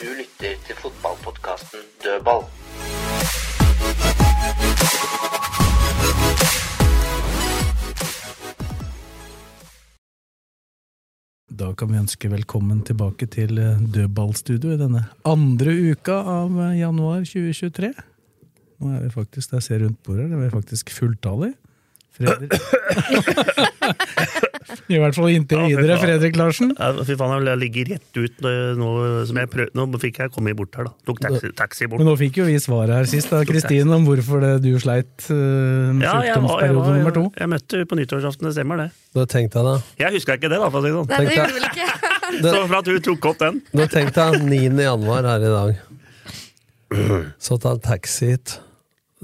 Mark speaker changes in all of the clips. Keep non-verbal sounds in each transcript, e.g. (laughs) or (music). Speaker 1: Du lytter til fotballpodkasten Dødball.
Speaker 2: Da kan vi ønske velkommen tilbake til eh, Dødballstudio i denne andre uka av eh, januar 2023. Nå er vi faktisk, der jeg ser rundt bordet, her, det er vi faktisk fulltallig.
Speaker 3: (laughs)
Speaker 2: Fredrik. I hvert fall inntil videre, Fredrik Larsen.
Speaker 3: Ja, Fy faen, jeg ligger rett ut eh, nå som jeg prøvde. Nå fikk jeg komme bort her, da. Tok taxi, taxi bort.
Speaker 2: Men nå fikk jo vi svaret her sist, da, Kristine, om hvorfor det du sleit eh, med
Speaker 3: Ja, jeg, var- jeg,
Speaker 2: sykdomsperiode
Speaker 3: var-
Speaker 2: nummer to.
Speaker 3: jeg møtte på nyttårsaften, det stemmer det.
Speaker 4: Da tenkte jeg da
Speaker 3: Jeg huska ikke det, da, for å si det sånn.
Speaker 4: Nei, det gjorde
Speaker 5: vel ikke.
Speaker 3: (laughs) Så for at du tok opp den.
Speaker 4: Da tenkte jeg 9. januar her i dag Så ta en taxi hit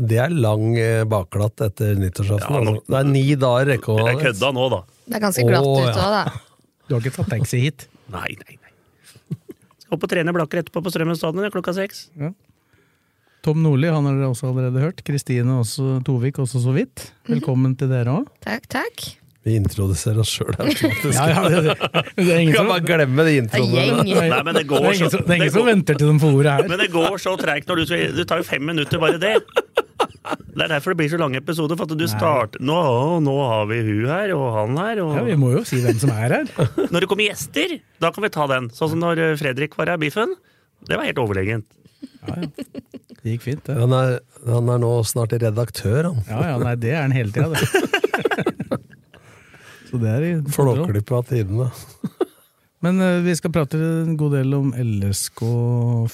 Speaker 4: Det er lang eh, bakglatt etter nyttårsaften
Speaker 3: Ja, nå-
Speaker 4: altså. Det er ni dager rekkehold
Speaker 3: Jeg kødda nå, da.
Speaker 6: Det er ganske glatt
Speaker 4: Å,
Speaker 6: ute
Speaker 4: ja.
Speaker 6: òg, da.
Speaker 2: Du har ikke tatt taxi hit.
Speaker 3: Nei, nei, nei. Skal opp og trene blakker etterpå på Strømmen stadion ja, klokka seks.
Speaker 2: Tom Nordli han har dere også allerede hørt. Kristine også, Tovik også så vidt. Velkommen til dere òg.
Speaker 6: Takk, takk.
Speaker 4: Vi introduserer oss
Speaker 3: (laughs)
Speaker 4: selv automatisk
Speaker 2: Ja, ja, det, det, det er
Speaker 4: Vi
Speaker 2: ingen
Speaker 4: kan
Speaker 2: som
Speaker 4: bare glemme de
Speaker 6: Det er
Speaker 4: introene
Speaker 6: gjeng.
Speaker 3: Nei, men det går
Speaker 2: Det er
Speaker 3: så-
Speaker 2: ingen som, det er
Speaker 3: det
Speaker 2: ingen som
Speaker 3: går-
Speaker 2: venter til de får ordet her.
Speaker 3: Men det går så treigt når du skal Det tar jo fem minutter, bare det. Det er derfor det blir så lange episoder. For at du starter nå, nå har vi hun her, og han her,
Speaker 2: Ja, Vi
Speaker 3: og
Speaker 2: må jo si hvem som er her.
Speaker 3: Når det kommer gjester, da kan vi ta den. Sånn som når eh, Fredrik var her, Biffen. Det var helt
Speaker 2: (laughs)
Speaker 3: overlegent.
Speaker 2: Det gikk fint, det.
Speaker 4: han er, han er nå snart redaktør han.
Speaker 2: Ja ja, nei, det er den hele tida, det. (laughs) Så det er i kontroll.
Speaker 4: Flåklipp av tidene
Speaker 2: Men eh, vi skal prate en god del om LSK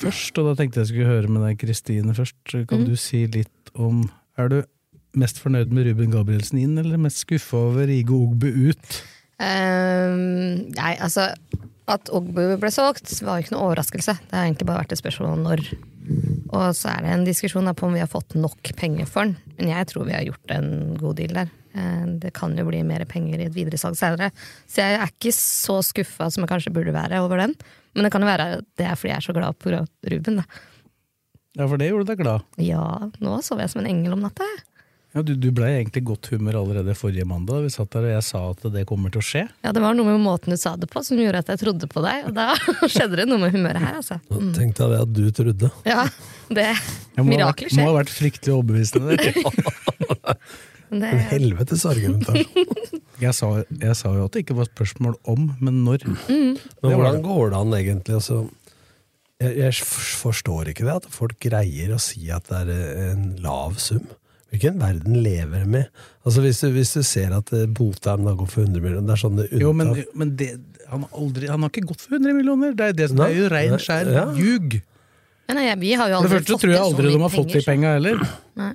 Speaker 2: først, og da tenkte jeg skulle høre med deg, Kristine, først.
Speaker 3: Mm.
Speaker 2: Kan du si litt om Er du mest fornøyd med Ruben Gabrielsen inn, eller mest skuffa over Igo Ogbu ut?
Speaker 6: Ehm, nei, altså At Ogbu ble solgt, var jo ikke noe overraskelse. Det har egentlig bare vært et spørsmål om når. Og så er det en diskusjon da på om vi har fått nok penger for den. Men jeg tror vi har gjort en god deal der. Ehm, Det kan jo bli mer penger i et videresalg senere. Så jeg er ikke så skuffa som jeg kanskje burde være over den. Men det kan jo være at det er fordi jeg er så glad på grunn av Ruben. Da.
Speaker 2: Ja, for det gjorde deg glad.
Speaker 6: Ja, nå sov jeg som en engel om natta. jeg.
Speaker 2: Ja, Du, du blei egentlig i godt humør allerede forrige mandag. Vi satt der og jeg sa at det kommer til å skje.
Speaker 6: Ja, Det var noe med måten du sa det på som gjorde at jeg trodde på deg. Og da (laughs) skjedde det noe med humøret her, altså.
Speaker 4: Da tenkte jeg det at du trodde
Speaker 6: Ja, det
Speaker 2: Jeg må, ha
Speaker 6: Mirakler
Speaker 2: vært, må ha
Speaker 6: skjer.
Speaker 2: vært fryktelig overbevisende. det.
Speaker 6: (laughs) Men det,
Speaker 4: En helvetes argumentasjon
Speaker 2: Jeg sa, jeg sa jo at det ikke var spørsmål om, men når.
Speaker 4: Men
Speaker 2: Det var
Speaker 4: hvordan går det an egentlig? Altså, jeg, jeg f- forstår ikke det, at folk greier å si at det er eh, en lav sum. Hvilken verden lever de i? Altså, hvis, du, hvis du ser at eh, Botheim da går for 100 millioner, det er sånn det
Speaker 2: Jo, men,
Speaker 4: unntar-
Speaker 2: men det, han, har aldri, han har ikke gått for 100 millioner! Det er, det, som- det er jo
Speaker 4: Nei,
Speaker 2: rein
Speaker 4: nei,
Speaker 2: skjær
Speaker 4: ja.
Speaker 2: ljug!
Speaker 6: men nei, vi har jo
Speaker 2: For det
Speaker 6: aldri
Speaker 2: første
Speaker 6: fått
Speaker 2: tror jeg
Speaker 6: til så
Speaker 2: aldri de
Speaker 6: mye
Speaker 2: har fått de
Speaker 6: penger,
Speaker 2: penga heller.
Speaker 6: så- Nei.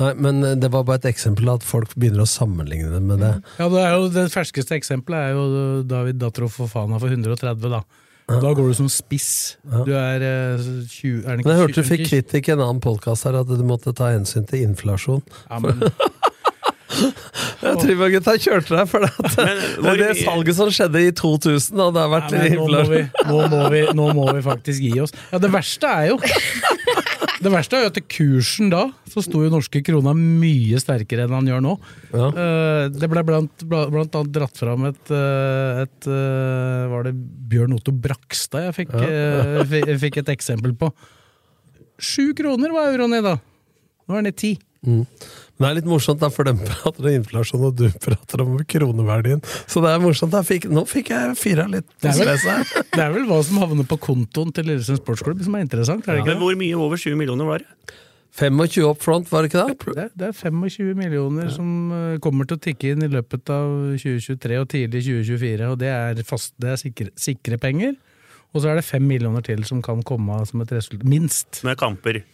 Speaker 4: Nei, men eh, det var bare et eksempel at folk begynner å sammenligne det med det.
Speaker 2: Ja, det, er jo, det ferskeste eksempelet er jo David Datrov Fofana for 130, da. Da går du som spiss. Du er eh, 20 er det ikke
Speaker 4: Men jeg
Speaker 2: 20
Speaker 4: hørte du fikk kritikk i en annen podkast her, at du måtte ta hensyn til inflasjon.
Speaker 2: Ja, men,
Speaker 4: Jeg tror jeg gutta kjørte deg
Speaker 2: (laughs)
Speaker 4: for det. at-
Speaker 3: hvor
Speaker 4: det
Speaker 3: mye-
Speaker 4: salget som skjedde i 2000, da, det har
Speaker 2: ja,
Speaker 4: vært
Speaker 2: men nå, må
Speaker 4: inflasjon.
Speaker 2: vi, nå, må vi, nå må vi faktisk gi oss. Ja, det verste er jo (laughs) Det verste er jo at kursen da, så sto jo norske krona mye sterkere enn han gjør nå.
Speaker 4: Ja.
Speaker 2: Eh, Det ble blant, bla- blant annet dratt fram et, eh, et eh, Var det Bjørn Otto Brakstad jeg fikk, eh, fi- jeg fikk et eksempel på? Sju kroner var euroen i da. Nå er den i ti.
Speaker 4: Men Det er litt morsomt, da, for de (laughs) prater om inflasjon, og du prater om kroneverdien. Så det er morsomt. da. fikk, nå fikk jeg fyra litt på
Speaker 2: Det er vel-
Speaker 4: stresset
Speaker 2: (laughs)
Speaker 4: her.
Speaker 2: Det er vel hva som havner på kontoen til Lillesund sportsklubb som er interessant? er det ikke
Speaker 3: Men hvor mye over sju millioner var det?
Speaker 4: 25 up front, var det ikke det?
Speaker 2: Det, det er 25 millioner som eh, kommer til å tikke inn i løpet av 2023 og tidlig 2024, og det er, fast, det er sikre, sikre penger. Og så er det fem millioner til som kan komme som et resultat. Minst.
Speaker 3: Med kamper.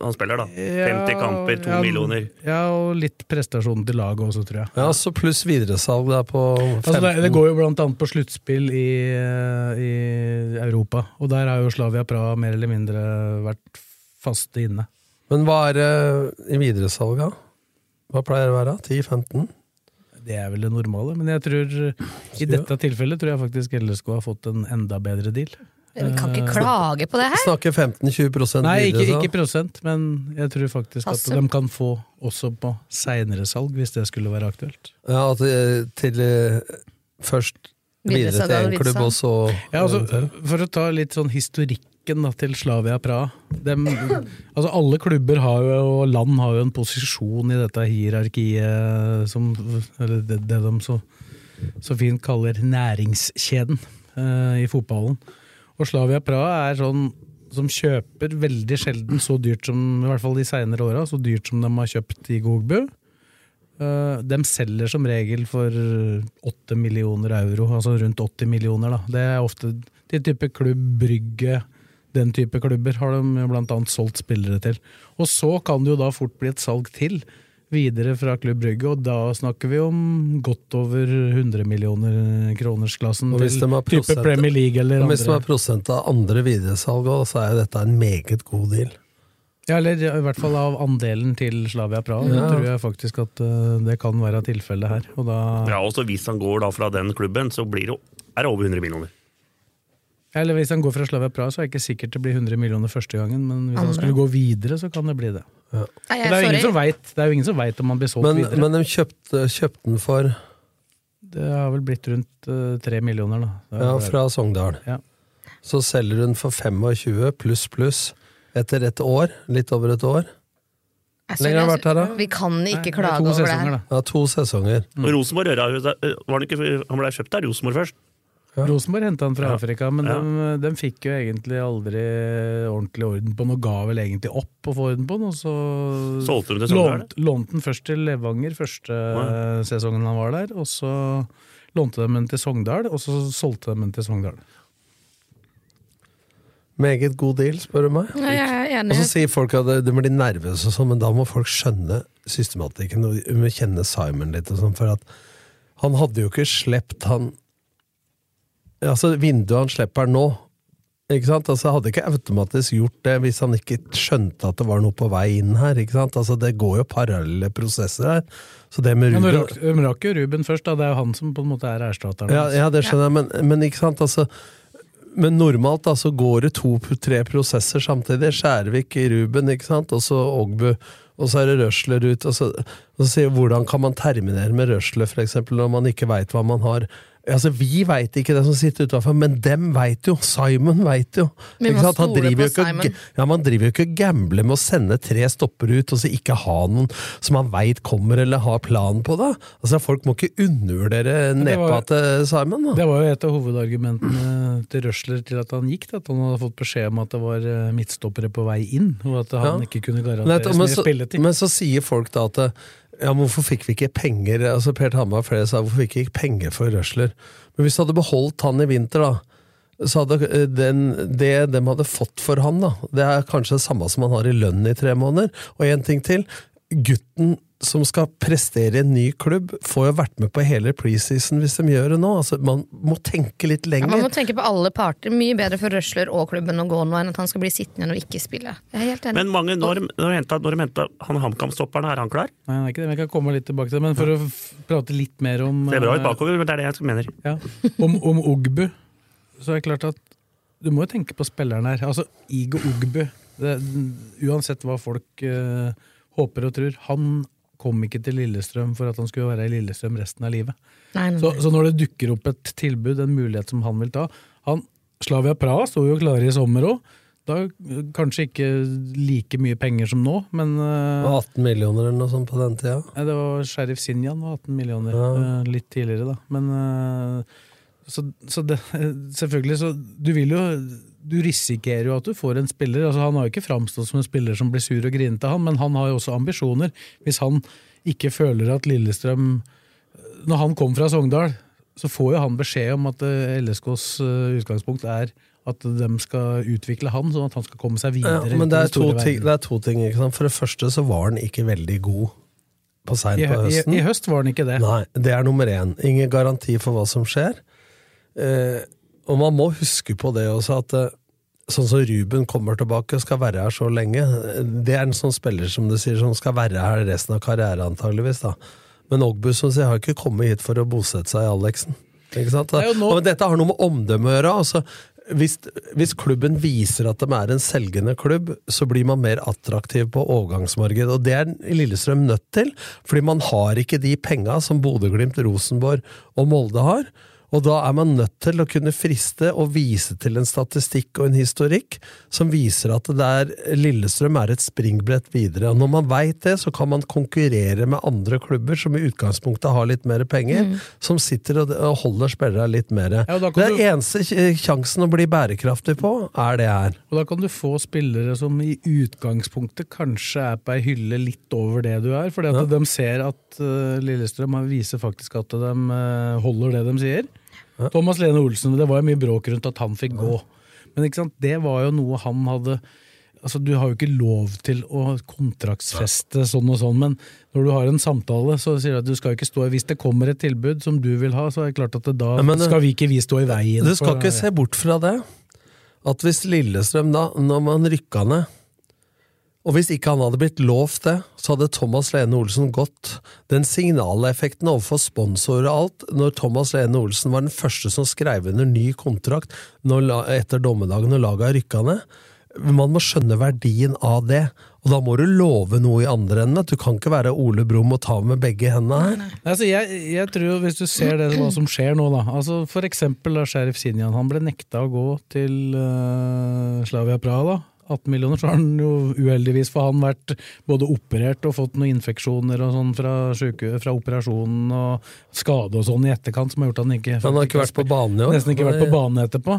Speaker 3: han spiller, da.
Speaker 2: Ja,
Speaker 3: 50 kamper, 2
Speaker 2: ja,
Speaker 3: millioner.
Speaker 2: Ja, og litt prestasjonen til laget også, tror jeg.
Speaker 4: Ja, så pluss videresalg da på 15.
Speaker 2: Altså, det, det går jo blant annet på sluttspill i, eh, i Europa, og der har jo Slavia Praha mer eller mindre vært faste inne.
Speaker 4: Men hva er eh, i videresalg, da? Hva pleier det å være? 10-15?
Speaker 2: Det er vel det normale, men jeg tror i dette tilfellet tror jeg faktisk LSK har fått en enda bedre deal.
Speaker 6: Vi
Speaker 2: Eh,
Speaker 6: kan ikke klage på det her!
Speaker 4: Snakker 15-20 prosent
Speaker 2: Nei, ikke,
Speaker 4: videresalg?
Speaker 2: ikke prosent, men jeg tror faktisk at
Speaker 6: Hassel.
Speaker 2: de kan få også på seinere salg, hvis det skulle være aktuelt.
Speaker 4: Ja, at eh, til eh, først videre
Speaker 6: Videresalg
Speaker 4: til
Speaker 6: av
Speaker 4: en klubb,
Speaker 6: videresalg.
Speaker 4: og så
Speaker 2: Ja, altså, for å ta litt sånn historikken da, til Slavia Praha. Dem, (clears throat) altså, alle klubber har jo, og land har jo en posisjon i dette hierarkiet som Eller det, det de så, så fint kaller næringskjeden eh, i fotballen. Og Slavia Praha er sånn som kjøper veldig sjelden så dyrt som i hvert fall de seinere åra, så dyrt som de har kjøpt i Gogbu. Eh, De selger som regel for 8 millioner euro, altså rundt 80 millioner. Da. Det er ofte til type klubb, brygge, den type klubber har de jo blant annet solgt spillere til. Og så kan det jo da fort bli et salg til, videre fra klubb brygge, og da snakker vi om godt over 100 millioner kronersklassen
Speaker 4: Og
Speaker 2: til
Speaker 4: hvis de har
Speaker 2: type
Speaker 4: prosent-
Speaker 2: Premier League eller
Speaker 4: Men Hvis det
Speaker 2: andre.
Speaker 4: var prosent av andre videresalg òg, så er jo dette en meget god deal.
Speaker 2: Ja, eller i hvert fall av andelen til Slavia Praha,
Speaker 4: Ja.
Speaker 2: tror jeg faktisk at eh, det kan være tilfellet her. Og da
Speaker 3: Ja, og så Hvis han går da fra den klubben, så blir det, er det over 100 millioner.
Speaker 2: Eller hvis han går fra Slavia Praha, så er det ikke sikkert det blir 100 millioner første gangen, men hvis han
Speaker 6: Andre.
Speaker 2: skulle gå videre, så kan det bli det.
Speaker 6: Nei,
Speaker 2: Men det er jo
Speaker 6: sorry.
Speaker 2: ingen som vet, det er jo ingen som vet om han blir solgt
Speaker 4: Men,
Speaker 2: videre.
Speaker 4: men de kjøpte, kjøpte den for
Speaker 2: det har vel blitt rundt eh, tre millioner, da. Det er
Speaker 4: ja,
Speaker 2: jo-
Speaker 4: fra Sogndal.
Speaker 2: Ja.
Speaker 4: Så selger hun for 25 pluss pluss etter et år, litt over et år. Lenger
Speaker 6: Jeg
Speaker 4: har
Speaker 6: sorry,
Speaker 4: jeg vært her, da?
Speaker 6: Vi kan
Speaker 2: Nei,
Speaker 6: ikke
Speaker 2: det er
Speaker 6: klage
Speaker 2: to
Speaker 6: over det
Speaker 2: sesonger,
Speaker 6: her.
Speaker 2: da.
Speaker 4: Ja, to sesonger.
Speaker 2: Mm.
Speaker 3: Og Rosenborg røra jo seg- øh, var han, ikke, han ble kjøpt av Rosenborg først.
Speaker 2: Rosenborg henta han fra
Speaker 3: Ja.
Speaker 2: Afrika, men
Speaker 3: Ja.
Speaker 2: de, de fikk jo egentlig aldri ordentlig orden på den, og ga vel egentlig opp å få orden på den, og så
Speaker 3: Solgte de til
Speaker 4: sånn
Speaker 3: Sogndal?
Speaker 2: lånte lånte den først til Levanger første
Speaker 3: Ja.
Speaker 2: eh, sesongen han var der, og så lånte de den til Sogndal, og så solgte de den til Sogndal.
Speaker 4: Meget god deal, spør du meg.
Speaker 6: Nei, jeg er
Speaker 4: Og
Speaker 6: enig.
Speaker 4: så sier folk at de blir nervøse og sånn, men da må folk skjønne systematikken og de må kjenne Simon litt og sånn, for at han hadde jo ikke slept han Altså, vinduet han slipper nå, ikke sant? Altså, hadde ikke automatisk gjort det hvis han ikke skjønte at det var noe på vei inn her, ikke sant? Altså, det går jo parallelle prosesser her. Så det med
Speaker 2: Men
Speaker 4: Ruben
Speaker 2: nå rakk, de rakk jo Ruben først, da. Det er jo han som på en måte er erstatteren.
Speaker 4: ja,
Speaker 2: hans.
Speaker 4: ja, det skjønner jeg, men, men ikke sant, altså men normalt da, så går det to-tre prosesser samtidig. Skjærvik, Ruben, ikke sant? og så Ogbu. Og så er det Røsler ut. Og så, og så sier jeg, Hvordan kan man terminere med Røsler for eksempel, når man ikke veit hva man har? Altså, Vi veit ikke det som sitter utafor, men dem veit jo! Simon veit jo!
Speaker 6: Men
Speaker 4: Ikke
Speaker 6: man
Speaker 4: sant? Han
Speaker 6: stoler
Speaker 4: driver jo
Speaker 6: på
Speaker 4: ikke og
Speaker 6: Simon.
Speaker 4: g- ja, Man driver jo ikke og gambler med å sende tre stopper ut og så ikke ha noen som man veit kommer eller har planen på. da. Altså, Folk må ikke undervurdere
Speaker 2: det var-
Speaker 4: neppa til eh, Simon. da.
Speaker 2: Det var jo et av hovedargumentene til Røsler til at han gikk, da, at han hadde fått beskjed om at det var eh, midtstoppere på vei inn, og at han
Speaker 4: Ja.
Speaker 2: ikke kunne
Speaker 4: Men,
Speaker 2: garantere
Speaker 4: et-
Speaker 2: så
Speaker 4: men,
Speaker 2: mye
Speaker 4: så,
Speaker 2: spilletid.
Speaker 4: men så sier folk da at eh, ja, men hvorfor fikk vi ikke penger? Altså Per Thammer og flere sa hvorfor fikk vi ikke penger for Røsler? Men hvis du hadde beholdt han i vinter, da, så hadde eh, den, det de hadde fått for han, da, det er kanskje det samme som han har i lønn i tre måneder. Og én ting til. Gutten som skal prestere i en ny klubb, får jo vært med på hele preseason hvis de gjør det nå. Altså, man må tenke litt
Speaker 6: Ja,
Speaker 4: lenger.
Speaker 6: man må tenke på alle parter. Mye bedre for Røsler og klubben å gå nå enn at han skal bli sittende og ikke spille. Jeg er helt enig.
Speaker 3: Men mange, når, når de hentet- når de henta han HamKam-stopperen, er han klar?
Speaker 2: Nei, det er ikke det, men jeg kan komme litt tilbake til det. Men for å f- prate litt mer om
Speaker 3: Det er bra
Speaker 2: eh,
Speaker 3: ut bakover, men det er det jeg mener.
Speaker 2: Ja, (laughs) om, om Ogbu, så er det klart at du må jo tenke på spilleren her. Altså, Igo Ogbu, det, uansett hva folk eh, håper og tror, han kom ikke til Lillestrøm for at han skulle være i Lillestrøm resten av livet.
Speaker 6: Nei, nei.
Speaker 2: Så, så når det dukker opp et tilbud, en mulighet som han vil ta han, Slavia Praha sto jo klare i sommer òg. Da eh, kanskje ikke like mye penger som nå, men eh,
Speaker 4: 18 millioner eller noe sånt på den tida.
Speaker 2: Nei, det var Sheriff Sinjan var 18 millioner.
Speaker 4: Ja.
Speaker 2: eh, Litt tidligere, da. Men eh, Så, så det, (laughs) selvfølgelig, så Du vil jo Du risikerer jo at du får en spiller. altså Han har jo ikke framstått som en spiller som blir sur og grinete, han, men han har jo også ambisjoner. Hvis han ikke føler at Lillestrøm Når han kom fra Sogndal, så får jo han beskjed om at eh, LSKs eh, utgangspunkt er At de skal utvikle han, sånn at han skal komme seg videre.
Speaker 4: Ja, men det
Speaker 2: til den
Speaker 4: er, to
Speaker 2: store
Speaker 4: ting,
Speaker 2: verden.
Speaker 4: det er to ting. Ikke sant? For det første så var han ikke veldig god på seint
Speaker 2: I,
Speaker 4: på
Speaker 2: hø-
Speaker 4: høsten.
Speaker 2: i, I høst var han ikke det.
Speaker 4: Nei, det er nummer én. Ingen garanti for hva som skjer. Eh, og man må huske på det også, at eh, sånn som Ruben kommer tilbake, skal være her så lenge. eh, Det er en sånn spiller som du sier, som skal være her resten av karrieren antageligvis. da. Men Ogbu som sier, har ikke kommet hit for å bosette seg i Alexen. Ikke sant?
Speaker 2: Det er jo nå-
Speaker 4: Og dette har noe med omdømme å gjøre. altså. Hvis, hvis klubben viser at de er en selgende klubb, så blir man mer attraktiv på overgangsmarkedet. Og det er Lillestrøm nødt til, fordi man har ikke de penga som Bodø-Glimt, Rosenborg og Molde har. Og da er man nødt til å kunne friste og vise til en statistikk og en historikk som viser at det der Lillestrøm er et springbrett videre. Og når man veit det, så kan man konkurrere med andre klubber som i utgangspunktet har litt mer penger, som sitter og og holder spillerne litt mer.
Speaker 2: Ja, og da kan
Speaker 4: det er
Speaker 2: du-
Speaker 4: eneste kj- sjansen å bli bærekraftig på, er det her.
Speaker 2: Og da kan du få spillere som i utgangspunktet kanskje er på ei hylle litt over det du er, fordi at de ser at eh, Lillestrøm har- viser faktisk at de eh, holder det de sier. Thomas Lene Olsen, det var jo mye bråk rundt at han fikk gå. Men ikke sant? det var jo noe han hadde Altså, Du har jo ikke lov til å kontraktsfeste sånn og sånn, men når du har en samtale, så sier du at du skal ikke stå i Hvis det kommer et tilbud som du vil ha, så er det klart at det da
Speaker 4: Ja, men det-
Speaker 2: skal vi ikke vi stå i veien.
Speaker 4: Du skal
Speaker 2: for-
Speaker 4: ikke se bort fra det, at hvis Lillestrøm da, når man rykka ned Og hvis ikke han hadde blitt lovt det, så hadde Thomas Lene Olsen gått. Den signaleffekten overfor sponsorer og alt, når Thomas Lene Olsen var den første som skrev under ny kontrakt når, la- etter dommedagen når laget har rykka ned Man må skjønne verdien av det. Og da må du love noe i andre enden. Du kan ikke være Ole Brumm og ta med begge hendene her.
Speaker 2: Nei, Altså, jeg, jeg tror jo, Hvis du ser det, hva som skjer nå, da. Altså, for eksempel da, Sheriff Sinjan. Han ble nekta å gå til eh, Slavia Praha. da. 18 millioner, så har han jo uheldigvis for han vært både operert og fått noen infeksjoner og sånn fra, syke, fra operasjonen og skade og sånn i etterkant som har gjort at han ikke
Speaker 4: Han har ikke vært på banen i år.
Speaker 2: Nesten ikke vært på banen etterpå.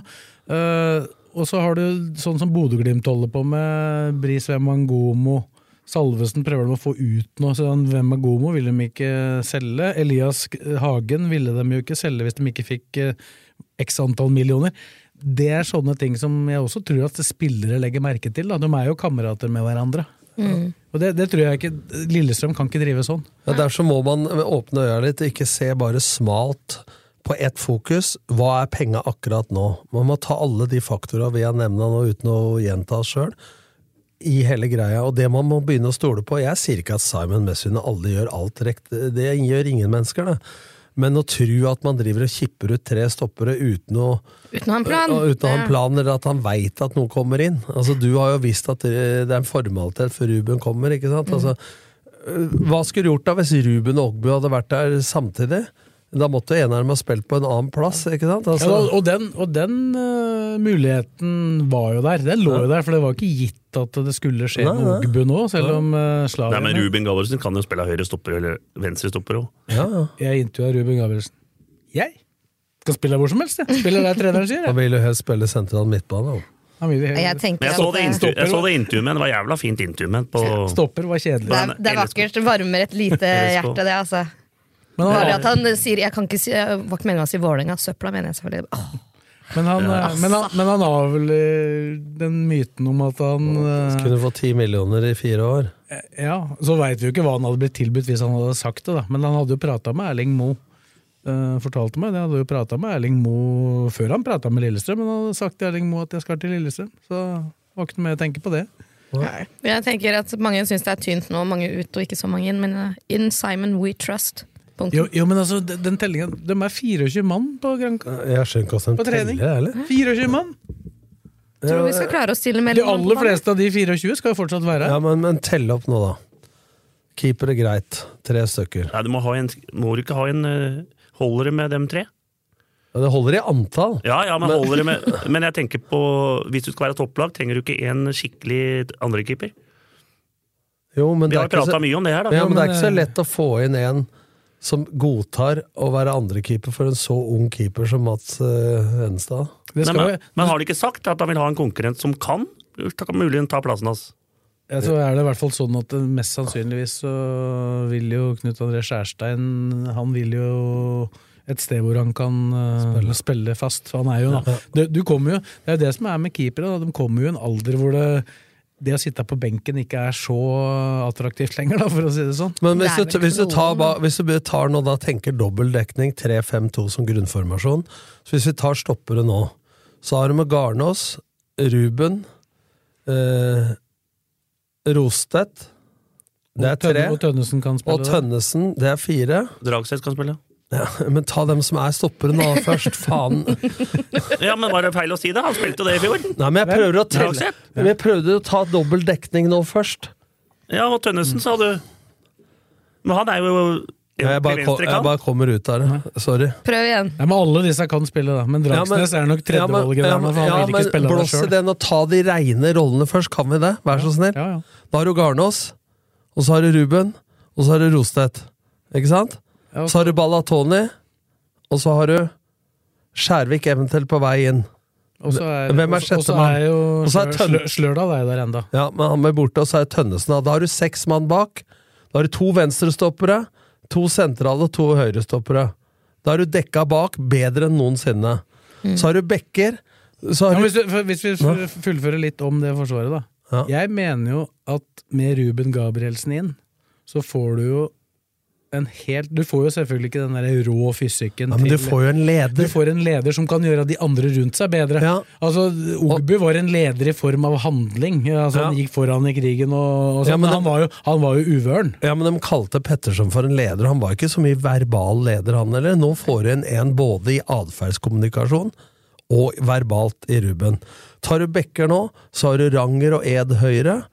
Speaker 2: Eh, og så har du sånn som Bodø-Glimt holder på med, Bris Wemmangomo. Salvesen prøver de å få ut nå, så han Wemmangomo ville de ikke selge. Elias Hagen ville de jo ikke selge hvis de ikke fikk eh, x antall millioner. Det er sånne ting som jeg også tror at spillere legger merke til. Da. De er jo kamerater med hverandre. Og det, det tror jeg ikke Lillestrøm kan ikke drive sånn.
Speaker 4: Ja, Derfor må man åpne øya litt, ikke se bare smalt på ett fokus. Hva er penga akkurat nå? Man må ta alle de faktorene vi har nevna nå, uten å gjenta oss sjøl, i hele greia. Og det man må begynne å stole på Jeg sier ikke at Simon Messina alle gjør alt riktig, det gjør ingen mennesker, det. Men å tro at man driver og kipper ut tre stoppere uten å
Speaker 6: Uten å ha en plan.
Speaker 4: ja, Uten å ha
Speaker 6: Ja.
Speaker 4: en plan, eller at han veit at noe kommer inn. Altså, du har jo visst at eh, det er en formalitet før Ruben kommer. ikke sant?
Speaker 6: Mm.
Speaker 4: Altså, eh, hva skulle du gjort da hvis Ruben og Ogbu hadde vært der samtidig? Da måtte jo eneren ha spilt på en annen plass. ikke sant? Altså,
Speaker 2: Ja, og, og den, og den øh, muligheten var jo der. Den lå jo der, for det var ikke gitt at det skulle skje
Speaker 4: Nei,
Speaker 2: med
Speaker 4: nei.
Speaker 2: Ogbu nå, selv om uh,
Speaker 3: Nei,
Speaker 2: Slavia
Speaker 3: men Ruben Gallersen kan jo spille høyre stopper eller venstre stopper òg.
Speaker 4: ja, ja.
Speaker 2: Jeg intervjua Ruben Gabrielsen. Jeg kan spille hvor som helst, jeg. Spiller der treneren sier.
Speaker 4: Han
Speaker 2: Jeg.
Speaker 4: ville jo helst spille sentral midtbane. da.
Speaker 2: Han vil,
Speaker 6: Jeg tenker
Speaker 3: Men jeg så det
Speaker 6: at det,
Speaker 3: intervju- jeg så det intervjuet med han. Det var jævla fint intervju med han på
Speaker 2: Stopper var kjedelig.
Speaker 6: det, er, det er vakkert. Det varmer et lite hjerte, det. altså
Speaker 2: Men han,
Speaker 6: Bare at han sier Jeg kan ikke si, jeg var ikke meningen å si Vålerenga. Søpla, mener jeg selvfølgelig. Åh,
Speaker 2: men, han, øh, men, han, men han har vel øh, den myten om at han øh,
Speaker 4: Kunne få ti millioner i fire år.
Speaker 2: Ja, Så veit vi jo ikke hva han hadde blitt tilbudt hvis han hadde sagt det, da. Men han hadde jo prata med Erling Moe. Eh, fortalte meg det. Han hadde jo prata med Erling Moe før han prata med Lillestrøm. Men han hadde sagt til Erling Moe at jeg skal til Lillestrøm. Så det var ikke noe mer å tenke på det.
Speaker 6: Men Jeg tenker at Mange syns det er tynt nå, mange ut og ikke så mange inn, men uh, in Simon we trust. Punkt.
Speaker 2: Jo, jo men altså, de- den tellingen De er 24 mann på Granca.
Speaker 4: Jeg skjønner ikke hvordan
Speaker 2: På
Speaker 4: de
Speaker 2: trening.
Speaker 4: teller, eller?
Speaker 2: 24 mann!
Speaker 6: Tror vi skal klare å stille med
Speaker 2: De aller fleste av de 24 skal jo fortsatt være
Speaker 4: Ja,
Speaker 2: her.
Speaker 4: men, men tell opp nå, da. Keeper er greit. Tre stykker.
Speaker 3: Nei, du må, ha en, må du ikke ha en eh, Holder det med dem tre?
Speaker 4: Ja, Det holder i antall.
Speaker 3: Ja, ja, men
Speaker 4: Men-
Speaker 3: holder det med Men jeg tenker på Hvis du skal være topplag, trenger du ikke en skikkelig andrekeeper.
Speaker 4: Jo, men
Speaker 3: Vi
Speaker 4: det er
Speaker 3: har
Speaker 4: ikke så-
Speaker 3: prata mye om det her, da.
Speaker 4: Ja, men det er ikke så
Speaker 2: men, eh,
Speaker 4: lett å få inn en som godtar å være andrekeeper for en så ung keeper som Mats eh, Henstad.
Speaker 3: Nei,
Speaker 2: Det skal
Speaker 3: men,
Speaker 2: jo,
Speaker 3: men har de ikke sagt at han vil ha en konkurrent som kan? Da kan muligens ta plassen hans.
Speaker 2: ja, så er det i hvert fall sånn at eh, mest sannsynligvis så vil jo Knut André Skjærstein Han vil jo et sted hvor han kan eh, spille. fast. For han er jo, en- du, du kommer jo, det er jo det som er med keepere. Da. De kommer jo i en alder hvor det, det å sitte på benken ikke er så attraktivt lenger, da, for å si det sånn.
Speaker 4: Men hvis
Speaker 6: Det er
Speaker 4: du,
Speaker 6: vel
Speaker 4: hvis, du
Speaker 6: ikke
Speaker 4: tar,
Speaker 6: noen,
Speaker 4: ba- hvis du tar nå da tenker dobbel dekning 3-5-2 som grunnformasjon Så hvis vi tar stoppere nå, så har du med Garnås, Ruben, eh, Rostedt Det er
Speaker 2: Og Tønne-
Speaker 4: tre.
Speaker 2: Og Tønnesen kan spille.
Speaker 4: Og Tønnesen, det er fire. (laughs)
Speaker 3: Dragseth kan spille.
Speaker 4: Ja, men ta dem som er stoppere nå først, faen.
Speaker 3: Ja, men var det feil å si det? Han spilte jo det i fjor.
Speaker 4: Nei, men jeg prøver å telle.
Speaker 3: Dragseth?
Speaker 4: Men jeg prøvde å ta dobbel dekning nå først.
Speaker 3: Ja, og Tønnesen, sa du. Men han er jo egentlig
Speaker 4: Jeg bare, kom, jeg
Speaker 3: venstrekant.
Speaker 4: bare kommer ut av
Speaker 2: Mm.
Speaker 4: det. Sorry.
Speaker 6: Prøv igjen.
Speaker 2: Nei, men Alle disse kan spille, da. Men Dragsnes er nok tredjevalget.
Speaker 4: ja,
Speaker 2: der,
Speaker 4: men-
Speaker 2: for han
Speaker 4: ja,
Speaker 2: vil ikke
Speaker 4: men
Speaker 2: spille av det
Speaker 4: Blås i
Speaker 2: selv.
Speaker 4: den og ta de reine rollene først, kan vi det? Vær så snill.
Speaker 2: Ja, ja.
Speaker 4: Da har du Garnås, og så har du Ruben, og så har du Rostedt. Ikke sant?
Speaker 2: Ja, og
Speaker 4: Så har du Balatoni, og så har du Skjærvik eventuelt på vei inn.
Speaker 2: Og så er,
Speaker 4: Hvem er
Speaker 2: og så- og så
Speaker 4: sjettemann?
Speaker 2: er jo
Speaker 4: Og så er
Speaker 2: Slør-
Speaker 4: Tønne-
Speaker 2: Slør- Slørdal er jo der enda.
Speaker 4: Ja, men han er borte, og så er Tønnesen av. Da har du seks mann bak. Da har du to venstrestoppere, to sentrale og to høyrestoppere. Da er du dekka bak bedre enn noensinne. Så har du bekker. Så
Speaker 2: Mm. Ja,
Speaker 4: har
Speaker 2: men
Speaker 4: du
Speaker 2: hvis, du, for- hvis vi f- fullfører litt om det forsvaret, da.
Speaker 4: Ja.
Speaker 2: Jeg mener jo at med Ruben Gabrielsen inn, så får du jo en helt Du får jo selvfølgelig ikke den der rå fysikken
Speaker 4: ja, men du
Speaker 2: til
Speaker 4: får jo
Speaker 2: du
Speaker 4: en leder.
Speaker 2: får en leder som kan gjøre de andre rundt seg bedre.
Speaker 4: Ja.
Speaker 2: Altså, Ogbu var en leder i form av handling. Altså, Han
Speaker 4: Ja.
Speaker 2: gikk foran i krigen, og, og sånn,
Speaker 4: Ja, men
Speaker 2: men han
Speaker 4: det-
Speaker 2: var jo, han var jo uvøren.
Speaker 4: Ja, men De kalte Petterson for en leder, og han var ikke så mye verbal leder, han heller. Nå får du inn en både i atferdskommunikasjon og verbalt i Ruben. Tar du Bekker nå, så har du Ranger og Ed høyre.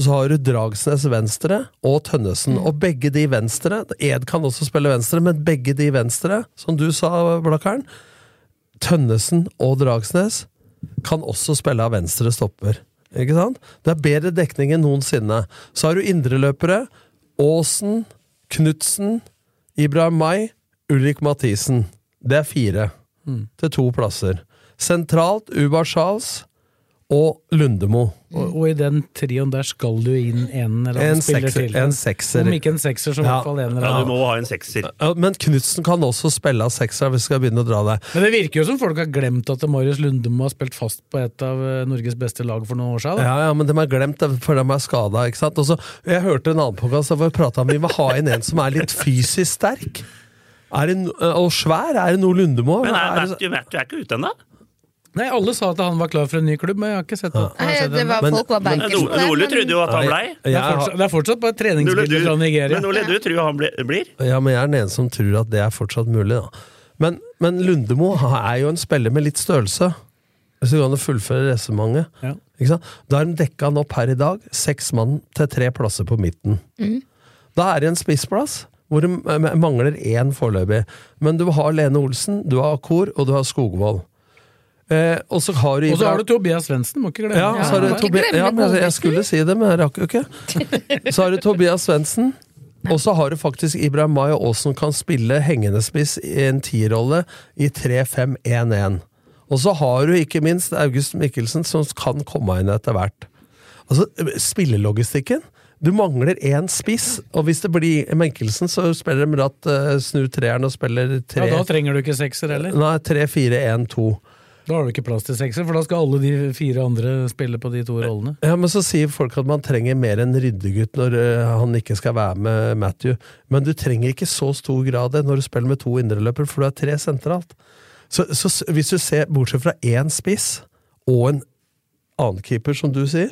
Speaker 4: Så har du Dragsnes venstre og Tønnesen. Og begge de venstre Ed kan også spille venstre, men begge de venstre, som du sa, Blakkaren Tønnesen og Dragsnes kan også spille av venstre stopper. Ikke sant? Det er bedre dekning enn noensinne. Så har du indreløpere. Aasen, Knutsen, Ibrahim May, Ulrik Mathisen. Det er fire
Speaker 2: Hmm.
Speaker 4: til to plasser. Sentralt Ubar Charles og Lundemo.
Speaker 2: Og, og i den trioen der skal du inn en eller annen
Speaker 4: En
Speaker 2: spiller
Speaker 4: sekser.
Speaker 2: til.
Speaker 4: En sekser.
Speaker 2: Om ikke en sekser, så i
Speaker 4: Ja.
Speaker 2: hvert fall en eller
Speaker 3: Ja,
Speaker 2: annen.
Speaker 3: du må ha en sekser.
Speaker 4: Ja, Men Knutsen kan også spille av sekser hvis vi skal begynne å dra deg.
Speaker 2: Men det virker jo som folk har glemt at Marius Lundemo har spilt fast på et av eh, Norges beste lag for noen år siden. Da.
Speaker 4: Ja, ja, men de har glemt det, for de er skada. ikke sant? Og så, jeg hørte en annen podkast hvor jeg prata om vi må ha inn en som er litt fysisk sterk. Er det, no- og svær. Er det noe Lundemo?
Speaker 3: Men er,
Speaker 4: Er
Speaker 3: er,
Speaker 4: det-
Speaker 3: du, er, du er ikke ute ennå?
Speaker 2: Nei, alle sa at han var klar for en ny klubb, men jeg har ikke sett at
Speaker 6: Nei, det var,
Speaker 4: Men-
Speaker 6: folk var
Speaker 3: Men
Speaker 6: bankers på
Speaker 3: Ole Ole
Speaker 6: det.
Speaker 3: trodde jo at han blei.
Speaker 4: Jeg
Speaker 2: det, er
Speaker 4: har-
Speaker 2: fortsatt, det er fortsatt bare
Speaker 3: Ole, du,
Speaker 2: treningsbilder fra Nigeria.
Speaker 3: men Ole, du tror han blir- blir?
Speaker 4: Ja, men jeg er den ene som tror at det er fortsatt mulig, da. Men, men Lundemo er jo en spiller med litt størrelse. Hvis du kan fullføre resonnementet.
Speaker 2: Ja.
Speaker 4: Ikke sant? Da er de dekka nå per i dag seks mann til tre plasser på midten.
Speaker 2: Mm.
Speaker 4: Da er det en spissplass hvor det m- mangler én foreløpig. Men du har Lene Olsen, du har Kor og du har Skogvold. Eh, og så har du
Speaker 2: Og så har
Speaker 4: Ibrahim-
Speaker 2: du Tobias Svendsen, må ikke glemme.
Speaker 4: ja, og så har du
Speaker 6: Ja, ikke
Speaker 4: Tobi-
Speaker 6: glemme
Speaker 4: ja, men altså, jeg,
Speaker 6: Godbekten.
Speaker 4: jeg skulle si det, men jeg rakk jo ikke. Så har du Tobias Svendsen. Og så har du faktisk Ibrahim May og Aasen kan spille hengende spiss i en tierrolle i 3-5-1-1. Og så har du ikke minst August Mikkelsen, som kan komme inn etter hvert. Altså, spillelogistikken Du mangler én spiss, og hvis det blir Mikkelsen, så spiller de ratt, eh, snur treeren og spiller
Speaker 2: Ja,
Speaker 4: tre
Speaker 2: da trenger du ikke sekser heller.
Speaker 4: Nei, 3-4-1-2.
Speaker 2: Da har du ikke plass til sekser, for da skal alle de fire andre spille på de to rollene.
Speaker 4: Ja, men så sier folk at man trenger mer enn ryddegutt når eh, han ikke skal være med Matthew. Men du trenger ikke så stor grad det når du spiller med to indreløpere, for du har tre sentralt. Så, så s- hvis du ser bortsett fra én spiss og en annen keeper, som du sier,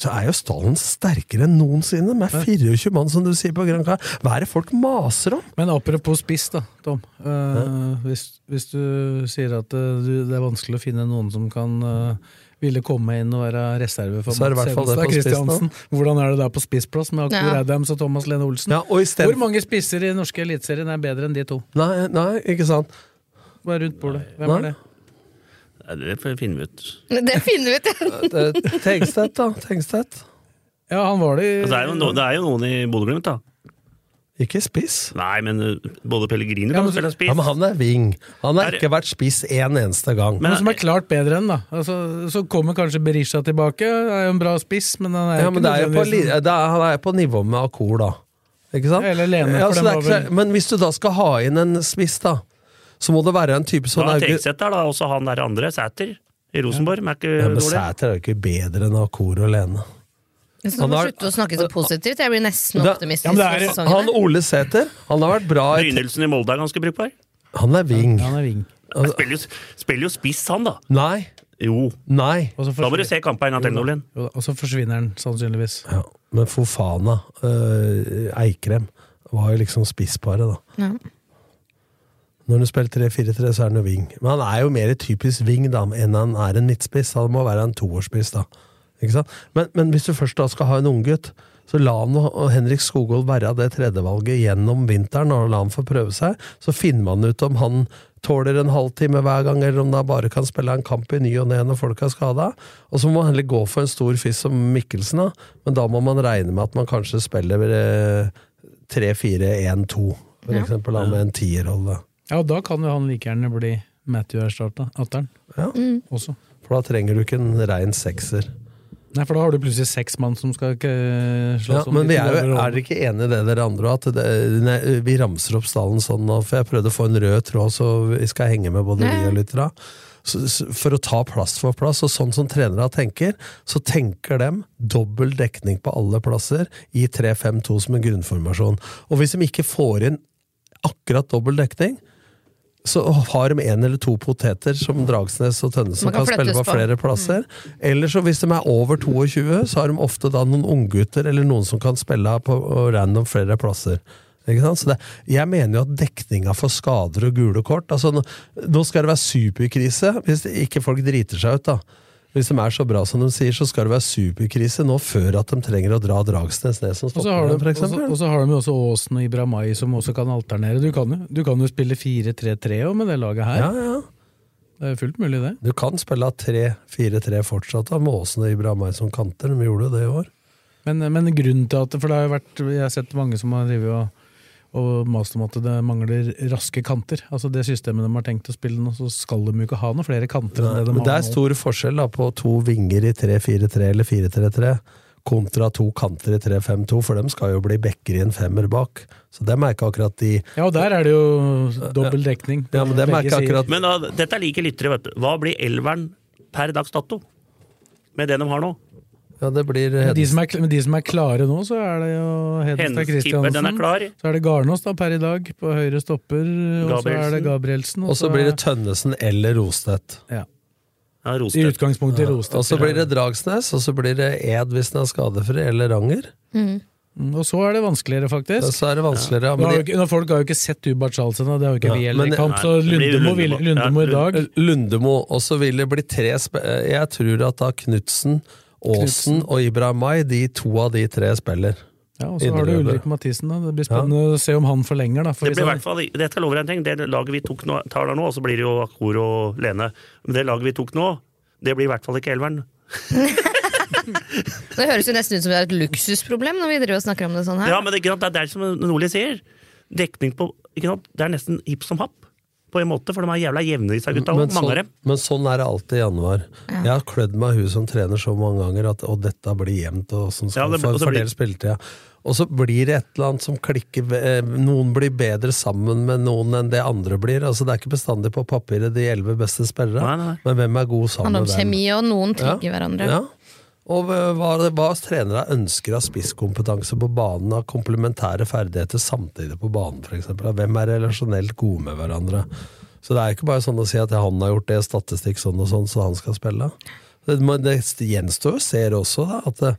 Speaker 4: så er jo stallen sterkere enn noensinne, med 24 mann, som du sier på Gran Canaria. Hva er det folk maser om?
Speaker 2: Men apropos spiss, da, Tom. Eh, hvis, hvis du sier at eh, du, det er vanskelig å finne noen som kan eh, ville komme inn og være reserve for
Speaker 4: Så er det i
Speaker 2: Mats
Speaker 4: hvert fall det
Speaker 2: Evenstad
Speaker 4: på spiss nå.
Speaker 2: Christiansen. Hvordan er det der på spissplass med Akko
Speaker 6: Ja.
Speaker 2: Reidheim og Thomas Lene Olsen?
Speaker 4: Ja, og i stedet-
Speaker 2: Hvor mange spisser i norske eliteserien er bedre enn de to?
Speaker 4: Nei, nei, ikke sant?
Speaker 2: Bare rundt bordet. Hvem
Speaker 4: Nei.
Speaker 2: er det?
Speaker 3: Nei, Det får vi finne ut.
Speaker 6: Det finner vi ut, ja.
Speaker 4: Det- Eh, Tengstedt, da. Tengstedt.
Speaker 2: Ja, han var det i
Speaker 3: Altså, det, er jo no, det er jo noen i Bodø-Glimt, da.
Speaker 4: Ikke spiss.
Speaker 3: Nei, men uh, både Pellegriner
Speaker 2: Ja,
Speaker 3: kan jo
Speaker 2: men-
Speaker 3: spille spiss.
Speaker 4: Ja, men han er wing. Han har
Speaker 3: Er-
Speaker 4: ikke vært spiss én eneste gang.
Speaker 3: Men-
Speaker 2: noen som er klart bedre enn, da. Altså, så kommer kanskje Berisha tilbake. Er jo en bra spiss, men han er
Speaker 4: Ja,
Speaker 2: jo
Speaker 4: men
Speaker 2: ikke
Speaker 4: det er jo på, li-
Speaker 2: nødvendigvis-
Speaker 4: det er, han er på nivå med Akor, da. Ikke sant?
Speaker 2: Eller Lene, for
Speaker 4: så
Speaker 2: den
Speaker 4: det er
Speaker 2: var
Speaker 4: ikke, så- men hvis du da skal ha inn en spiss, da, så må det være en type
Speaker 3: Da
Speaker 4: sånn
Speaker 3: er
Speaker 4: Auge-
Speaker 3: Tegsæter, da, også han der andre, Sæter, i Rosenborg. Men er ikke
Speaker 4: Ja, men
Speaker 3: dårlig.
Speaker 4: Sæter er jo ikke bedre enn Akor og Lene.
Speaker 6: Så nå må
Speaker 4: Han
Speaker 6: vi
Speaker 4: er-
Speaker 6: slutte å snakke så positivt. Jeg blir nesten
Speaker 4: Det-
Speaker 6: optimistisk.
Speaker 4: Ja, men det er-
Speaker 6: for sesongen
Speaker 4: han
Speaker 6: her.
Speaker 4: Ole Sæter, han har vært bra i-
Speaker 3: Brynildsen i Molde er ganske brukbar.
Speaker 4: Han er wing.
Speaker 2: Han er ving.
Speaker 3: Han spiller, jo- spiller jo spiss, han, da.
Speaker 4: Nei,
Speaker 3: Jo.
Speaker 4: nei.
Speaker 2: Og så
Speaker 3: Da må du
Speaker 2: forsvinner-
Speaker 3: se kampen en gang til, Nordlien.
Speaker 2: Jo da, Og så forsvinner han, sannsynligvis.
Speaker 4: Ja, men Fofana, øh, Eikrem, var jo liksom spissparet, da.
Speaker 6: Ja.
Speaker 4: Når han spiller 3-4-3, så er han jo wing. Men han er jo mer typisk wing da, enn han er en midtspiss. Han må være en toårsspiss, da. Ikke sant? Men, men hvis du først da skal ha en unggutt, så la han og og Henrik Skogvold være det tredjevalget gjennom vinteren, og la han få prøve seg. Så finner man ut om han tåler en halvtime hver gang, eller om han bare kan spille en kamp i ny og ne når folk er skada. Og så må man heller gå for en stor fisk som Mikkelsen, da. Men da må man regne med at man kanskje spiller eh, 3-4-1-2, for eksempel, da, med en tierrolle.
Speaker 2: Ja, og da kan jo han like gjerne bli Matthew Erstad, atteren,
Speaker 4: Ja.
Speaker 2: også.
Speaker 4: For da trenger du ikke en rein sekser.
Speaker 2: Nei, for da har du plutselig seks mann som skal eh,
Speaker 4: Ja,
Speaker 2: slåss om
Speaker 4: men vi
Speaker 2: de
Speaker 4: er, jo,
Speaker 2: rollene.
Speaker 4: er dere ikke enige i det dere andre at det, nei, Vi ramser opp stallen sånn nå, for jeg prøvde å få en rød tråd, så vi skal henge med både vi og lytterne. Så- så- For å ta plass for plass, og sånn som trenere tenker, så tenker de dobbel dekning på alle plasser i 3-5-2 som en grunnformasjon. Og hvis de ikke får inn akkurat dobbel dekning, så har de en eller to poteter som Dragsnes og Tønne som
Speaker 6: Man kan
Speaker 4: kan, spille på
Speaker 6: flyttes på.
Speaker 4: flere plasser. Eller så hvis de er over 22, så har de ofte da noen unggutter eller noen som kan spille på random flere plasser. Ikke sant? Så det, jeg mener jo at dekninga for skader og gule kort altså nå, nå skal det være superkrise, hvis ikke folk driter seg ut, da. Hvis de er så bra som de sier, så skal det være superkrise nå før at de trenger å dra Dragsnes ned som
Speaker 2: Og så har du-
Speaker 4: stopper dem, for
Speaker 2: og så-
Speaker 4: eksempel.
Speaker 2: Og så har de jo også Aasen og Ibramai som også kan alternere. Du kan jo, du kan jo spille 4-3-3 også med det laget her.
Speaker 4: Ja, ja.
Speaker 2: Det er fullt mulig, det.
Speaker 4: Du kan spille 3-4-3 fortsatt, da, med Aasen og Ibrahimay som kanter. De gjorde jo det i år.
Speaker 2: Men, men grunnen til at For det har jo vært Jeg har sett mange som har drevet og og mast om at det mangler raske kanter. Altså Det systemet de har tenkt å spille nå, så skal de jo ikke ha noen flere kanter. enn det de
Speaker 4: Men det
Speaker 2: har
Speaker 4: er
Speaker 2: nå.
Speaker 4: stor forskjell da, på to vinger i 3-4-3 eller 4-3-3, kontra to kanter i 3-5-2, for dem skal jo bli backer i en femmer bak. Så dem er ikke akkurat de
Speaker 2: Ja, og der er det jo dobbel dekning. på
Speaker 4: ja, men dem er
Speaker 2: begge
Speaker 4: ikke
Speaker 2: sider.
Speaker 4: akkurat
Speaker 3: Men da, dette er like lyttere, vet du. Hva blir elveren per dags dato? Med det de har nå.
Speaker 4: Ja, det blir eh,
Speaker 2: Men de,
Speaker 4: Hedens.
Speaker 2: som er, men de som er klare nå, så er det jo Hedenstad
Speaker 3: Hennes tipper den er
Speaker 2: Kristiansen.
Speaker 3: klar.
Speaker 2: Så er det Garnås da per i dag på høyre stopper, og så er det Gabrielsen.
Speaker 4: Og så
Speaker 2: er-
Speaker 4: blir det Tønnesen eller Rostedt.
Speaker 2: ja.
Speaker 3: Ja,
Speaker 2: I
Speaker 3: Rostedt.
Speaker 2: utgangspunktet Rostedt.
Speaker 4: Og så blir det Dragsnes, og så blir det Ed hvis den er skadefri, eller Ranger.
Speaker 2: Mm, Og så er det vanskeligere,
Speaker 4: Ja,
Speaker 2: faktisk.
Speaker 4: Så er det vanskeligere.
Speaker 2: Nå har jo
Speaker 4: Men de,
Speaker 2: ikke, nå, folk har jo ikke sett Ubert Charles ennå, det har jo ikke
Speaker 4: Ja,
Speaker 2: vi heller
Speaker 4: men-
Speaker 2: i kamp,
Speaker 3: Nei,
Speaker 2: så
Speaker 3: det blir
Speaker 2: Lundemo, vil,
Speaker 3: Lundemo.
Speaker 2: Lundemo i
Speaker 3: Ja,
Speaker 2: dag
Speaker 4: Lundemo, og så vil det bli tre spe Jeg tror at da Knutsen, Aasen og Ibrahimay, de to av de tre spiller.
Speaker 2: ja, Og så har du
Speaker 4: Indreløper.
Speaker 2: Ulrik Mathisen, da. Det blir spennende å se om han forlenger, da. For
Speaker 3: Det
Speaker 2: hvis
Speaker 3: blir i
Speaker 2: han-
Speaker 3: hvert fall, det skal jeg love deg en ting, det laget vi tok nå, tar der nå, og så blir det jo Akor og Lene. Men det laget vi tok nå, det blir i hvert fall ikke elveren.
Speaker 6: Det høres jo nesten ut som det er et luksusproblem når vi driver og snakker om det sånn her.
Speaker 3: Ja, men det, ikke sant, det er det som Nordli sier. Dekning på ikke sant, Det er nesten hipp som happ, på en måte, for de er jævla jevne, disse gutta.
Speaker 4: Men
Speaker 3: og Mange av
Speaker 4: sånn,
Speaker 3: dem.
Speaker 4: men sånn er det alltid i januar. Jeg har klødd meg i huet som trener så mange ganger at og dette blir jevnt. Og sånn skal
Speaker 3: Ja, det-
Speaker 4: for,
Speaker 3: og så
Speaker 4: for
Speaker 3: blir-
Speaker 4: del spilletida. Og så blir det et eller annet som klikker ve- eh, Noen blir bedre sammen med noen enn det andre blir. Altså Det er ikke bestandig på papiret de elleve beste
Speaker 3: Nei,
Speaker 4: spillerne,
Speaker 3: nei.
Speaker 4: men hvem er god
Speaker 6: det handler
Speaker 4: sammen
Speaker 6: om
Speaker 4: med hvem?
Speaker 6: kjemi, og noen trigger
Speaker 4: Ja,
Speaker 6: hverandre.
Speaker 4: Ja. Og hva- hva, hva trenere ønsker av spisskompetanse på banen, av komplementære ferdigheter samtidig på banen, f.eks. Hvem er relasjonelt gode med hverandre? Så det er ikke bare sånn å si at han har gjort det, statistikk sånn og sånn, så han skal spille. Det, men det gjenstår jo, ser også da, at det,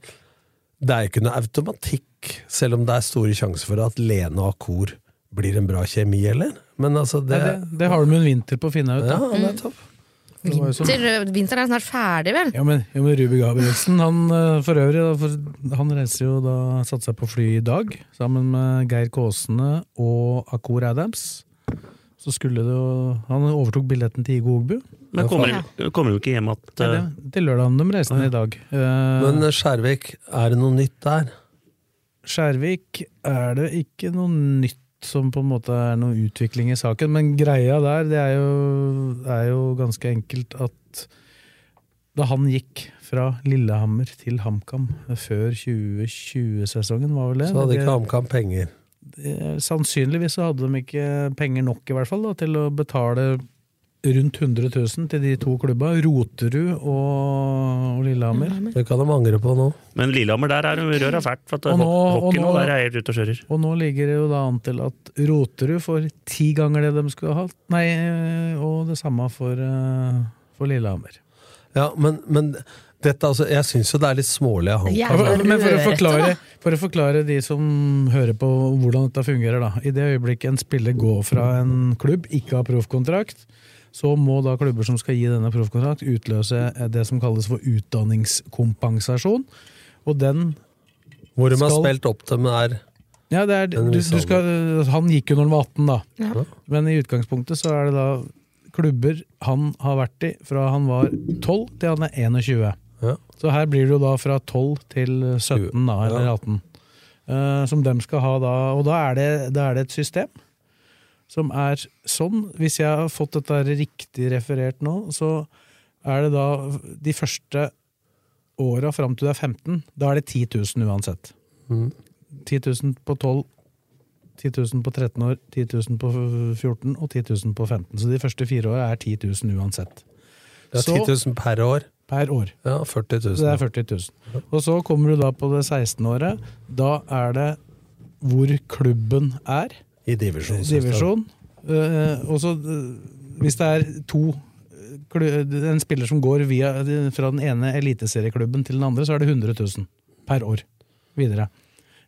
Speaker 4: det er ikke noe automatikk, selv om det er store sjanser for at Lene og Akor blir en bra kjemi, eller? Men altså,
Speaker 2: Nei,
Speaker 4: det,
Speaker 2: det, Mm. det har de en vinter på å finne ut.
Speaker 4: Ja,
Speaker 2: Da.
Speaker 4: nettopp.
Speaker 2: Det var jo sånn-
Speaker 6: Vinter, eh, vinteren er snart ferdig, vel?
Speaker 2: Ja, men, ja, men Ruby Gabrielsen, han eh, for øvrig, da, for han reiser jo da satte seg på fly i dag, sammen med Geir Kåsene og Akor Adams. Så skulle det jo Han overtok billetten til Igo Ogbu.
Speaker 3: Men kommer, kommer jo ikke hjem at
Speaker 2: Nei,
Speaker 3: eh,
Speaker 2: det- Til lørdagen de reiste ned i dag. Eh,
Speaker 4: Men Skjærvik, er det noe nytt der?
Speaker 2: Skjærvik er det ikke noe nytt som på en måte er noe utvikling i saken, men greia der det er jo, er jo ganske enkelt at da han gikk fra eh, Lillehammer til HamKam før 2020-sesongen, var vel det?
Speaker 4: Så hadde
Speaker 2: Det-
Speaker 4: ikke HamKam penger.
Speaker 2: eh, sannsynligvis så hadde de ikke penger nok i hvert fall da, til å betale rundt 100 000 til de to klubba, Roterud og, og Lillehammer.
Speaker 4: Det kan de angre på nå.
Speaker 3: Men Lillehammer, der er røra fælt. For at eh,
Speaker 2: Og nå- og
Speaker 3: hockey nå,
Speaker 2: nå-
Speaker 3: der er helt ute og kjører.
Speaker 2: Og nå ligger det jo da an til at Roterud får ti ganger det de skulle ha hatt, nei, eh, og det samme for, eh, for Lillehammer.
Speaker 4: Ja, men, men dette, altså, jeg syns jo det er litt smålig av
Speaker 6: Ja,
Speaker 4: han.
Speaker 2: Ja, for- Men for å,
Speaker 6: Rørete,
Speaker 2: forklare, for å forklare de som hører på hvordan dette fungerer, da. I det øyeblikket en spiller går fra en klubb, ikke har proffkontrakt, så må da klubber som skal gi denne proffkontrakt, utløse det som kalles for utdanningskompensasjon. Og den
Speaker 4: Hvor de har
Speaker 2: Skal-
Speaker 4: spilt opp til, men er
Speaker 2: ja, det er,
Speaker 4: Den
Speaker 2: du, du
Speaker 4: viser
Speaker 2: skal, altså, Han gikk jo når han var 18, da.
Speaker 6: Ja.
Speaker 2: Men i utgangspunktet så er det da klubber han har vært i fra han var 12 til han er 21.
Speaker 4: Ja.
Speaker 2: Så her blir det jo da fra 12 til 17, da, eller
Speaker 4: Ja.
Speaker 2: 18. eh, som dem skal ha da. Og da er, det, da er det et system som er sånn. Hvis jeg har fått dette her riktig referert nå, så er det da de første åra fram til du er 15, da er det 10 000 uansett. 10 000 på 12, 10 000 på 13 år, 10 000 på 14 og 10 000 på 15. Så de første fire åra er 10 000 uansett.
Speaker 4: det er
Speaker 2: Så-
Speaker 4: 10 000 per år.
Speaker 2: Per år.
Speaker 4: Ja, 40
Speaker 2: Så det er
Speaker 4: 000.
Speaker 2: 40 000. Og så kommer du da på det 16-året. Da er det hvor klubben er,
Speaker 4: I divisjon. synes jeg.
Speaker 2: divisjon. Eh, og så eh, hvis det er to eh, klu- en spiller som går via, fra den ene eliteserieklubben til den andre, så er det 100 000 per år videre.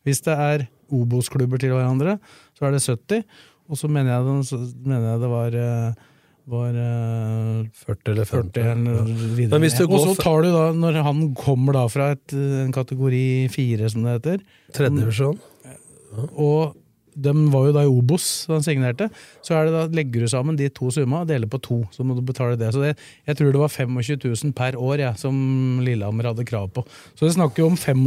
Speaker 2: Hvis det er Obos-klubber til hverandre, så er det 70 og så mener jeg, den, så mener jeg det var, eh, var eh,
Speaker 4: 40 eller
Speaker 2: 40
Speaker 4: 50.
Speaker 2: eller videre.
Speaker 4: Men hvis du
Speaker 2: ned. Og
Speaker 4: går
Speaker 2: så
Speaker 4: fra-
Speaker 2: tar du da, når han kommer da fra et, eh, en kategori 4, som det heter,
Speaker 4: Tredje divisjon.
Speaker 2: og de var jo da i Obos da han signerte, så er det da, legger du sammen de to summa og deler på to. Så må du betale det. Så det, jeg tror det var 25 000 per år jeg, som Lillehammer hadde krav på. Så vi snakker jo om 75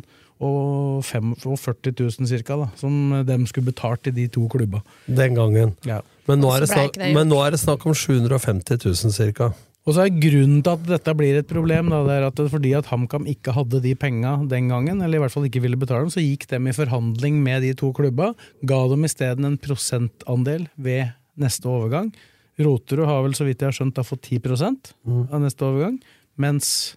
Speaker 2: 000 og fem- og 40 000 cirka, da, som de skulle betalt til de to klubba.
Speaker 4: Den gangen.
Speaker 2: Ja.
Speaker 4: Men nå, er det
Speaker 6: Så ble
Speaker 4: snakk,
Speaker 6: ikke det gjort.
Speaker 4: men nå er det snakk om 750 000 cirka.
Speaker 2: Og så er grunnen til at dette blir et problem, da, det er at det er fordi at HamKam ikke hadde de penga den gangen, eller i hvert fall ikke ville betale dem, så gikk dem i forhandling med de to klubba, ga dem isteden en prosentandel ved neste overgang. Roterud har vel, så vidt jeg har skjønt, da fått 10 av neste overgang, mens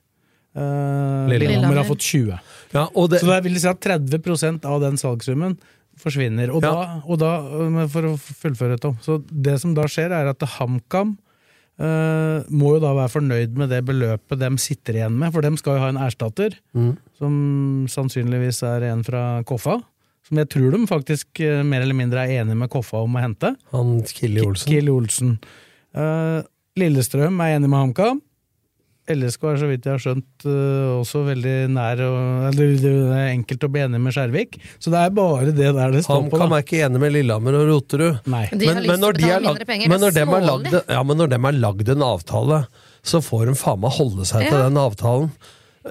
Speaker 2: eh, Lillehammer
Speaker 6: Lillehammer.
Speaker 2: har fått 20
Speaker 4: Ja, og det,
Speaker 2: Så det vil si at 30 av den salgssummen forsvinner. Og, da, og da, eh, men for å fullføre, Tom, så det som da skjer, er at HamKam eh, må jo da være fornøyd med det beløpet de sitter igjen med, for de skal jo ha en erstatter, som sannsynligvis er en fra Koffa. Som jeg tror de faktisk eh, mer eller mindre er enige med Koffa om å hente.
Speaker 4: han Killi Olsen.
Speaker 2: Kiel Olsen. Eh, Lillestrøm er enig med HamKam. LSK er så vidt jeg har skjønt eh, også veldig nær og, eller, Det er enkelt å bli enig med Skjervik. Så det er bare det der det står på.
Speaker 4: HamKam
Speaker 2: Da.
Speaker 4: er ikke enig med Lillehammer og Roterud.
Speaker 2: Nei.
Speaker 6: De har lyst til å
Speaker 4: når de
Speaker 6: betale
Speaker 4: er lag-
Speaker 6: mindre penger,
Speaker 4: men
Speaker 6: det
Speaker 4: når
Speaker 6: er
Speaker 4: dem har lagd-
Speaker 6: smålig.
Speaker 4: Ja, men når de har lagd en avtale, så får de faen meg holde seg til
Speaker 6: Ja.
Speaker 4: den avtalen.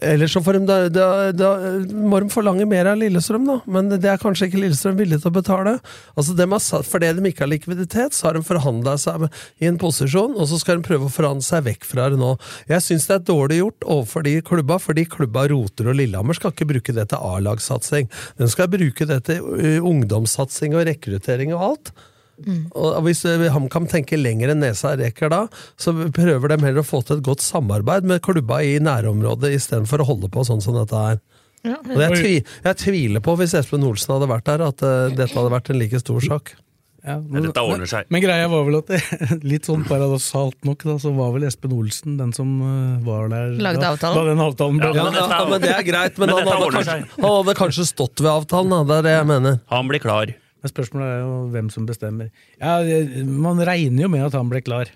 Speaker 4: Eller så får de, da, da, da må de forlange mer av Lillestrøm, da. Men det er kanskje ikke Lillestrøm villig til å betale. Altså, dem har, satt- Fordi de ikke har likviditet, så har de forhandla seg med- i en posisjon, og så skal de prøve å forhandle seg vekk fra det nå. Jeg syns det er dårlig gjort overfor de klubba, fordi klubba Roter og Lillehammer skal ikke bruke det til A-lagssatsing. De skal bruke det til ø, ungdomssatsing og rekruttering og alt. Og hvis eh, HamKam tenker lenger enn nesa rekker da, så prøver de heller å få til et godt samarbeid med klubba i nærområdet istedenfor å holde på sånn som dette er. Og jeg, tvi, jeg tviler på, hvis Espen Olsen hadde vært der, at eh, dette hadde vært en like stor sak.
Speaker 2: Ja,
Speaker 3: Ja,
Speaker 2: men,
Speaker 3: Dette ordner seg.
Speaker 2: men greia var vel at det- (laughs) litt sånn paradoksalt nok, da, så var vel Espen Olsen den som eh, var der
Speaker 6: Lagde
Speaker 2: da,
Speaker 6: avtalen.
Speaker 2: da den avtalen ble
Speaker 3: Ja, men
Speaker 4: Ja,
Speaker 3: dette er-
Speaker 4: ja, men det er greit, men,
Speaker 3: Men
Speaker 4: han,
Speaker 3: dette
Speaker 4: hadde
Speaker 3: ordner
Speaker 4: kanskje,
Speaker 3: seg.
Speaker 4: han hadde kanskje stått ved avtalen, da, det er det jeg mener.
Speaker 3: Han blir klar.
Speaker 2: Men spørsmålet er jo hvem som bestemmer. Ja, det- Man regner jo med at han ble klar.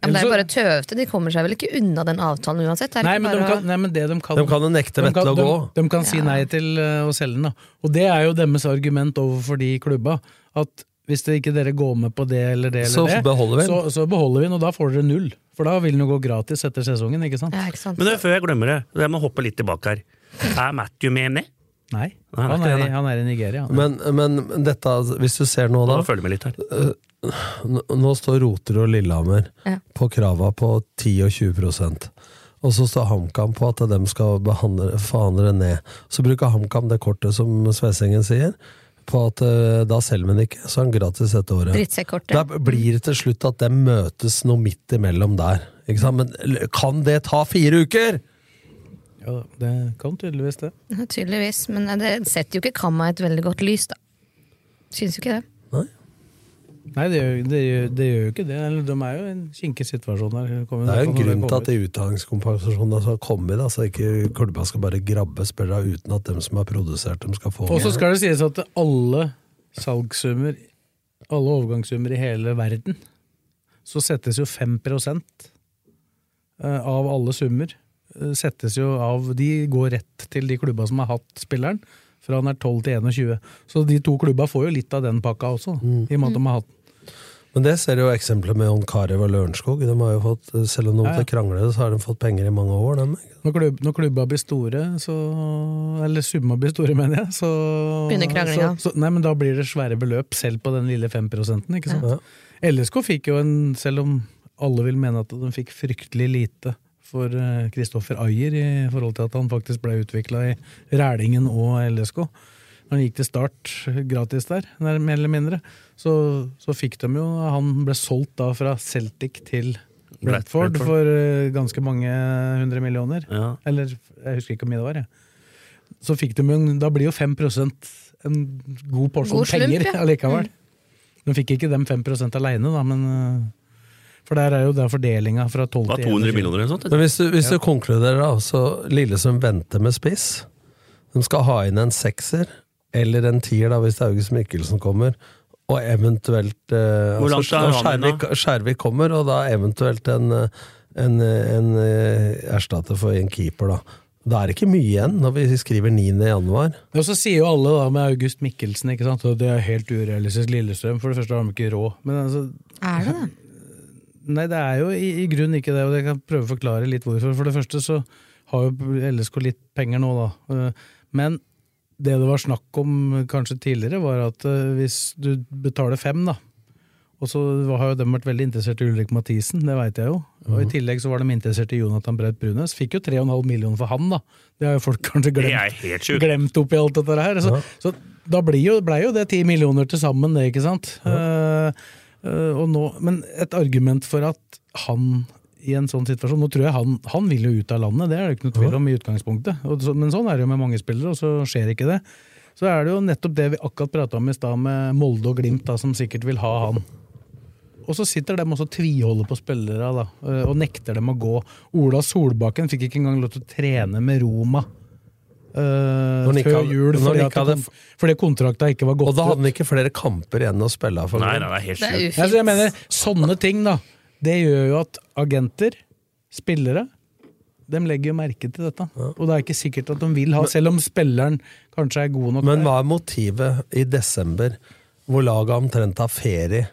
Speaker 6: Ja, men det er jo bare tøvete. De kommer seg vel ikke unna den avtalen uansett. Det er
Speaker 2: Nei,
Speaker 6: ikke
Speaker 2: men de
Speaker 6: bare å-
Speaker 2: kan, nei, men det de kan
Speaker 4: De kan jo nekte
Speaker 2: De
Speaker 4: Vetle
Speaker 2: kan,
Speaker 4: å gå.
Speaker 2: de, de kan si nei til eh, å selge den. Da. Og det er jo deres argument overfor de klubba. At hvis det ikke dere går med på det eller det,
Speaker 4: Så
Speaker 2: eller det,
Speaker 4: beholder vi den.
Speaker 2: så, så beholder vi den, og da får dere null. For da vil den jo gå gratis etter sesongen, ikke sant?
Speaker 6: Ja, ikke sant?
Speaker 3: Men det, er før jeg glemmer det, jeg må hoppe litt tilbake her. Er Matthew med ned?
Speaker 2: Nei,
Speaker 3: Nei, det er
Speaker 2: han er,
Speaker 3: ikke det,
Speaker 2: i- han er i Nigeria. han.
Speaker 4: Men, men dette, hvis du ser nå, da
Speaker 3: Nå følger vi litt her.
Speaker 4: N- Nå står Roter og Lillehammer
Speaker 6: Ja.
Speaker 4: på krava på 10 og 20 og så står HamKam på at de skal behandle, forhandle ned. Så bruker HamKam det kortet som Svesengen sier, på at eh, da selger vi den ikke, så er den gratis dette året.
Speaker 6: Drittsekkortet.
Speaker 4: Da blir det til slutt at de møtes noe midt imellom der. Ikke sant? Men l- kan det ta fire uker?!
Speaker 2: Ja, da, det kan tydeligvis det.
Speaker 6: Ja, Tydeligvis. Men eh, det setter jo ikke Kamma i et veldig godt lys, da. Syns jo ikke det.
Speaker 2: Nei, det gjør, det gjør, det gjør jo ikke det. Eller, De er jo i en kinkig situasjon der.
Speaker 4: Det er jo en grunn til at de utdanningskompensasjonene som har kommet, da, så ikke klubba skal bare grabbe spillere uten at dem som har produsert dem, skal få
Speaker 2: Og så skal det sies at alle salgssummer, alle overgangssummer i hele verden, så settes jo 5 eh, av alle summer. eh, Settes jo av, De går rett til de klubba som har hatt spilleren, fra han er 12 til 21. Så de to klubba får jo litt av den pakka også, i og med at de har hatt den.
Speaker 4: Men det ser du jo eksempelet med Jon Carew og Lørenskog. De har jo fått, eh, selv om noen
Speaker 2: Ja, ja.
Speaker 4: til krangler, så har de fått penger i mange år. Dem. ikke?
Speaker 2: Når, klubb, når klubba blir store, så Eller summa blir store, mener jeg. Så,
Speaker 6: Begynner kranglinga.
Speaker 2: Så, så, nei, men da blir det svære beløp, selv på den lille 5 ikke sant?
Speaker 4: Ja.
Speaker 2: LSK fikk jo en, selv om alle vil mene at de fikk fryktelig lite for eh, Kristoffer Ayer i forhold til at han faktisk ble utvikla i Rælingen og LSK. Når han gikk til start gratis der, nær- mer eller mindre, så, så fikk de jo Han ble solgt da fra Celtic til Bradford
Speaker 3: Brentford.
Speaker 2: for eh, ganske mange hundre millioner.
Speaker 3: Ja.
Speaker 2: Eller jeg husker ikke hvor mye det var. Jeg. Så fikk de jo en, Da blir jo 5 en god porsjon
Speaker 6: God slump,
Speaker 2: penger
Speaker 6: ja.
Speaker 2: (laughs)
Speaker 6: Mm.
Speaker 2: allikevel. De fikk ikke dem 5 aleine, da, men øh, For der er jo der fordelinga fra 12
Speaker 3: Det var
Speaker 2: til
Speaker 3: 200
Speaker 2: 21.
Speaker 3: millioner eller noe sånt.
Speaker 4: Men hvis du, hvis du konkluderer, da, så Lillesund venter med spiss. De skal ha inn en sekser, eller en tier da, hvis det er August Mikkelsen kommer. Og eventuelt eh,
Speaker 3: Hvor langt er
Speaker 4: når
Speaker 3: han inn,
Speaker 4: Skjærvik, Skjærvik kommer, og da eventuelt en, eh, en, eh, en eh, erstatter for en keeper, da. Da er det ikke mye igjen når vi skriver 9. januar.
Speaker 2: Og så sier jo alle da med August Mikkelsen ikke sant? at det er helt urealistisk Lillestrøm. For det første har de ikke råd. Men altså,
Speaker 6: Er det det?
Speaker 2: Nei, det er jo i, i grunn ikke det, og jeg kan prøve å forklare litt hvorfor. For det første så har jo LSK litt penger nå, da. Eh, Men det det var snakk om kanskje tidligere, var at eh, hvis du betaler fem, da Og så var- har jo de vært veldig interessert i Ulrik Mathisen, det veit jeg jo. Og
Speaker 3: Mhm.
Speaker 2: i tillegg så var de interessert i Jonathan Breit Brunes. Fikk jo 3,5 millioner for han, da. Det har jo folk
Speaker 3: Det
Speaker 2: kanskje glemt
Speaker 3: er helt sjukt.
Speaker 2: glemt oppi alt dette her. Så, så da blir jo, ble jo det ti millioner til sammen, det, ikke sant? Eh, eh, og nå, men et argument for at han i en sånn situasjon Nå tror jeg han, han vil jo ut av landet, det er det ikke noe tvil om i utgangspunktet. Og så, men sånn er det jo med mange spillere, og så skjer ikke det. Så er det jo nettopp det vi akkurat prata om i stad, med Molde og Glimt, da, som sikkert vil ha han. Og så sitter de også og tviholder på spillere da, eh, og nekter dem å gå. Ola Solbakken fikk ikke engang lov til å trene med Roma eh,
Speaker 4: Når han ikke
Speaker 2: før
Speaker 4: hadde-
Speaker 2: jul
Speaker 4: når han
Speaker 2: fordi,
Speaker 4: ikke
Speaker 2: at det
Speaker 4: hadde-
Speaker 2: kom, fordi kontrakta ikke var
Speaker 4: Og
Speaker 2: gått
Speaker 4: da
Speaker 2: ut.
Speaker 4: hadde han ikke flere kamper igjen å spille av for.
Speaker 3: Nei, nei, det er helt
Speaker 6: Det er
Speaker 3: sjukt.
Speaker 6: ufint.
Speaker 2: Ja, så jeg mener, sånne ting da, det gjør jo at agenter, spillere, de legger jo merke til dette. Og det er ikke sikkert at de vil ha, selv om spilleren kanskje er god nok. der.
Speaker 4: Men hva er motivet i desember, hvor laget omtrent har ferie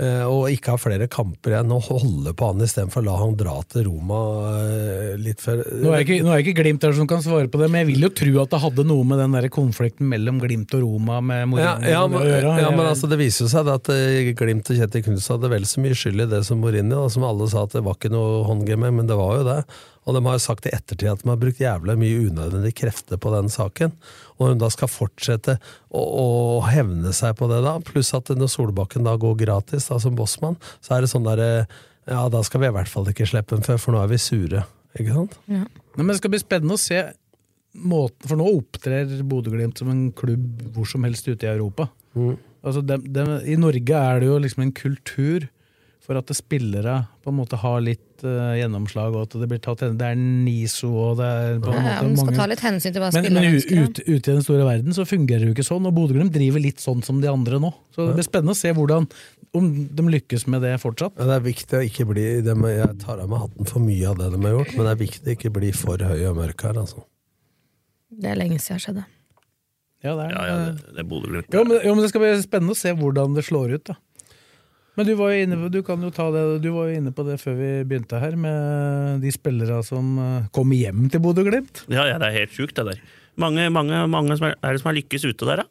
Speaker 4: eh, og ikke har flere kamper igjen, og holde på han istedenfor å la han dra til Roma eh, litt før
Speaker 2: Nå er, jeg ikke, nå er jeg ikke Glimt der som kan svare på det, men jeg vil jo tro at det hadde noe med den der konflikten mellom Glimt og Roma med
Speaker 4: ja,
Speaker 2: Mourinho
Speaker 4: ja, men,
Speaker 2: å gjøre.
Speaker 4: ja, men
Speaker 2: Jeg-
Speaker 4: altså, Det viser jo seg da at eh, Glimt og Kjetil Knutsen hadde vel så mye skyld i det som Mourinho, da, som alle sa at det var ikke noe håndgame, men det var jo det. Og de har jo sagt i ettertid at de har brukt jævla mye unødvendige krefter på den saken. Og når de da skal fortsette å, å hevne seg på det, da, pluss at når Solbakken da går gratis da, som bossmann, så er det sånn derre Ja, da skal vi i hvert fall ikke slippe dem før, for nå er vi sure. Ikke sant?
Speaker 2: Nei, men det skal bli spennende å se måten, for nå opptrer Bodø-Glimt som en klubb hvor som helst ute i Europa.
Speaker 3: Mm.
Speaker 2: Altså, dem- dem- I Norge er det jo liksom en kultur for at det spillere på en måte har litt eh, gjennomslag, og at det blir tatt hen- Det er NISO og det er på en måte
Speaker 6: Ja, ja, men skal
Speaker 2: mange
Speaker 6: ta litt hensyn til hva
Speaker 2: men, men
Speaker 6: spillerne
Speaker 2: u-
Speaker 6: ønsker.
Speaker 2: ut, ute i den store verden så fungerer det jo ikke sånn, og Bodø-Glimt driver litt sånn som de andre nå. Så det blir spennende å se hvordan, om de lykkes med det fortsatt.
Speaker 4: Ja, det er viktig å ikke bli det må- Jeg tar av meg hatten for mye av det de har gjort, men det er viktig å ikke bli for høy og mørk her, altså.
Speaker 6: da. Det er lenge siden jeg skjedde.
Speaker 2: Ja, det er,
Speaker 3: Ja, ja, det, det er Bodø-Glimt.
Speaker 2: Jo, men, jo, men det skal bli spennende å se hvordan det slår ut, da. Men du var jo inne, på- du kan jo ta det, du var jo inne på det før vi begynte her, med de spillere som eh, kom hjem til Bodø-Glimt.
Speaker 3: Ja, ja, det er helt sjukt, det der. Mange, mange, mange som er, er det som har lykkes ute der, da?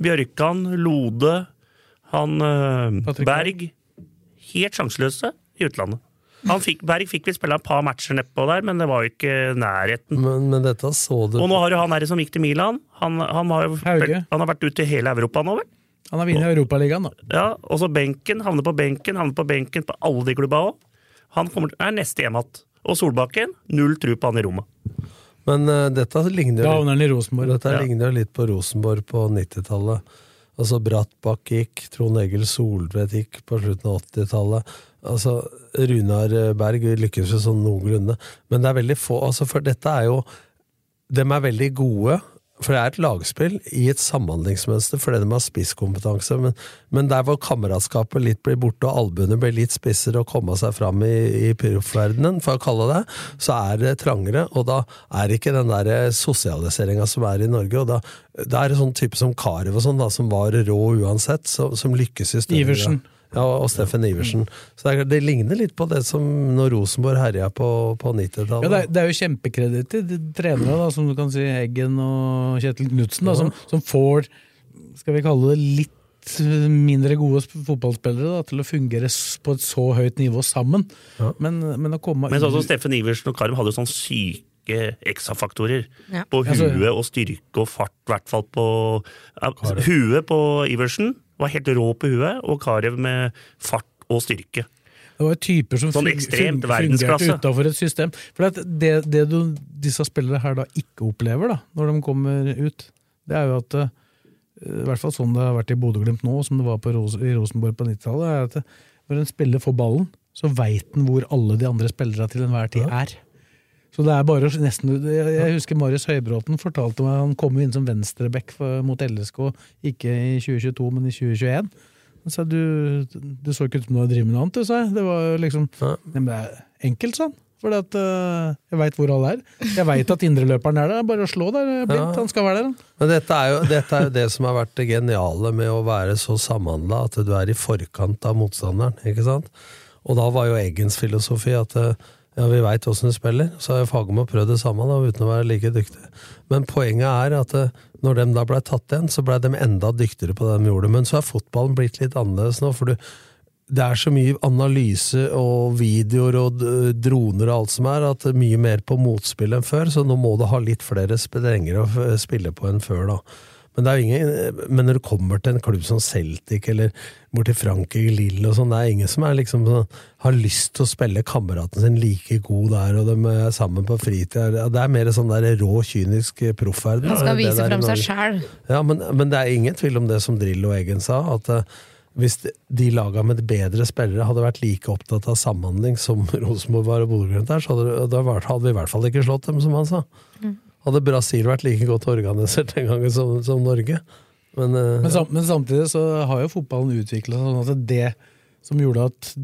Speaker 3: Bjørkan, Lode, han eh,
Speaker 2: Patrick
Speaker 3: Berg. Helt sjanseløse i utlandet. Han fikk, Berg fikk vel spille et par matcher nedpå der, men det var jo ikke nærheten.
Speaker 4: Men, men dette så du
Speaker 3: Og nå har jo han her som gikk til Milan. Han, han, har, jo
Speaker 2: Hauge.
Speaker 3: spilt, han har vært ute i hele Europa nå, vel?
Speaker 2: Han er vinner i Europaligaen, da.
Speaker 3: Ja, og så benken, havner på benken, havner på benken på alle de klubba òg. Han kommer, er neste hjem igjen. Og Solbakken, null tru på han i Roma.
Speaker 4: Men eh, dette ligner
Speaker 2: Da
Speaker 4: jo
Speaker 2: havner han i Rosenborg.
Speaker 4: Dette
Speaker 3: Ja.
Speaker 4: ligner jo litt på Rosenborg på 90-tallet. Altså Brattbakk gikk, Trond Egil Solvedt gikk på slutten av 80-tallet. Altså Runar Berg lykkes jo sånn noenlunde. Men det er veldig få, altså for dette er jo De er veldig gode, for det er et lagspill i et samhandlingsmønster fordi de har spisskompetanse, men, men der hvor kameratskapet litt blir borte og albuene blir litt spissere og komme seg fram i, i proffverdenen, for å kalle det, så er det trangere, og da er ikke den der sosialiseringa som er i Norge, og da, da er det sånn type som Karev og sånn, da, som var rå uansett, som- som lykkes i større
Speaker 2: Iversen. Mm.
Speaker 4: Ja, og Steffen Iversen. Så det, er- det ligner litt på det som når Rosenborg herja på, på 90-tallet.
Speaker 2: Ja, det, er, det er jo kjempekreditt til de trenere, da, som du kan si Eggen og Kjetil Knutsen, da, som, som får, skal vi kalle det, litt eh, mindre gode sp- fotballspillere da, til å fungere s- på et så høyt nivå sammen. Men, men å komme
Speaker 3: Men sånn som
Speaker 2: ut-
Speaker 3: Steffen Iversen og Karim hadde jo sånn syke ekstrafaktorer.
Speaker 6: Ja.
Speaker 3: På
Speaker 2: Ja, så-
Speaker 4: Altså-
Speaker 3: huet og styrke og fart, i hvert fall på ja, altså, Huet på Iversen var helt rå på huet, og Karev med fart og styrke.
Speaker 2: Det var jo typer som
Speaker 3: Sånn
Speaker 2: fun-
Speaker 3: ekstremt
Speaker 2: fun-
Speaker 3: verdensklasse.
Speaker 2: fungerte utafor et system. For at det, det du, disse spillere her da ikke opplever, da, når de kommer ut, det er jo at eh, I hvert fall sånn det har vært i Bodø-Glimt nå, som det var på Ros i Rosenborg på 90-tallet, er at eh, når en spiller får ballen, så veit han hvor alle de andre spillerne til enhver tid er. Så det er bare å- nesten, jeg, jeg husker Marius Høybråten fortalte meg han kom jo inn som venstreback for- mot LSK, ikke i 2022, men i 2021. Han sa du, du så ikke ut som du drev med noe annet, du, sa jeg. Det var jo liksom
Speaker 4: Ja.
Speaker 2: Nei, men det er enkelt, sånn. For at, eh, jeg veit hvor alle er. Jeg veit at indreløperen er der. Bare å slå der, Blindt.
Speaker 4: Ja.
Speaker 2: Han skal være der. han.
Speaker 4: Men dette er, jo, dette er jo det som har vært det geniale med å være så samhandla, at du er i forkant av motstanderen. ikke sant? Og da var jo Eggens filosofi at eh, ja, vi veit åssen du spiller, så har jo Fagermo prøvd det samme da, uten å være like dyktig. Men poenget er at eh, når de da blei tatt igjen, så blei de enda dyktigere på det de gjorde. Men så er fotballen blitt litt annerledes nå, for du, det er så mye analyse og videoer og d- droner og alt som er, at det er mye mer på motspill enn før, så nå må du ha litt flere strengere å f- spille på enn før, da. Men, det er jo ingen, men når du kommer til en klubb som Celtic eller borti Frankrike, Lille og sånn, det er ingen som er liksom, sånn- har lyst til å spille kameraten sin like god der, og de er sammen på fritid. Ja, Det er mer sånn der rå, kynisk proffverden.
Speaker 6: Han
Speaker 4: Det er
Speaker 6: skal
Speaker 4: det
Speaker 6: vise
Speaker 4: der i
Speaker 6: fram seg
Speaker 4: Norge.
Speaker 6: sjæl.
Speaker 4: Ja, men, men det er ingen tvil om det som Drillo og Eggen sa, at eh, hvis de- de laga med bedre spillere hadde vært like opptatt av samhandling som (laughs) Rosenborg var og Bodø-Glimt er, så hadde, det- da var- hadde vi i hvert fall ikke slått dem, som han sa. Hadde Brasil vært like godt organisert den gangen som, som Norge. Men, eh,
Speaker 2: Men, sam men samtidig så har jo fotballen utvikla seg sånn at det som gjorde at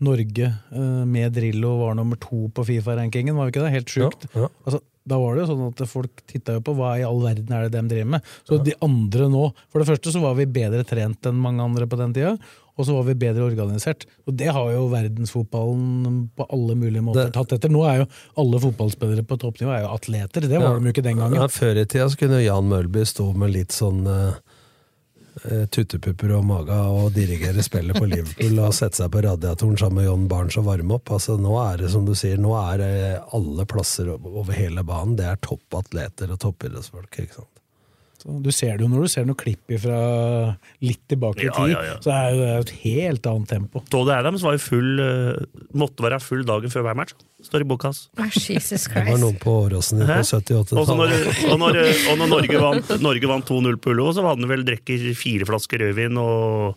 Speaker 2: Norge eh, med Drillo var nummer to på Fifa-rankingen, var jo ikke det? Helt sjukt.
Speaker 4: Ja, ja.
Speaker 2: Altså, da var det jo sånn at folk titta jo på hva i all verden er det de driver med. Så de andre nå For det første så var vi bedre trent enn mange andre på den tida. Og så var vi bedre organisert. Og det har jo verdensfotballen på alle mulige måter
Speaker 4: Det-
Speaker 2: tatt etter. Nå er jo alle fotballspillere på toppnivå er jo atleter. Det var
Speaker 4: Ja.
Speaker 2: de jo ikke den
Speaker 4: ja,
Speaker 2: gangen.
Speaker 4: før i tida så kunne Jan Mølby stå med litt sånn eh, eh, Tuttepupper og maga og dirigere spillet på Liverpool og sette seg på radiatoren sammen med John Barnes og varme opp. Altså, nå er det som du sier, nå er det alle plasser over hele banen. Det er toppatleter og toppidrettsfolk. ikke sant?
Speaker 2: Så Du ser det jo når du ser noen klipp fra litt tilbake i
Speaker 3: Ja,
Speaker 2: tid,
Speaker 3: ja, ja.
Speaker 2: så er det jo et helt annet tempo.
Speaker 3: Tony Adams var jo full, eh, måtte være full dagen før hver match. Står i boka hans.
Speaker 6: Å, Jesus
Speaker 4: Det var
Speaker 6: Christ.
Speaker 4: noen på Åråsen på
Speaker 3: Hæ? Og så når,
Speaker 4: 78-tallet.
Speaker 3: og når, og når Norge vant, Norge vant 2-0 på Ullevål, så hadde han vel drikker fire flasker rødvin og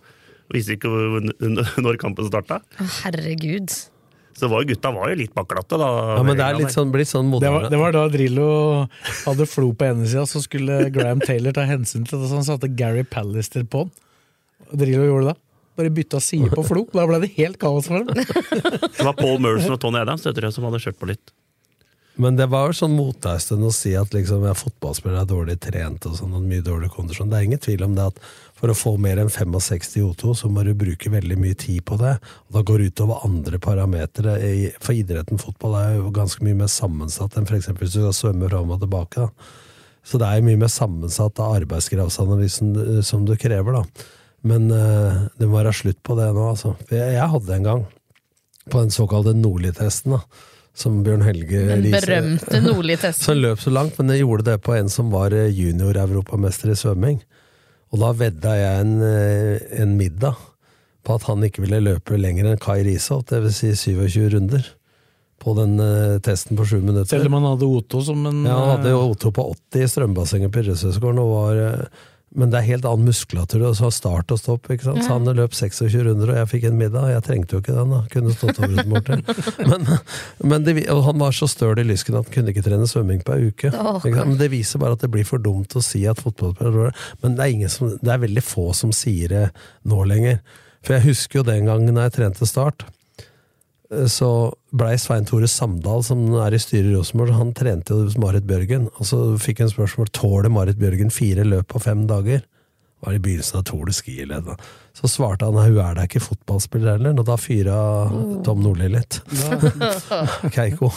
Speaker 3: visste ikke hvor- når kampen starta.
Speaker 6: Å, herregud.
Speaker 3: Så var, jo- gutta var jo litt baklatte, da.
Speaker 4: Ja, men det er litt sånn, blitt sånn
Speaker 2: Det var,
Speaker 4: moderne.
Speaker 2: det var da Drillo hadde flo på ene sida, så skulle Graham Taylor ta hensyn til det, så han satte Gary Pallister på han. Og Drillo gjorde det. Bare bytta side på flo. Da ble det helt kaos for dem.
Speaker 3: Det var Paul Merson og Tony Adams det tror jeg, som hadde kjørt på litt.
Speaker 4: Men det var jo sånn motestund å si at liksom, ja, fotballspillere er dårlig trent og sånn, og mye dårlig kondisjon. Det er ingen tvil om det at for å få mer enn 65 i O2, så må du bruke veldig mye tid på det. Og da går det utover andre parametere. i- For idretten fotball er jo ganske mye mer sammensatt enn f.eks. hvis du skal svømme fram og tilbake. da. Så det er jo mye mer sammensatt av arbeidsgravsanalysen eh, som du krever, da. Men eh, det må være slutt på det nå, altså. For Jeg, jeg hadde en gang på den såkalte Nordli-testen, da. Som Bjørn Helge
Speaker 7: Den
Speaker 4: Riise-
Speaker 7: berømte
Speaker 4: Som (laughs)
Speaker 7: Nordli-testen.
Speaker 4: løp så langt, men jeg gjorde det på en som var eh, junior-europamester i svømming. Og da vedda jeg en, eh, en middag på at han ikke ville løpe lenger enn Kai Risholt, dvs. Si 27 runder, på den eh, testen på sju minutter.
Speaker 2: Selv om han hadde Otto som en
Speaker 4: Ja, han hadde jo O2 på 80 i strømbassenget på idrettshøyskolen, og var, eh, men det er helt annen muskulatur, og så har start og stopp, ikke sant? Så han løp 26 runder, og jeg fikk en middag, og jeg trengte jo ikke den da, kunne stått over et mål til. Men, men det, vi- og han var så støl i lysken at han kunne ikke trene svømming på en uke.
Speaker 6: Åh.
Speaker 4: ikke sant? Men det viser bare at det blir for dumt å si at fotballspillere Men det er, ingen som, det er veldig få som sier det nå lenger. For jeg husker jo den gangen da jeg trente start, eh, så blei Svein Tore Samdal, som nå er i styret i Rosenborg, han trente jo hos Marit Bjørgen. Og så fikk hun spørsmål tåler Marit Bjørgen fire løp på fem dager. Det var i begynnelsen av Tour de Ski-ledd. da. Så svarte han at hun er da ikke fotballspiller heller, og da fyra Tom Nordli litt. (laughs) Keiko.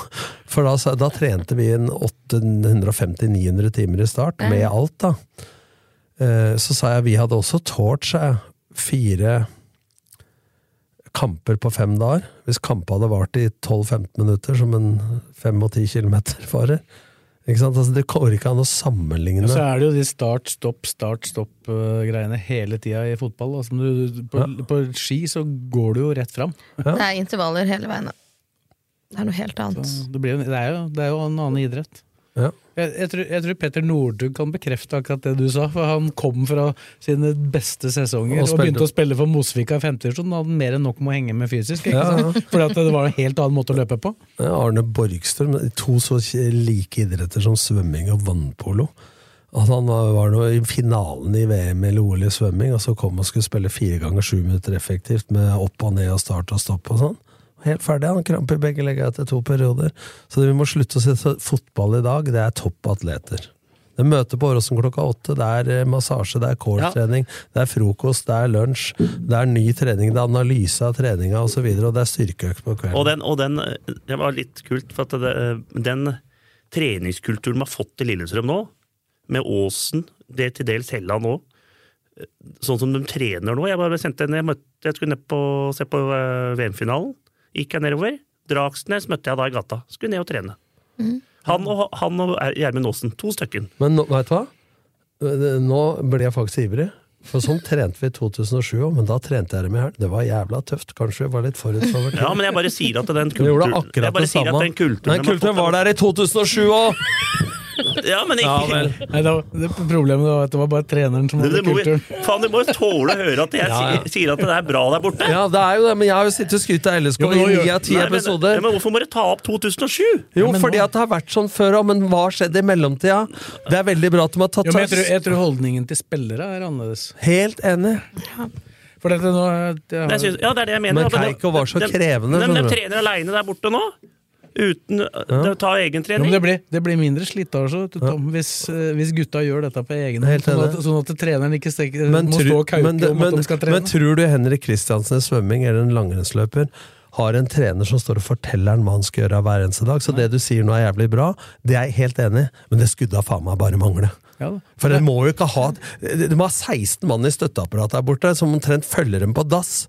Speaker 4: For da, sa- da trente vi en 850-900 timer i start, med alt, da. Eh, Så sa jeg vi hadde også tålt seg fire kamper på fem dager. Hvis kampene hadde vart i 12-15 minutter, som en 5 og 10 kilometer farer. Ikke sant? Altså, det går ikke an å sammenligne.
Speaker 2: Og så er det jo de start, stopp, start, stopp-greiene hele tida i fotball. da, som du, på, på ski så går du jo rett fram.
Speaker 6: Det er intervaller hele veien. da. Det er noe helt annet.
Speaker 2: Det, blir, jo- det, er, jo, det er jo en annen idrett.
Speaker 4: Ja.
Speaker 2: Jeg, jeg, tror, jeg tror Petter Northug kan bekrefte akkurat det du sa. For han kom fra sine beste sesonger
Speaker 4: Og
Speaker 2: og,
Speaker 4: spilte-
Speaker 2: begynte å spille for Mosvika i femte divisjon. Da hadde han mer enn nok med å henge med fysisk. Ikke
Speaker 4: Ja, ja.
Speaker 2: sant? Fordi at det var en helt annen måte å løpe på.
Speaker 4: Ja, Eh, Arne Borgstrøm, to så like idretter som svømming og vannpolo. At han var, var nå i finalen i VM eller OL i svømming, og så kom og skulle spille fire ganger sju minutter effektivt med opp og ned og start og stopp og sånn. Helt ferdig, han kramper i begge legger etter to perioder. Så det vi må slutte å se så fotball i dag, det er topp atleter. Det er møte på Åråsen klokka åtte, det er eh, massasje, det er core-trening, det er frokost, det er lunsj, det er ny trening, det er analyse av treninga osv., og, så videre, og det er styrkeøkt på kvelden.
Speaker 3: Og den, og den eh, Det var litt kult, for at det, eh, den treningskulturen man har fått i Lillestrøm nå, med Åsen, det til dels Helland òg, sånn som de trener nå Jeg bare sendte en, jeg, møtte, jeg skulle ned på, se på eh, VM-finalen. Gikk jeg nedover. Dragsnes møtte jeg da i gata. Skulle ned og trene. Han og han og Gjermund Aasen. To stykken.
Speaker 4: Men nå- vet du hva? Nå ble jeg faktisk ivrig. For sånn trente vi i 2007 òg, men da trente jeg dem i hæl. Det var jævla tøft. Kanskje jeg var litt forutsover.
Speaker 3: Ja, men jeg bare sier at den
Speaker 4: Vi gjorde
Speaker 3: kulturen jeg
Speaker 4: akkurat
Speaker 3: bare
Speaker 4: det
Speaker 3: sier
Speaker 4: samme.
Speaker 3: at den kulturen,
Speaker 4: Den kulturen var der i 2007 òg!
Speaker 3: Ja, men ikke,
Speaker 2: Nei, det, var- det, problemet var at det var bare treneren som
Speaker 3: Du,
Speaker 2: hadde
Speaker 3: du, må,
Speaker 2: kulturen.
Speaker 3: faen, du må jo tåle å høre at jeg
Speaker 4: Ja, ja.
Speaker 3: sier- sier at det er bra der borte.
Speaker 4: Ja, det er jo det, men jeg har jo sittet og skrytt av LSK
Speaker 2: Jo, men
Speaker 4: i
Speaker 2: nå gjør-
Speaker 4: ni av ti
Speaker 3: Nei, men-
Speaker 4: episoder.
Speaker 3: Ja, men hvorfor må dere ta opp 2007?
Speaker 4: Jo,
Speaker 2: Nei, men
Speaker 4: fordi
Speaker 2: nå-
Speaker 4: at det har vært sånn før òg, men hva har skjedd i mellomtida? Det er veldig bra at de har tatt
Speaker 2: Jo, men jeg, tror,
Speaker 4: tak.
Speaker 2: jeg tror holdningen til spillere er annerledes.
Speaker 4: Helt enig.
Speaker 2: For dette nå eh, det
Speaker 3: Jeg
Speaker 2: har,
Speaker 3: synes, ja, det er det jeg mener.
Speaker 4: Men
Speaker 3: ja, de-
Speaker 4: Keiko var så
Speaker 3: de- De,
Speaker 4: krevende,
Speaker 3: de,
Speaker 4: skjønner du.
Speaker 3: trener aleine der borte nå. Uten å ta egen
Speaker 2: Jo,
Speaker 3: trening.
Speaker 2: men det, blir, det blir mindre slitasje vet du, Tom, hvis, eh, hvis gutta gjør dette på egen hånd.
Speaker 4: Helt
Speaker 2: Sånn
Speaker 4: enig.
Speaker 2: at, sånn at treneren ikke stekker,
Speaker 4: Men,
Speaker 2: må
Speaker 4: tru-
Speaker 2: stå og kauke
Speaker 4: men, det-
Speaker 2: om at
Speaker 4: men,
Speaker 2: de skal
Speaker 4: men
Speaker 2: trene.
Speaker 4: tror du Henrik Kristiansen i svømming eller en langrennsløper har en trener som står og forteller han hva han skal gjøre hver eneste dag? Så det du sier nå er jævlig bra, det er jeg helt enig i, men det skudda faen meg bare mangle.
Speaker 2: ja, da.
Speaker 4: For den må jo ikke ha De må ha 16 mann i støtteapparatet der borte, som omtrent følger dem på dass.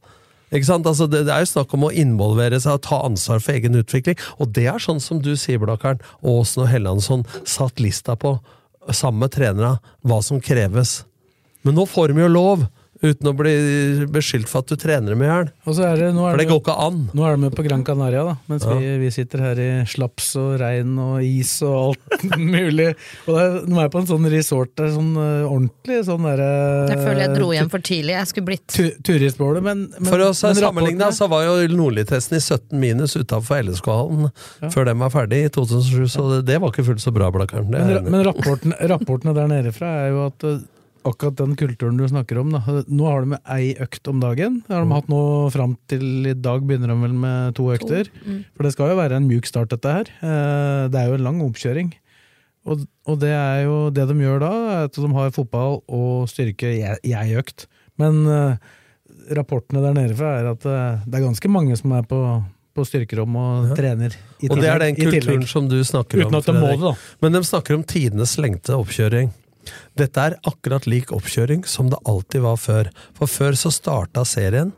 Speaker 4: Ikke sant? Altså, det, det er jo snakk om å involvere seg og ta ansvar for egen utvikling. Og det er sånn som du sier, Blakkaren. Aasen og Hellandsson satt lista på, sammen med trenerne, hva som kreves. Men nå får de jo lov, uten å bli beskyldt for at du trener dem i hjel.
Speaker 2: Og så er det, nå,
Speaker 4: For
Speaker 2: er
Speaker 4: det
Speaker 2: det,
Speaker 4: går ikke an.
Speaker 2: nå er de med på Gran Canaria, da, mens vi, vi sitter her i slaps og regn og is og alt (laughs) mulig. Og det er, nå er jeg på en sånn resort der, sånn eh, ordentlig sånn derre
Speaker 6: Jeg føler jeg
Speaker 2: Eh,
Speaker 6: dro hjem for tidlig. Jeg skulle blitt
Speaker 2: tu- Turistbåle, men, men
Speaker 4: For å si-
Speaker 2: men
Speaker 4: sammenligne
Speaker 2: rapportene-
Speaker 4: så var jo Nordli-testen i 17 minus utenfor LSK-hallen før den var ferdig i 2007, så det, det var ikke fullt så bra, Blakkaren. Det er jeg enig i.
Speaker 2: Men, men rapporten, rapportene der nede fra er jo at eh, akkurat den kulturen du snakker om, da, eh, nå har de ei økt om dagen. Det har
Speaker 4: Mm.
Speaker 2: de hatt nå fram til i dag, begynner de vel med to økter. For det skal jo være en mjuk start, dette her. Eh, Det er jo en lang oppkjøring. Og, og det er jo det de gjør da, er at de har fotball og styrke i ei- i ei økt. Men eh, rapportene der nede fra er at eh, det er ganske mange som er på, på styrkerom og trener i tillegg.
Speaker 4: Og det er den
Speaker 2: i tillegg.
Speaker 4: kulturen som du snakker
Speaker 2: Uten
Speaker 4: om.
Speaker 2: at de må
Speaker 4: Fredrik.
Speaker 2: det, da.
Speaker 4: Men de snakker om tidenes lengte oppkjøring. Dette er akkurat lik oppkjøring som det alltid var før. For før så starta serien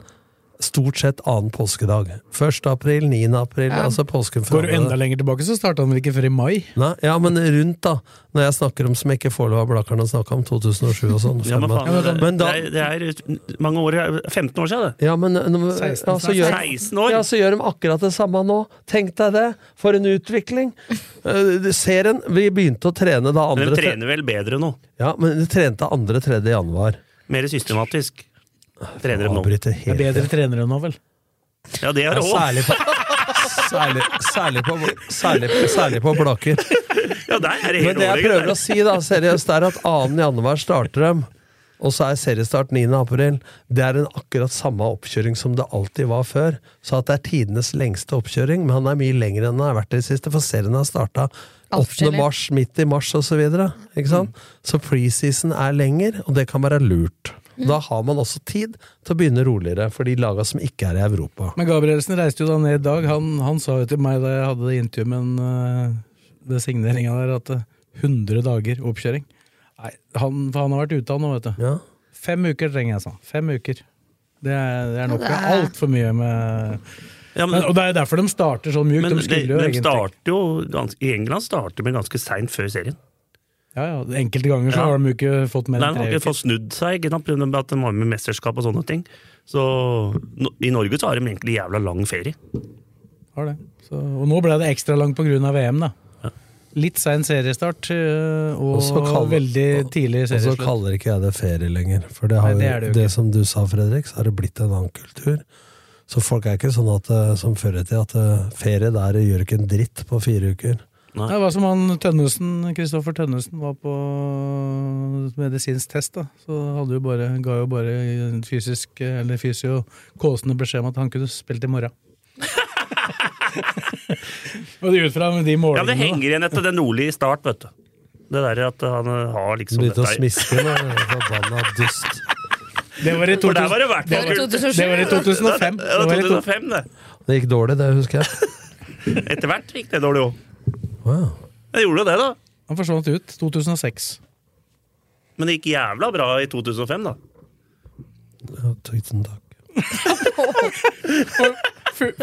Speaker 4: stort sett annen påskedag. 1. april, 9. april, altså påsken fra
Speaker 2: Går du enda lenger tilbake, så starta han vel ikke før i mai?
Speaker 4: Nei, ja, men rundt, da. Når jeg snakker om som jeg ikke får lov av Blakkaren å snakke om, 2007 og sånn.
Speaker 3: Ja, men faen,
Speaker 4: Fem-
Speaker 3: det,
Speaker 4: men da,
Speaker 3: det, er, det er mange år 15 år siden, det.
Speaker 4: ja, men eh, nå-
Speaker 2: 16,
Speaker 4: ja, så gjør,
Speaker 3: 16 år!
Speaker 4: ja, så gjør de akkurat det samme nå. Tenk deg det! For en utvikling! Eh, Serien Vi begynte å trene da
Speaker 3: Men
Speaker 4: andre
Speaker 3: de trener vel bedre nå.
Speaker 4: Ja, men de trente 2.-3. januar.
Speaker 3: Mer systematisk. Trener de nå.
Speaker 2: Det
Speaker 4: Avbryter
Speaker 2: er
Speaker 4: helt
Speaker 2: bedre trenere nå, vel?
Speaker 3: Ja, det er
Speaker 4: Ja,
Speaker 3: råd!
Speaker 4: Særlig på Særlig, særlig på, særlig, særlig på Blaker.
Speaker 3: Ja, der er det
Speaker 4: Men
Speaker 3: helt
Speaker 4: det jeg
Speaker 3: overlegent.
Speaker 4: prøver å si, da, seriøst, det er at 2. januar starter dem, og så er seriestart 9. april. Det er en akkurat samme oppkjøring som det alltid var før. Så at det er tidenes lengste oppkjøring, men han er mye lengre enn han har vært i det siste, for serien har starta 8.
Speaker 6: forskjellig.
Speaker 4: mars, midt i mars osv. Så, mm. så preseason er lenger, og det kan være lurt. Da har man også tid til å begynne roligere for de laga som ikke er i Europa.
Speaker 2: Men Gabrielsen reiste jo da ned i dag. Han, han sa jo til meg da jeg hadde det intervjuet med en, eh, det signeringa der, at eh, 100 dager oppkjøring. Nei, han, for han har vært ute av nå, vet du.
Speaker 4: Ja.
Speaker 2: Fem uker trenger jeg, sa han. Fem uker. Det er, det er nok.
Speaker 6: Ja,
Speaker 2: Det
Speaker 6: det
Speaker 2: er
Speaker 6: er-
Speaker 2: altfor mye med
Speaker 3: Ja,
Speaker 2: men,
Speaker 3: men,
Speaker 2: Og det er derfor de starter sånn mjukt.
Speaker 3: men
Speaker 2: De
Speaker 3: de,
Speaker 2: skulle jo
Speaker 3: de
Speaker 2: egentlig
Speaker 3: starter jo gans- I England starter de ganske seint før serien.
Speaker 2: ja, ja, Enkelte ganger så
Speaker 3: Ja.
Speaker 2: har de jo ikke fått mer
Speaker 3: Nei,
Speaker 2: enn
Speaker 3: han har
Speaker 2: tre
Speaker 3: ikke
Speaker 2: uker.
Speaker 3: fått snudd seg, ikke sant, på grunn av at de var med i mesterskap og sånne ting. Så no, i Norge så har de egentlig jævla lang ferie.
Speaker 2: Har det. Så, og nå ble det ekstra langt pga. VM, da. Litt sein seriestart eh, og,
Speaker 4: Og så kald-
Speaker 2: veldig tidlig
Speaker 4: Og så
Speaker 2: serieslutt.
Speaker 4: kaller ikke jeg det ferie lenger. For det, har,
Speaker 2: Nei,
Speaker 4: jo-
Speaker 2: det
Speaker 4: det,
Speaker 2: er det jo ikke.
Speaker 4: som du sa, Fredrik, så har det blitt en annen kultur. Så folk er ikke sånn at, eh, som før i tida, at eh, ferie der gjør ikke en dritt på fire uker.
Speaker 2: Det var som han Tønnesen, Kristoffer Tønnesen var på medisinsk test, da. Så hadde jo bare, ga jo bare en fysisk, eh, eller fysio kåsende beskjed om at han kunne spilt i morgen. Og det ut fra med de
Speaker 3: Ja, det
Speaker 2: målingene, da.
Speaker 3: henger igjen etter den nordlige start, vet du. Det der at han eh, har liksom
Speaker 4: Begynte å
Speaker 3: dette-
Speaker 4: smiske med forbanna dust.
Speaker 2: Det var i
Speaker 3: For der var
Speaker 2: 2000,
Speaker 3: det i hvert
Speaker 6: Det var i
Speaker 3: fall
Speaker 6: 2007.
Speaker 2: det var i 2005.
Speaker 3: Ja,
Speaker 2: Det var i to-
Speaker 3: 2005, det.
Speaker 4: Det gikk dårlig, det husker jeg.
Speaker 3: Etter hvert gikk det dårlig òg.
Speaker 4: Wow.
Speaker 3: Det gjorde jo det, da.
Speaker 2: Han forsvant ut 2006.
Speaker 3: Men det gikk jævla bra i 2005, da.
Speaker 4: Ja, tusen takk.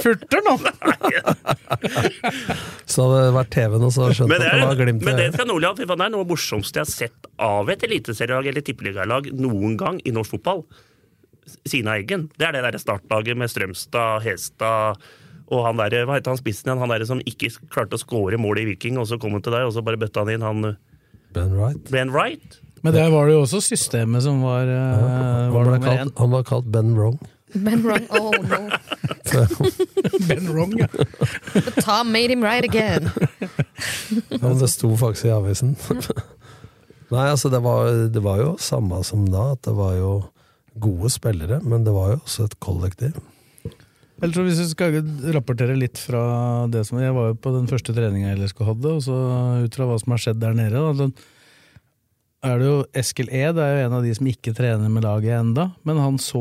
Speaker 2: Furter nå!
Speaker 4: Så hadde det vært TV-en, og så hadde jeg skjønt
Speaker 3: Men
Speaker 4: at
Speaker 3: det,
Speaker 4: det var
Speaker 3: er,
Speaker 4: glimt i
Speaker 3: men det
Speaker 4: øyet.
Speaker 3: skal Nordli ha. Fy faen, Det er noe av det morsomste jeg har sett av et eliteserielag eller tippeligalag noen gang i norsk fotball. Sina Eggen. Det er det der startlaget med Strømstad, Hestad og han der, hva heter han spissen igjen, han der som ikke klarte å skåre mål i Viking, og så kom han til deg, og så bare bøtta han inn han uh,
Speaker 4: Ben Wright.
Speaker 3: Ben Wright.
Speaker 2: Men der var det jo også systemet som var, eh,
Speaker 4: Han
Speaker 2: var
Speaker 4: ble
Speaker 2: nummer én.
Speaker 4: kalt, han var kalt Ben Wrong.
Speaker 6: Ben wrong, oh no.
Speaker 2: (laughs) Ben Wrong, ja.
Speaker 6: But Tom made him right again.
Speaker 4: Ja, men det sto faktisk i
Speaker 2: (laughs)
Speaker 4: avisen. Nei, altså det var, det var jo samme som da, at det var jo gode spillere, men det var jo også et kollektiv.
Speaker 2: Ellers så hvis vi skal rapportere litt fra det som Jeg var jo på den første treninga LSK hadde, og så ut fra hva som har skjedd der nede da, den- er det jo Eskil E, det er jo en av de som ikke trener med laget enda, men han så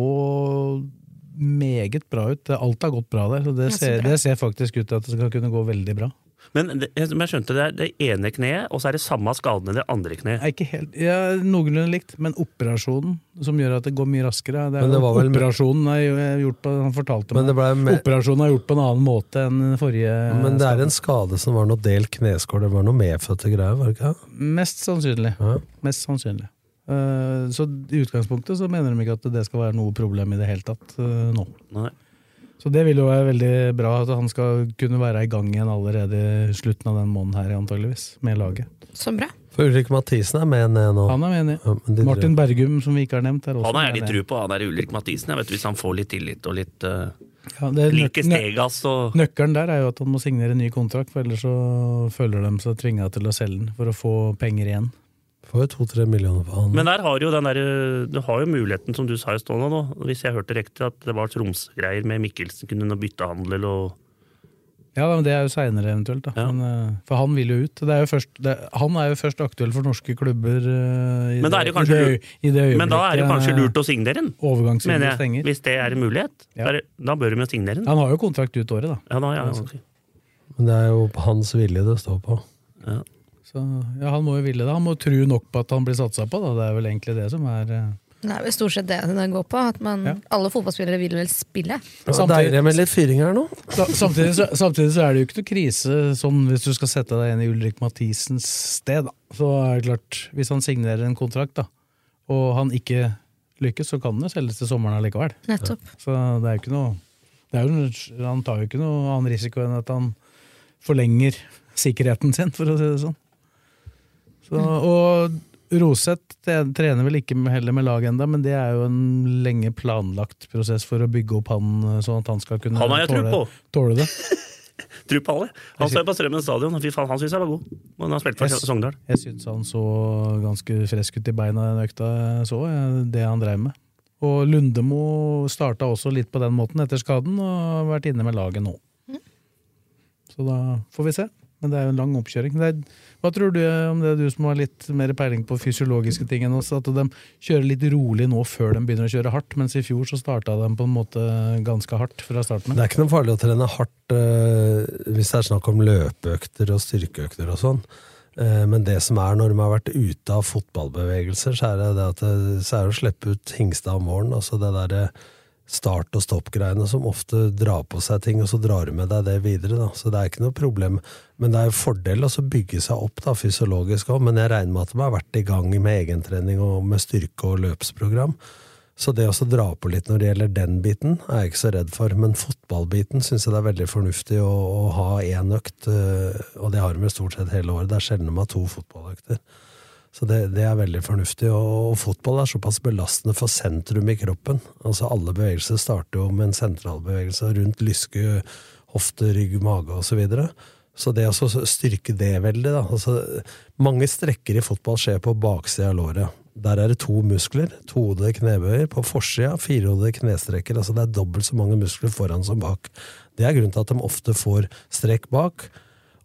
Speaker 2: meget bra ut. Det- Alt har gått bra der, så det,
Speaker 6: Ja, så
Speaker 2: ser,
Speaker 6: bra.
Speaker 2: det ser faktisk ut til at det skal kunne gå veldig bra.
Speaker 3: Men det, jeg- som jeg skjønte, det er det ene kneet, og så er det samme skaden i det andre kneet.
Speaker 2: Jeg er ikke helt, ja, noenlunde likt, men operasjonen som gjør at det går mye raskere det er
Speaker 4: Men det
Speaker 2: jo-
Speaker 4: var vel-
Speaker 2: Operasjonen er jo eh, gjort på, han fortalte
Speaker 4: Men
Speaker 2: meg,
Speaker 4: det, ble mer,
Speaker 2: operasjonen er gjort på en annen måte enn den forrige.
Speaker 4: men det er en skade som var noe delt kneskål, det var noe medfødte greier, var det ikke? det?
Speaker 2: Mest sannsynlig.
Speaker 4: Ja.
Speaker 2: Mest sannsynlig. Eh, så i utgangspunktet så mener de ikke at det skal være noe problem i det hele tatt eh, nå.
Speaker 3: Nei.
Speaker 2: Så det vil jo være veldig bra at han skal kunne være i gang igjen allerede i slutten av den måneden her, antageligvis, med laget.
Speaker 6: Så bra.
Speaker 4: For Ulrik Mathisen er med ned nå.
Speaker 2: Han er med
Speaker 4: Ja,
Speaker 2: enig.
Speaker 4: men de
Speaker 2: Martin Bergum, som vi ikke har nevnt, er også
Speaker 3: Han har jeg litt
Speaker 2: med
Speaker 3: tru på, han der Ulrik Mathisen, jeg vet, hvis han får litt tillit og litt uh,
Speaker 2: Ja, det er nøk-
Speaker 3: like altså. Stegas og
Speaker 2: nøk- Nøkkelen der er jo at han må signere ny kontrakt, for ellers så føler de seg tvinga til å selge den for å få penger igjen.
Speaker 4: Får jo to-tre millioner for han.
Speaker 3: Men der har jo den der, du har jo muligheten, som du sa i stående nå, hvis jeg hørte riktig, at det var Troms-greier med Mikkelsen, kunne noe byttehandel og
Speaker 2: Ja, da, men Det er jo seinere eventuelt. Da.
Speaker 3: Ja.
Speaker 2: Men, eh, for han vil jo ut. Det er jo først, det, han er jo først aktuell for norske klubber eh, i,
Speaker 3: Men da er
Speaker 2: det,
Speaker 3: det kanskje
Speaker 2: i, det, øy- i det øyeblikket
Speaker 3: Men da er det kanskje
Speaker 2: eh,
Speaker 3: lurt å signere den,
Speaker 2: overgangsvinduet
Speaker 3: mener jeg.
Speaker 2: stenger.
Speaker 3: Hvis det er en mulighet.
Speaker 2: Ja.
Speaker 3: Da er det- Da bør de jo signere den.
Speaker 2: Han har jo kontrakt ut året, da.
Speaker 3: Ja, da, ja, ok.
Speaker 4: Men det er jo hans vilje det står på.
Speaker 2: Så ja, han må jo ville det. Han må tro nok på at han blir satsa på, da. Det er vel egentlig det som er eh,
Speaker 6: Det er vel stort sett det det går på. At man,
Speaker 2: Ja.
Speaker 6: Alle fotballspillere vil vel spille.
Speaker 4: Det var
Speaker 2: Samtidig-
Speaker 4: Deilig med litt fyring her nå.
Speaker 2: Sa- Samtidig så, samtidig så er det jo ikke noe krise sånn hvis du skal sette deg inn i Ulrik Mathisens sted. Da. Så er det klart, hvis han signerer en kontrakt da, og han ikke lykkes, så kan han jo selges til sommeren allikevel.
Speaker 6: Nettopp.
Speaker 2: Så det er jo ikke noe det er jo, Han tar jo ikke noe annen risiko enn at han forlenger sikkerheten sin, for å si det sånn. Så, og Roseth te- trener vel ikke med- heller med laget ennå, men det er jo en lenge planlagt prosess for å bygge opp han eh, sånn at han skal kunne
Speaker 3: Han har jeg tro
Speaker 2: tåle,
Speaker 3: på.
Speaker 2: tåle det.
Speaker 3: Tro på alle. Han står på Strømmen stadion. Fy faen, han syns jeg var god. Men han spilte for
Speaker 2: Yes.
Speaker 3: Sogndal.
Speaker 2: Jeg syns han så ganske frisk ut i beina i den økta jeg så, jeg, det han drev med. Og Lundemo starta også litt på den måten etter skaden, og har vært inne med laget nå. Så da får vi se. Men det er jo en lang oppkjøring. Det er, hva tror du om det, du som har litt mer peiling på fysiologiske ting enn oss, at de kjører litt rolig nå før de begynner å kjøre hardt, mens i fjor så starta de på en måte ganske hardt fra starten
Speaker 4: Det
Speaker 2: av?
Speaker 4: er ikke noe farlig å trene hardt eh, hvis det er snakk om løpeøkter og styrkeøkter og sånn. Eh, men det som er når de har vært ute av fotballbevegelser, så er det, det at det, så er det å slippe ut Hingstad om våren. Altså det derre start- og stopp-greiene som ofte drar på seg ting, og så drar du med deg det videre. Da. Så det er ikke noe problem. Men det er jo fordel å så bygge seg opp da, fysiologisk òg. Men jeg regner med at de har vært i gang med egentrening og med styrke- og løpsprogram. Så det å så dra på litt når det gjelder den biten, er jeg ikke så redd for. Men fotballbiten syns jeg det er veldig fornuftig å, å ha én økt, øh, og det har de jo stort sett hele året. Det er sjelden de har to fotballøkter. Så det, det er veldig fornuftig. Og, og fotball er såpass belastende for sentrum i kroppen. Altså Alle bevegelser starter jo med en sentralbevegelse rundt lyske, hofte, rygg, mage osv. Så, videre. så det å så styrke det veldig da. Altså, Mange strekker i fotball skjer på baksida av låret. Der er det to muskler. Tohodede knebøyer. På forsida firehodede knestrekker. Altså Det er dobbelt så mange muskler foran som bak. Det er grunnen til at de ofte får strekk bak.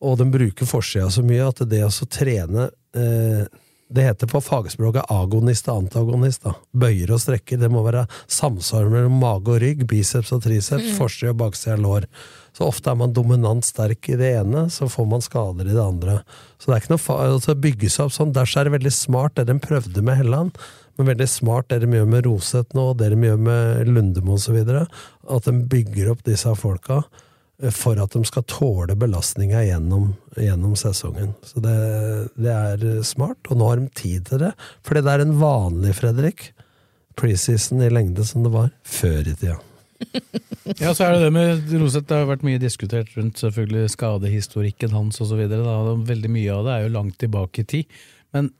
Speaker 4: Og de bruker forsida så mye at det å så trene eh, Det heter på fagspråket agonist og antagonist. da. Bøyer og strekker. Det må være samsvar mellom mage og rygg, biceps og triceps, forside og bakside av lår. Så ofte er man dominant sterk i det ene, så får man skader i det andre. Så det er ikke noe fa altså, å bygge seg opp sånn. Derfor er det veldig smart det de prøvde med Helland, men veldig smart det de gjør med Roseth nå, det de gjør med Lundemo osv. At de bygger opp disse folka for at de skal tåle belastninga gjennom, gjennom sesongen. Så det, det er smart, og nå har de tid til det. Fordi det er en vanlig Fredrik preseason i lengde som det var før i tida.
Speaker 2: Ja, så er det det med Roseth. Det har vært mye diskutert rundt selvfølgelig skadehistorikken hans osv. Veldig mye av det er jo langt tilbake i tid. Men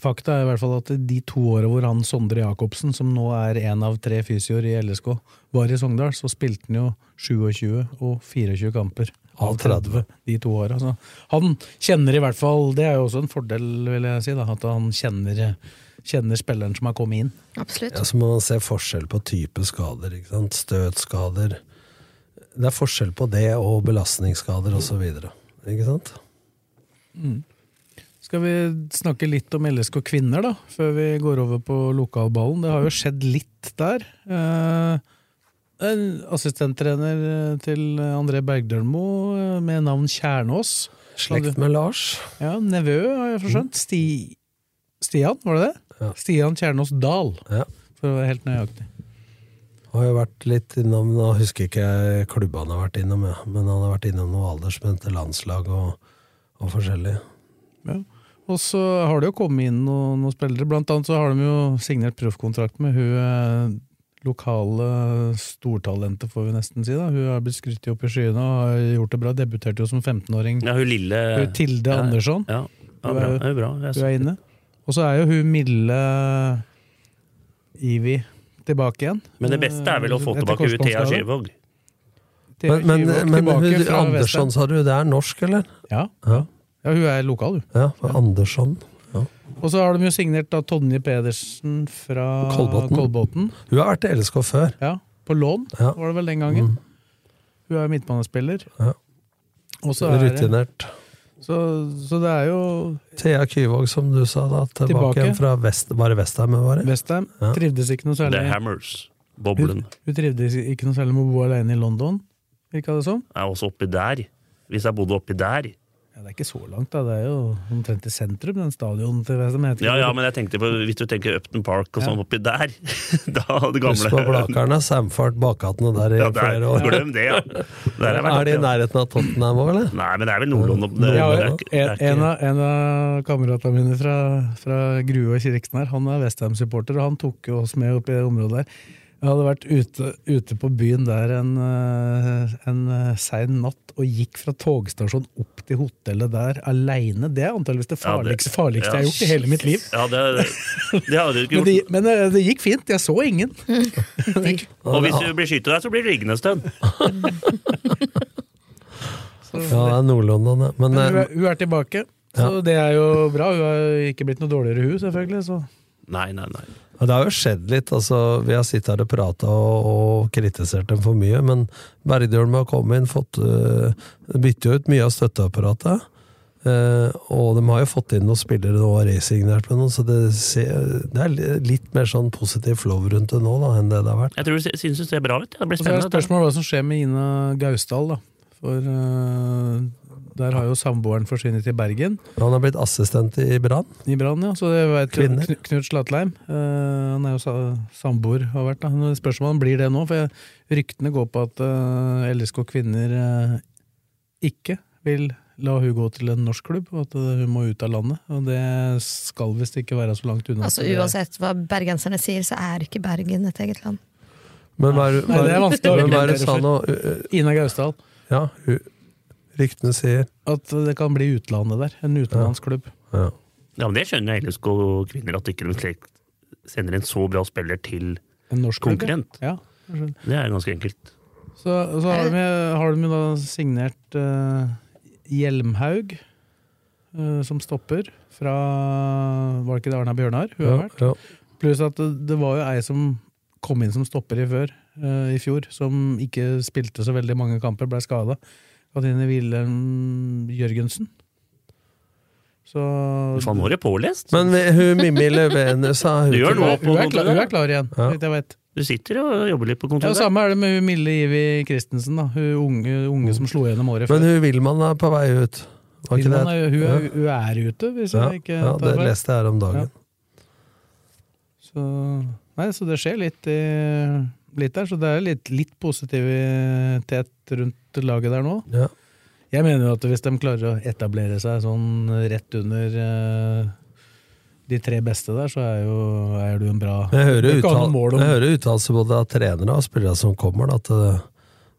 Speaker 2: fakta er i hvert fall at de to åra hvor han Sondre Jacobsen, som nå er én av tre fysioer i LSK, var i Sogndal, så spilte han jo 27 og 24 kamper. Av 30 de to åra. Så Han kjenner i hvert fall Det er jo også en fordel, vil jeg si, da, at han kjenner, kjenner spilleren som har kommet inn.
Speaker 6: Absolutt.
Speaker 4: Ja, så må man se forskjell på type skader. ikke sant? Støtskader. Det er forskjell på det og belastningsskader osv. Ikke sant?
Speaker 2: Skal vi snakke litt om LSK kvinner, da, før vi går over på lokalballen? Det har jo skjedd litt der. Eh, en assistenttrener eh, til André Bergdølmo eh, med navn Kjernås.
Speaker 4: Slekt med Lars.
Speaker 2: Ja, Nevø, har jeg forstått. Sti Stian, var det det?
Speaker 4: Mm. Ja.
Speaker 2: Stian Kjernås Dahl,
Speaker 4: Ja.
Speaker 2: for å være helt nøyaktig.
Speaker 4: Har jo vært litt innom Nå husker ikke jeg klubba han har vært innom, ja. men han har vært innom noe aldersbestemte landslag og, og forskjellig.
Speaker 2: Ja. Og så har det jo kommet inn noen, noen spillere. Blant annet så har de jo signert proffkontrakt med hun eh, lokale stortalentet, får vi nesten si. da. Hun har blitt skrytt opp i skyene og har gjort det bra. Debuterte jo som 15-åring.
Speaker 3: Ja, hun lille
Speaker 2: Hun Tilde
Speaker 3: Ja.
Speaker 2: Andersson,
Speaker 3: Ja, ja
Speaker 2: Hun
Speaker 3: bra.
Speaker 2: er-
Speaker 3: Ja, bra. Jeg
Speaker 2: hun er inne. Og så er jo hun Mille Ivi tilbake igjen. Eh,
Speaker 3: Men det beste er vel å få
Speaker 2: Etter
Speaker 3: tilbake hun Thea
Speaker 2: korsbåndsskade.
Speaker 3: Skjevåg.
Speaker 2: Thea
Speaker 4: Men, men,
Speaker 2: Skivåg
Speaker 4: men
Speaker 2: tilbake
Speaker 4: hun,
Speaker 2: fra
Speaker 4: Andersson, sa du, det er norsk, eller?
Speaker 2: Vestland. Ja.
Speaker 4: Ja,
Speaker 2: ja, hun er lokal, hun.
Speaker 4: ja for Andersson.
Speaker 2: Og så har de jo signert da Tonje Pedersen fra
Speaker 4: Kolbotn.
Speaker 2: Kolbotn.
Speaker 4: Hun har vært i LSK før.
Speaker 2: Ja, på lån
Speaker 4: Ja. Mm.
Speaker 2: var det vel den gangen. Hun er midtbanespiller.
Speaker 4: Ja.
Speaker 2: Og så, er det,
Speaker 4: Rutinert.
Speaker 2: så, så det er jo
Speaker 4: Thea Kyvåg, som du sa, da, tilbake,
Speaker 2: Tilbake.
Speaker 4: igjen fra vest, bare Vestheim. Var det?
Speaker 2: Westham
Speaker 4: Ja.
Speaker 2: trivdes ikke noe
Speaker 3: The
Speaker 2: særlig
Speaker 3: Hammers.
Speaker 2: hun,
Speaker 3: Boblen.
Speaker 2: hun trivdes ikke noe særlig med å bo alene i London, virka det som.
Speaker 3: Er også oppi der. Hvis jeg bodde oppi der.
Speaker 2: Ja, det er ikke så langt, da. Det er jo omtrent i sentrum, den stadion til hva som heter.
Speaker 3: Ja, ja, men jeg tenkte på, hvis du tenker Upton Park og sånn oppi der (laughs) Da det
Speaker 4: Husk på
Speaker 3: gamle
Speaker 4: Blakarna, Samfart, bakgatene der i
Speaker 3: ja, der,
Speaker 4: flere år.
Speaker 3: Glem det, ja. Der har jeg vært
Speaker 4: Er
Speaker 3: oppe,
Speaker 4: de i
Speaker 3: ja.
Speaker 4: nærheten av Tottenham òg, eller?
Speaker 3: Nei, men det er vel Nord-London. Det, det
Speaker 4: Ja,
Speaker 3: er
Speaker 4: ja.
Speaker 3: ikke- det er
Speaker 2: En, en,
Speaker 3: ikke-
Speaker 2: av, en av kameratene mine fra, fra Grue og Kiriksen her, han er Westham-supporter, og han tok jo oss med opp i det området der. Jeg hadde vært ute, ute på byen der en, eh, en eh, sein natt og gikk fra togstasjonen opp til hotellet der aleine. Det er antakeligvis det
Speaker 3: Ja, det-
Speaker 2: farligste, farligste jeg har gjort i
Speaker 3: Ja,
Speaker 2: hele mitt liv.
Speaker 3: Ja, det, det hadde du ikke
Speaker 2: Men det,
Speaker 3: gjort.
Speaker 2: men eh, det gikk fint. Jeg så ingen.
Speaker 3: Og hvis du blir skytet der, så blir du liggende en stund.
Speaker 4: Ja, det er Nord-London, ja. Men
Speaker 2: Men hun
Speaker 4: eh,
Speaker 2: er, hun er tilbake, så det er jo bra. Hun har jo ikke blitt noe dårligere, hun, selvfølgelig. Så.
Speaker 3: Nei, nei, nei.
Speaker 4: ja, det har jo skjedd litt. altså Vi har sittet her og prata og, og kritisert dem for mye, men Bergdølm har kommet inn, fått eh, bytter jo ut mye av støtteapparatet. eh, og de har jo fått inn noen spillere nå og resignert med noen, så det, ser, det er li- litt mer sånn positiv flow rundt det nå da, enn det det har vært.
Speaker 3: Jeg tror du se- synes det ser bra ut. ja. Det blir
Speaker 2: Og så er det
Speaker 3: spennende. det.
Speaker 2: spørsmålet hva som skjer med Ina Gausdal, da. For eh, der har jo samboeren forsvunnet til Bergen,
Speaker 4: Han har blitt assistent i Brann.
Speaker 2: i brann, ja. Så det vet jo
Speaker 4: Kvinner.
Speaker 2: Kn- Knut Slatleim. eh, han er jo sa samboer, har vært. da. Nå er Spørsmålet blir det nå, for jeg, ryktene går på at eh, LSK Kvinner eh, ikke vil la hun gå til en norsk klubb, og at eh, hun må ut av landet. Og det skal visst ikke være så langt unna.
Speaker 6: Altså
Speaker 2: at det-
Speaker 6: Uansett hva bergenserne sier, så er ikke Bergen et eget land.
Speaker 4: Men hva er
Speaker 2: Nei, det er vanskelig å
Speaker 4: men hva er
Speaker 2: argumentere
Speaker 4: det sa
Speaker 2: for.
Speaker 4: nå?
Speaker 2: Ina Gausdal.
Speaker 4: Ja, hu- ryktene sier
Speaker 2: At det kan bli utlandet der. En utenlandsklubb.
Speaker 4: ja.
Speaker 3: Ja, men Det skjønner jeg LSK og kvinner, at ikke de slik sender en så bra spiller til
Speaker 2: En norsk klubb.
Speaker 3: konkurrent.
Speaker 2: Ja. jeg skjønner.
Speaker 3: Det er ganske enkelt.
Speaker 2: Så, så har, de, har de jo da signert eh, Hjelmhaug eh, som stopper fra Var det ikke det Arna Bjørnar hun
Speaker 4: Ja,
Speaker 2: har vært?
Speaker 4: ja.
Speaker 2: Pluss at det, det var jo ei som kom inn som stopper i, før, eh, i fjor, som ikke spilte så veldig mange kamper, ble skada. Katrine Wilhelm Jørgensen. Så
Speaker 3: Faen, nå er det pålest!
Speaker 4: Men vi- hun Mimmi Levenus sa hun
Speaker 3: Du gjør
Speaker 4: til-
Speaker 3: noe.
Speaker 2: hun er, klar, hun er klar igjen, så
Speaker 4: Ja.
Speaker 2: vidt jeg vet.
Speaker 3: Du sitter og jobber litt på
Speaker 2: Ja,
Speaker 3: kontoret.
Speaker 2: Samme er det med hun Mille Ivi Christensen, da. hun unge, unge som slo gjennom året før.
Speaker 4: Men hun Wilman er på vei ut. Var ikke
Speaker 2: Vilman
Speaker 4: det?
Speaker 2: er, hun, er,
Speaker 4: Ja.
Speaker 2: hun er ute, hvis
Speaker 4: ja,
Speaker 2: jeg ikke
Speaker 4: ja,
Speaker 2: tar
Speaker 4: det
Speaker 2: feil.
Speaker 4: leste jeg her om
Speaker 2: Ja.
Speaker 4: dagen.
Speaker 2: Så, nei, så det skjer litt, i- litt der, så det er litt, litt positivitet rundt laget der nå.
Speaker 4: Ja.
Speaker 2: Jeg mener jo at hvis de klarer å etablere seg sånn rett under eh, de tre beste der, så er jo er du en bra
Speaker 4: Jeg hører
Speaker 2: Det er ikke
Speaker 4: uttal-
Speaker 2: noe mål om-
Speaker 4: jeg hører uttalelser både av trenere og spillere som kommer, da, at det,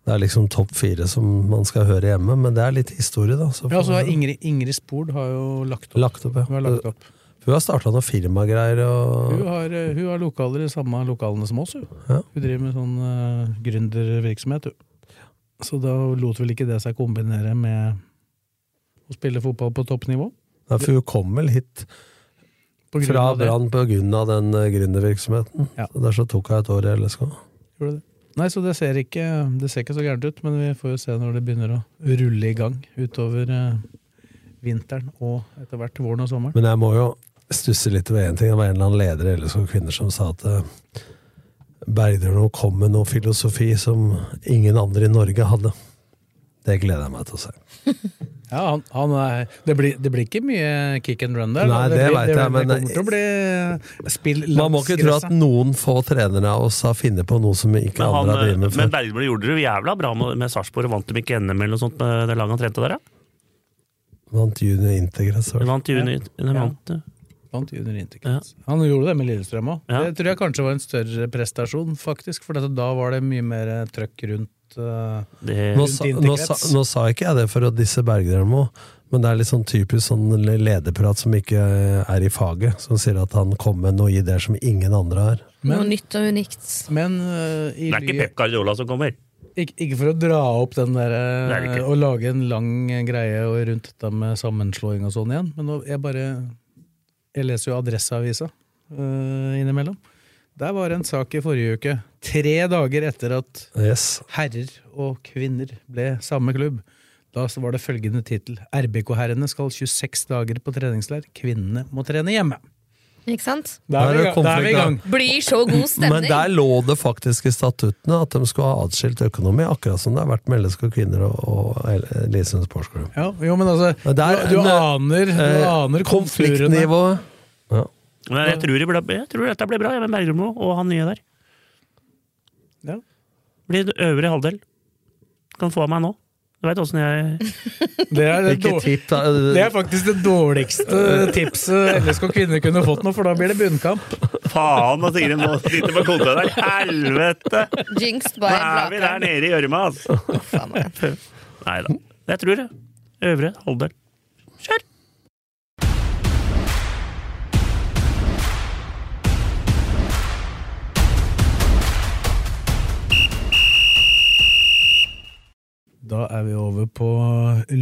Speaker 4: det er liksom topp fire som man skal høre hjemme, men det er litt historie, da. Så
Speaker 2: Ja,
Speaker 4: får
Speaker 2: så har
Speaker 4: vi-
Speaker 2: Ingrid, Ingrid Spord har jo lagt opp.
Speaker 4: Lagt opp, ja.
Speaker 2: Hun har lagt opp.
Speaker 4: Hun har starta noen firmagreier
Speaker 2: Hun
Speaker 4: og
Speaker 2: har, eh, hun har lokaler i samme lokalene som oss. Hun,
Speaker 4: Ja.
Speaker 2: hun driver med sånn eh, gründervirksomhet. Hun. Så da lot vel ikke det seg kombinere med å spille fotball på toppnivå?
Speaker 4: Nei, for hun kom vel hit
Speaker 2: På grunn
Speaker 4: fra
Speaker 2: av det.
Speaker 4: Brann på grunn av den eh, gründervirksomheten.
Speaker 2: Ja.
Speaker 4: Så Derfor tok hun et år i LSK.
Speaker 2: Gjorde det. Nei, så det ser, ikke, det ser ikke så gærent ut, men vi får jo se når det begynner å rulle i gang utover eh, vinteren og etter hvert våren og sommeren.
Speaker 4: Men jeg må jo stusse litt over én ting. Det var en eller annen leder i LSK Kvinner som sa at eh, Bergdølmo kom med noe filosofi som ingen andre i Norge hadde. Det gleder jeg meg til å se.
Speaker 2: Ja, han, han er, det, blir, det blir ikke mye kick and run der.
Speaker 4: Nei,
Speaker 2: da.
Speaker 4: det
Speaker 2: blir-
Speaker 4: vet
Speaker 2: det,
Speaker 4: jeg, men-
Speaker 2: det kommer til å bli eh, spill langs
Speaker 4: Man må ikke tro at
Speaker 2: gresset.
Speaker 4: noen få trenere av oss har funnet på noe som ikke
Speaker 3: Men,
Speaker 4: andre har
Speaker 3: han, eh,
Speaker 4: drevet med
Speaker 3: men
Speaker 4: før.
Speaker 3: Bergbø gjorde det jo jævla bra med, med Sarpsborg. Vant de ikke NM eller noe sånt med det laget han trente der, ja?
Speaker 4: Vant Junior Integres.
Speaker 3: De vant i juni. De vant, ja.
Speaker 2: Vant junior interkrets. Han gjorde det med Lillestrøm òg.
Speaker 3: Ja.
Speaker 2: Det tror jeg kanskje var en større prestasjon, faktisk. For dette, da var det mye mer eh, trøkk rundt eh,
Speaker 3: Det,
Speaker 4: Nå, sa- nå, sa- nå sa ikke jeg det for å disse Bergdølmo, men det er litt sånn typisk sånn lederprat som ikke eh, er i faget, som sier at han kom med noen ideer som ingen andre har.
Speaker 6: Noe nytt og unikt.
Speaker 2: Men eh, i
Speaker 3: det er ikke
Speaker 2: ly-
Speaker 3: Pep Guardiola som kommer.
Speaker 2: ikke, ikke for å dra opp den der
Speaker 3: Det er
Speaker 2: eh,
Speaker 3: det ikke.
Speaker 2: og lage en lang eh, greie og rundt dette med sammenslåing og sånn igjen, men nå, jeg bare Jeg leser jo Adresseavisa eh, innimellom. Der var det en sak i forrige uke, tre dager etter at
Speaker 4: Yes.
Speaker 2: herrer og kvinner ble samme klubb. Da var det følgende tittel. RBK-herrene skal 26 dager på treningsleir, kvinnene må trene hjemme.
Speaker 6: Ikke sant?
Speaker 2: Da er vi i gang. Da er vi i gang.
Speaker 6: Blir så god
Speaker 4: Men
Speaker 6: stemning!
Speaker 4: der lå det faktisk i statuttene at de skulle ha atskilt økonomi, akkurat som det har vært med LSK Kvinner og, og Lisenes Sportsklubb.
Speaker 2: Ja, jo, men altså,
Speaker 4: Men der-
Speaker 2: du, du
Speaker 4: ne-
Speaker 2: aner, du
Speaker 4: eh,
Speaker 2: aner konturene.
Speaker 4: Konfliktnivået ja.
Speaker 3: Men jeg tror, det ble, jeg tror dette blir bra, jeg med Bergermo og han nye der.
Speaker 2: Ja.
Speaker 3: Blir det øvre halvdel. Kan få av meg nå. Du veit åssen jeg
Speaker 2: Det er, det,
Speaker 4: Ikke
Speaker 2: dår-
Speaker 4: tipp, da.
Speaker 2: det er faktisk det dårligste tipset LSK kvinner kunne fått nå, for da blir det bunnkamp.
Speaker 3: Faen, da Sigrid må sitte på kontoret der! Helvete!
Speaker 6: Jinxed
Speaker 3: Nå
Speaker 6: by
Speaker 3: er vi der
Speaker 6: Blaker.
Speaker 3: nede i gjørma, altså.
Speaker 6: Faen meg.
Speaker 3: Nei da. Jeg tror det. Øvre halvdel. Kjør!
Speaker 2: Da er vi over på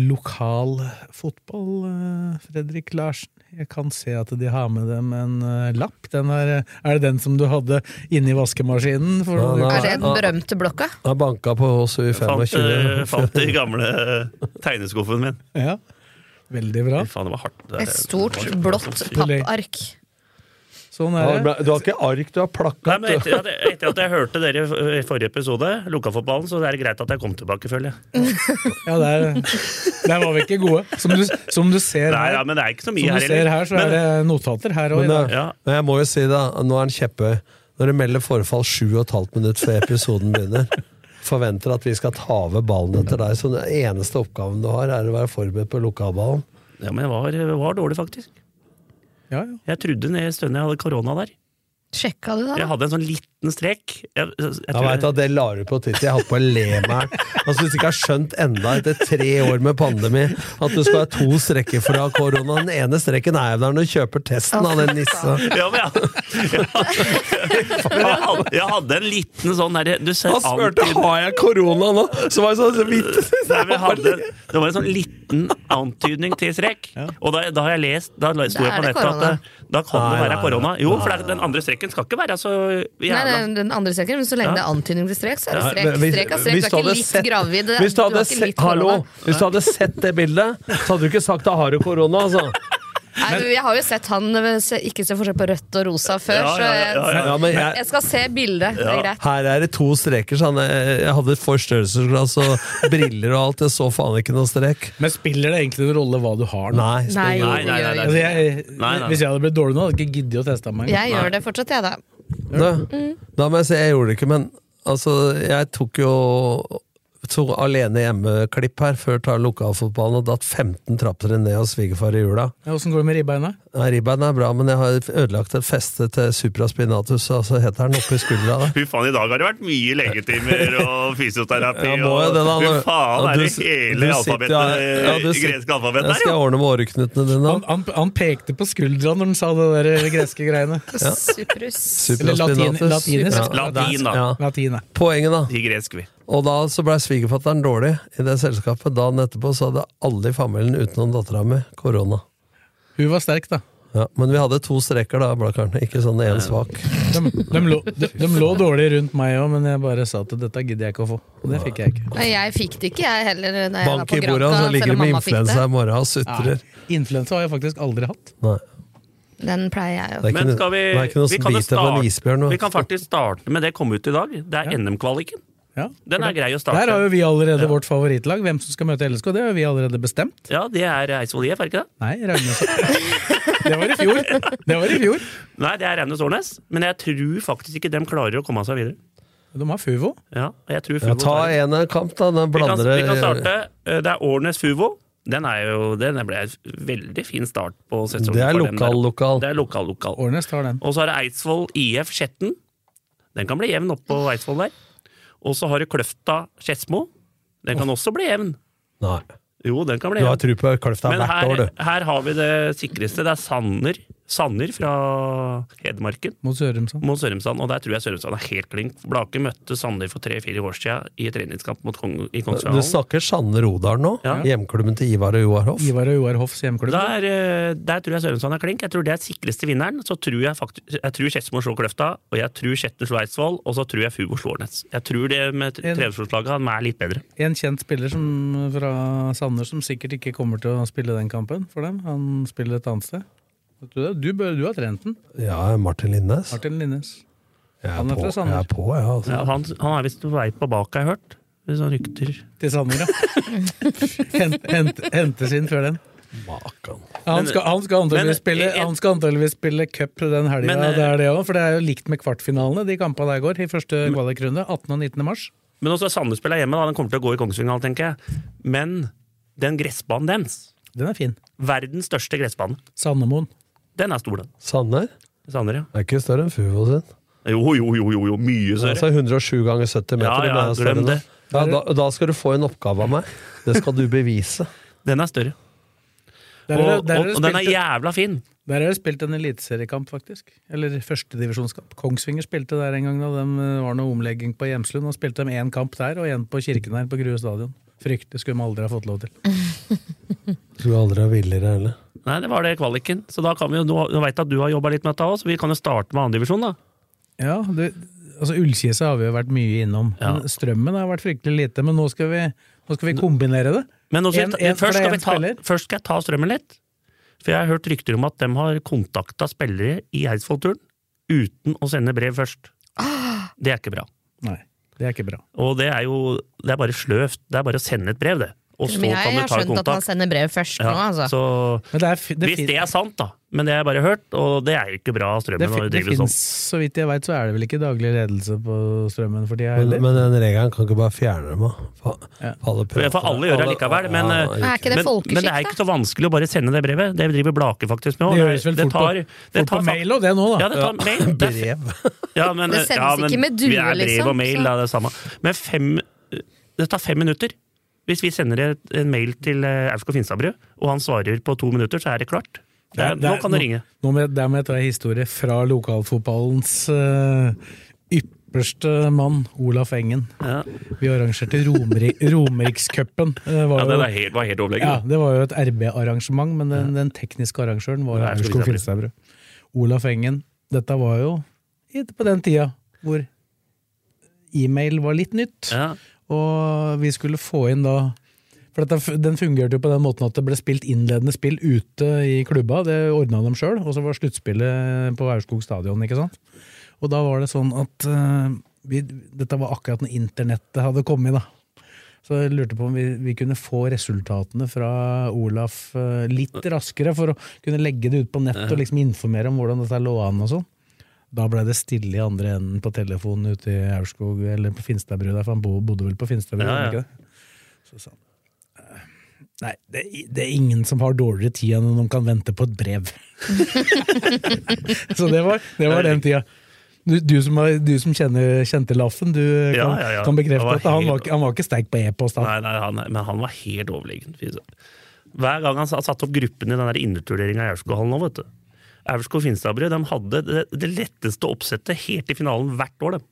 Speaker 2: lokal fotball. eh, Fredrik Larsen, jeg kan se at de har med dem en eh, lapp. Den er, er det den som du hadde inni vaskemaskinen? For
Speaker 4: Ja,
Speaker 2: du-
Speaker 4: nei.
Speaker 6: Er det den berømte blokka?
Speaker 4: Jeg banka på oss i
Speaker 3: Fant, eh,
Speaker 4: 25. (laughs)
Speaker 3: fant det i gamle eh, tegneskuffen min.
Speaker 2: Ja. Veldig bra.
Speaker 3: Fy faen, det var hardt. Det-
Speaker 6: Et stort,
Speaker 3: det var-
Speaker 6: blått pappark.
Speaker 2: Sånn
Speaker 4: Ja,
Speaker 2: er
Speaker 4: det
Speaker 2: det.
Speaker 4: ble- du har ikke ark, du har
Speaker 3: Nei,
Speaker 4: plakat.
Speaker 3: men
Speaker 4: du.
Speaker 3: etter, at- etter at jeg hørte dere i forrige episode, lokalfotballen, så er det greit at jeg kom tilbake, føler jeg.
Speaker 2: Ja, der, der var vi ikke gode. Som du, som du ser
Speaker 3: Nei,
Speaker 2: her,
Speaker 3: ja, men det er ikke så mye
Speaker 2: som du
Speaker 3: her
Speaker 2: ser her, så er
Speaker 3: Men-
Speaker 2: det notater her
Speaker 4: Men,
Speaker 2: òg.
Speaker 4: eh,
Speaker 3: Ja.
Speaker 4: men jeg må jo si det, nå er han kjepphøy. Når det melder forfall 7,5 minutter før episoden begynner, forventer at vi skal ta over ballen etter deg. Så den eneste oppgaven du har, er å være forberedt på lokalballen.
Speaker 3: Ja, men jeg var, jeg var dårlig, faktisk.
Speaker 2: Ja, ja.
Speaker 3: Jeg trodde ned i stønnet jeg hadde korona der.
Speaker 6: Sjekka du
Speaker 3: Jeg
Speaker 6: da?
Speaker 3: hadde en sånn liten strek. Jeg, jeg, jeg,
Speaker 4: Jeg vet
Speaker 3: tror-
Speaker 4: at det la du på titt. Jeg holdt på å le meg Han syns ikke jeg har skjønt enda etter tre år med pandemi at du skal ha to strekker fra korona. Den ene strekken er jo der når du kjøper testen av den nissa.
Speaker 3: (laughs) ja, men jeg, (laughs) jeg, hadde, jeg hadde en liten sånn derre Du ser
Speaker 4: Han spurte
Speaker 3: anti-
Speaker 4: har jeg korona nå, så var jeg sånn så vidt
Speaker 3: Nei, men jeg hadde, det var en sånn liten antydning til strek. Og da, da har jeg lest Da sto
Speaker 6: Da
Speaker 3: jeg
Speaker 6: er
Speaker 3: på
Speaker 6: det
Speaker 3: nettet at
Speaker 6: korona.
Speaker 3: det- da kan det
Speaker 4: Nei,
Speaker 3: være
Speaker 4: nei,
Speaker 3: korona. Jo, for det er- den andre streken skal ikke være så
Speaker 6: Nei,
Speaker 3: jævla
Speaker 6: nei, den andre streken, men så lenge det er antydning til strek, så er det
Speaker 4: Ja,
Speaker 6: strek.
Speaker 4: men hvis-
Speaker 6: Strek er strek,
Speaker 4: hvis
Speaker 6: du er
Speaker 4: hadde
Speaker 6: ikke litt
Speaker 4: sett-
Speaker 6: gravid. Du
Speaker 4: Hvis du
Speaker 6: har
Speaker 4: hadde,
Speaker 6: ikke
Speaker 4: sett,
Speaker 6: litt korona.
Speaker 4: hallo, hvis du hadde sett det bildet, så hadde du ikke sagt 'da har du korona'. Altså.
Speaker 6: Nei, men Jeg har jo sett han eh, se- ikke se forskjell på rødt og rosa før,
Speaker 3: Ja,
Speaker 6: så
Speaker 3: ja, ja,
Speaker 6: jeg,
Speaker 3: ja, ja.
Speaker 4: Ja, men
Speaker 6: jeg
Speaker 4: jeg,
Speaker 6: skal se bildet. Det er greit.
Speaker 4: her er det to streker. Sånn, jeg, jeg hadde et forstørrelsesglass og briller og alt. Jeg så faen ikke noen strek.
Speaker 2: Men spiller det egentlig noen rolle hva du har nå?
Speaker 4: Nei,
Speaker 6: Nei,
Speaker 4: spiller-
Speaker 3: Nei, nei, nei, nei.
Speaker 2: Altså, jeg,
Speaker 3: Nei, nei.
Speaker 2: Hvis jeg hadde blitt dårlig nå, hadde jeg ikke giddet å teste meg. engang.
Speaker 6: Jeg gjør det fortsatt, jeg, da.
Speaker 4: Da, da må jeg si jeg gjorde det ikke, men altså, jeg tok jo to alene hjemme-klipp her før tar lokalfotballen og datt 15 trapper ned hos svigerfar i jula.
Speaker 2: Ja, Åssen går det med ribbeina?
Speaker 4: Ja, Ribbein er bra, men jeg har ødelagt et feste til supraspinatus, og så heter den oppi skuldra.
Speaker 3: (laughs)
Speaker 4: da.
Speaker 3: Fy faen, i dag har det vært mye legetimer og fysioterapi
Speaker 4: Ja, må
Speaker 3: og
Speaker 4: jo det da,
Speaker 3: Fy
Speaker 4: når-
Speaker 3: faen,
Speaker 4: ja,
Speaker 3: er
Speaker 4: du
Speaker 3: det
Speaker 4: s-
Speaker 3: hele
Speaker 4: du sitter-
Speaker 3: alfabetet,
Speaker 4: ja, ja, du
Speaker 3: eh,
Speaker 4: sitter-
Speaker 3: greske alfabet
Speaker 4: Jeg
Speaker 3: der,
Speaker 4: skal
Speaker 3: jo?
Speaker 4: ordne med åreknutene dine.
Speaker 2: Han, han, han pekte på skuldra når han sa det der greske greiene.
Speaker 6: Superus.
Speaker 2: Eller latin,
Speaker 4: Supraspinatus.
Speaker 2: latinisk.
Speaker 4: Ja,
Speaker 3: Latin, da.
Speaker 4: ja.
Speaker 2: Latin, ja.
Speaker 4: Poenget, da.
Speaker 3: I gresk, vi.
Speaker 4: Og da så blei svigerfatteren dårlig i det selskapet. Dagen etterpå så hadde alle i familien utenom dattera mi korona.
Speaker 2: Hun var sterk, da.
Speaker 4: Ja, men vi hadde to streker da, Blakkaren. Ikke sånn én svak.
Speaker 2: De, de, lå, de, de lå dårlig rundt meg òg, men jeg bare sa at dette gidder jeg ikke å få. Og det fikk jeg ikke.
Speaker 6: Nei, jeg fikk det ikke, jeg heller. Når jeg var
Speaker 4: Bank
Speaker 6: på
Speaker 4: i bordet, og
Speaker 6: Granca,
Speaker 4: så ligger du
Speaker 6: selv om
Speaker 4: med
Speaker 6: mamma fikk
Speaker 4: influensa i morgen og sutrer.
Speaker 2: Influensa har jeg faktisk aldri hatt.
Speaker 4: Nei,
Speaker 6: det. Den pleier jeg
Speaker 4: det
Speaker 6: jo.
Speaker 4: er ikke,
Speaker 3: Men
Speaker 4: noe-
Speaker 3: skal vi
Speaker 4: det er ikke noe
Speaker 3: vi
Speaker 4: som
Speaker 3: kan jo
Speaker 4: biter på en
Speaker 3: starte-
Speaker 4: isbjørn.
Speaker 3: Vi
Speaker 4: nå.
Speaker 3: kan faktisk starte med det kom ut i dag. Det er NM-kvaliken.
Speaker 2: Ja.
Speaker 3: Den er grei å
Speaker 2: Der har
Speaker 3: starte.
Speaker 2: jo vi allerede vårt favorittlag. Hvem som skal møte LSK, det har vi allerede bestemt.
Speaker 3: Ja, det er Eidsvoll IF, er det ikke det?
Speaker 2: Nei, Ragnhild. Det var i fjor. Det var i fjor.
Speaker 3: Nei, det er Raunes Årnes. Men jeg tror faktisk ikke dem klarer å komme seg videre.
Speaker 2: De har Fuvo.
Speaker 3: Ja, og jeg tror
Speaker 4: Ja,
Speaker 3: Fuvo
Speaker 4: ta
Speaker 3: tar det.
Speaker 4: en kamp, da. Den
Speaker 3: vi, kan,
Speaker 4: blander
Speaker 3: vi kan starte. Eh, Det er Årnes Fuvo. Den, er jo, den ble en veldig fin start på sesongen.
Speaker 4: Det er
Speaker 3: for dem der.
Speaker 4: lokal-lokal.
Speaker 3: Det er lokal-lokal.
Speaker 2: Årnes tar den.
Speaker 3: Og så har det Eidsvoll IF Skjetten. Den kan bli jevn oppå Eidsvoll der. Og så har du Kløfta Skedsmo. Den kan også bli jevn.
Speaker 4: Nei.
Speaker 3: Jo, den kan bli
Speaker 4: Du har
Speaker 3: jevn.
Speaker 4: tru på Kløfta
Speaker 3: Men
Speaker 4: hvert år,
Speaker 3: her,
Speaker 4: du.
Speaker 3: her har vi det sikreste. Det er Sanner. Sanner fra Hedmarken
Speaker 2: Mot Sørumsand.
Speaker 3: mot Sørumsand, og der tror jeg Sørumsand er helt klink. Blake møtte Sanner for tre-fire år siden i treningskamp mot Kong, i
Speaker 4: Du
Speaker 3: Kongsvinger.
Speaker 4: snakker Sanne Rodal nå?
Speaker 3: Ja.
Speaker 4: Hjemklubben til Ivar og Joar Hoff?
Speaker 2: Ivar og Joar Hoffs hjemklubb.
Speaker 3: Der, eh, der tror jeg Sørumsand er klink. Jeg tror det er sikreste vinneren. Så tror jeg faktisk Jeg tror Skedsmo slår Kløfta, og jeg tror Skjetten slår Eidsvoll, og så tror jeg Fugo slår Nets. Jeg tror det med
Speaker 2: En-
Speaker 3: Trevsfjordslaget han er litt bedre.
Speaker 2: En kjent spiller som, fra Sandnes som sikkert ikke kommer til å spille den kampen for dem. Han spiller et annet sted. Vet Du, det? du, bør- du har trent den.
Speaker 4: Ja, Martin Linnes.
Speaker 2: Martin Linnes.
Speaker 4: Jeg er
Speaker 2: Han er
Speaker 4: på,
Speaker 2: fra
Speaker 4: jeg
Speaker 2: Sandnes.
Speaker 4: er på ja, altså.
Speaker 3: Ja, han, han er visst på vei på bak, har jeg hørt. Hvis han rykter
Speaker 2: Til Sandner, ja. (laughs) Hent, hent, hentes inn før den.
Speaker 4: Makan.
Speaker 2: Han skal, han skal antageligvis
Speaker 3: men-
Speaker 2: spille,
Speaker 3: en-
Speaker 2: han skal antageligvis spille cup den helga,
Speaker 3: Men, eh,
Speaker 2: det er det også, for det er jo likt med kvartfinalene, de kampene der går, i første kvalikrunde. 18. og 19. mars.
Speaker 3: Men også Sandnes-spillet er hjemme, da. Den kommer til å gå i Kongsvinger, tenker jeg. Men den gressbanen dens,
Speaker 2: Den er fin.
Speaker 3: verdens største gressbane,
Speaker 2: Sandemoen.
Speaker 3: den er stor, den.
Speaker 4: Sanner
Speaker 3: Sander, ja.
Speaker 4: er ikke større enn Fuvo sin.
Speaker 3: Jo, jo, jo, jo, jo mye større.
Speaker 4: Altså 107 ganger 70 meter.
Speaker 3: Ja, ja,
Speaker 4: den er større
Speaker 3: glem
Speaker 4: nå.
Speaker 3: det.
Speaker 4: Ja, da, da skal du få en oppgave av meg. Det skal du bevise.
Speaker 3: Den er større. Og,
Speaker 2: Der er,
Speaker 3: og,
Speaker 2: det- der er, det
Speaker 3: og den er
Speaker 2: spilt,
Speaker 3: jævla fin.
Speaker 2: der er det spilt en eliteseriekamp, faktisk. Eller førstedivisjonskamp. Kongsvinger spilte der en gang da de eh, var noe omlegging på Hjemslund, og spilte de én kamp der og én på Kirkenær på Grue stadion. Fryktelig skulle de aldri ha fått lov til.
Speaker 4: Skulle aldri ha villere heller.
Speaker 3: Nei, det var det kvaliken. Så da kan vi jo, nå, nå veit jeg at du har jobba litt med dette òg, så vi kan jo starte med andredivisjon, da.
Speaker 2: Ja, det, altså Ullkisa har vi jo vært mye innom.
Speaker 3: Ja.
Speaker 2: Men Strømmen har vært fryktelig lite, men nå skal vi, nå skal vi kombinere det.
Speaker 3: Men også,
Speaker 2: En- en-
Speaker 3: først,
Speaker 2: for det er
Speaker 3: skal
Speaker 2: en
Speaker 3: vi ta,
Speaker 2: spiller.
Speaker 3: først skal jeg ta strømmen litt. For jeg har hørt rykter om at de har kontakta spillere i Eidsvoll-turen uten å sende brev først.
Speaker 6: Ah!
Speaker 3: Det er ikke bra.
Speaker 2: Nei, det er ikke bra.
Speaker 3: Og det er jo det er bare sløvt. Det er bare å sende et brev, det. Og så
Speaker 6: Men jeg
Speaker 3: kan du
Speaker 6: har
Speaker 3: ta
Speaker 6: skjønt at man
Speaker 3: kontakt.
Speaker 6: sender brev først nå,
Speaker 3: Ja,
Speaker 6: altså.
Speaker 3: så
Speaker 2: Men det er, fi- det
Speaker 3: hvis
Speaker 2: fin-
Speaker 3: det er sant, da. Men det har jeg bare hørt, og det er jo ikke bra strømmen
Speaker 2: det,
Speaker 3: å
Speaker 2: fi- det
Speaker 3: drive
Speaker 2: finnes,
Speaker 3: sånn.
Speaker 2: så vidt jeg veit, så er det vel ikke daglig ledelse på Strømmen for tida
Speaker 4: Men,
Speaker 2: heller.
Speaker 4: men den regelen kan ikke bare fjerne dem, da. Fa-
Speaker 2: Ja.
Speaker 4: Alle prøver.
Speaker 3: For alle gjør det likevel, men, eh,
Speaker 4: gjør ikke
Speaker 6: Er
Speaker 4: det.
Speaker 6: ikke det
Speaker 3: Men, men det
Speaker 6: folkeskikk,
Speaker 3: er
Speaker 6: da?
Speaker 3: ikke så vanskelig å bare sende det brevet. Det driver Blake faktisk med
Speaker 2: Det
Speaker 3: også.
Speaker 2: gjøres vel fort på-
Speaker 3: tar- det
Speaker 2: Fort på
Speaker 3: tar fak-
Speaker 2: mail og det nå, da.
Speaker 3: Ja, det tar
Speaker 2: (laughs)
Speaker 3: mail. Det er
Speaker 4: Brev.
Speaker 3: Ja, men,
Speaker 6: Det sendes
Speaker 3: ja, men,
Speaker 6: ikke med due,
Speaker 3: vi er brev
Speaker 6: liksom,
Speaker 3: og mail,
Speaker 6: så-
Speaker 3: da, det er samme. Men fem, det tar fem minutter. Hvis vi sender et, en mail til eh, Aurskog Finstadbrød, og han svarer på to minutter, så er det klart. Det er, nå kan du ringe.
Speaker 2: Nå må jeg, der må jeg ta en historie fra lokalfotballens eh, ypperste mann, Olaf Engen.
Speaker 3: Ja.
Speaker 2: Vi arrangerte
Speaker 3: (laughs)
Speaker 2: Romerik, Romerikscupen. eh, var jo-
Speaker 3: helt, var helt
Speaker 2: Ja, det var jo et RB-arrangement, men den, den tekniske arrangøren var
Speaker 3: Det er
Speaker 2: Aurskog
Speaker 3: Aurskog
Speaker 2: Finstadbrød. Olaf Engen, dette var jo i- på den tida hvor e-mail var litt nytt,
Speaker 3: Ja.
Speaker 2: og vi skulle få inn da for dette, f- Den fungerte jo på den måten at det ble spilt innledende spill ute i klubba, det ordna de sjøl, og så var sluttspillet på Aurskog stadion, ikke sant? Og da var det sånn at eh, vi, Dette var akkurat når internettet hadde kommet, da. Så jeg lurte på om vi, vi kunne få resultatene fra Olaf eh, litt raskere, for å kunne legge det ut på nett og liksom informere om hvordan dette lå an og sånn. Da blei det stille i andre enden på telefonen ute i Aurskog, eller på Finstadbru der, for han bo- bodde vel på Finstadbru,
Speaker 3: Ja, ja.
Speaker 2: gjorde han ikke det? Så sa han eh, Nei, det, det er ingen som har dårligere tid enn om de kan vente på et
Speaker 3: (laughs)
Speaker 2: brev. Så det var, det var den tida. Du, du som, har, du som kjenner, kjente Laffen, du kan,
Speaker 3: Ja, ja, ja.
Speaker 2: kan bekrefte
Speaker 3: Han var
Speaker 2: at han
Speaker 3: helt-
Speaker 2: var, ikke- han var ikke sterk på e-post. han.
Speaker 3: Nei, nei, han, men han var helt overlegen. Fy søren. Hver gang han sa- satte opp gruppen i den der inneturneringa i Aurskoghallen nå, vet du. Aurskog Finstadbrød de hadde det, det letteste oppsettet helt i finalen hvert år, dem.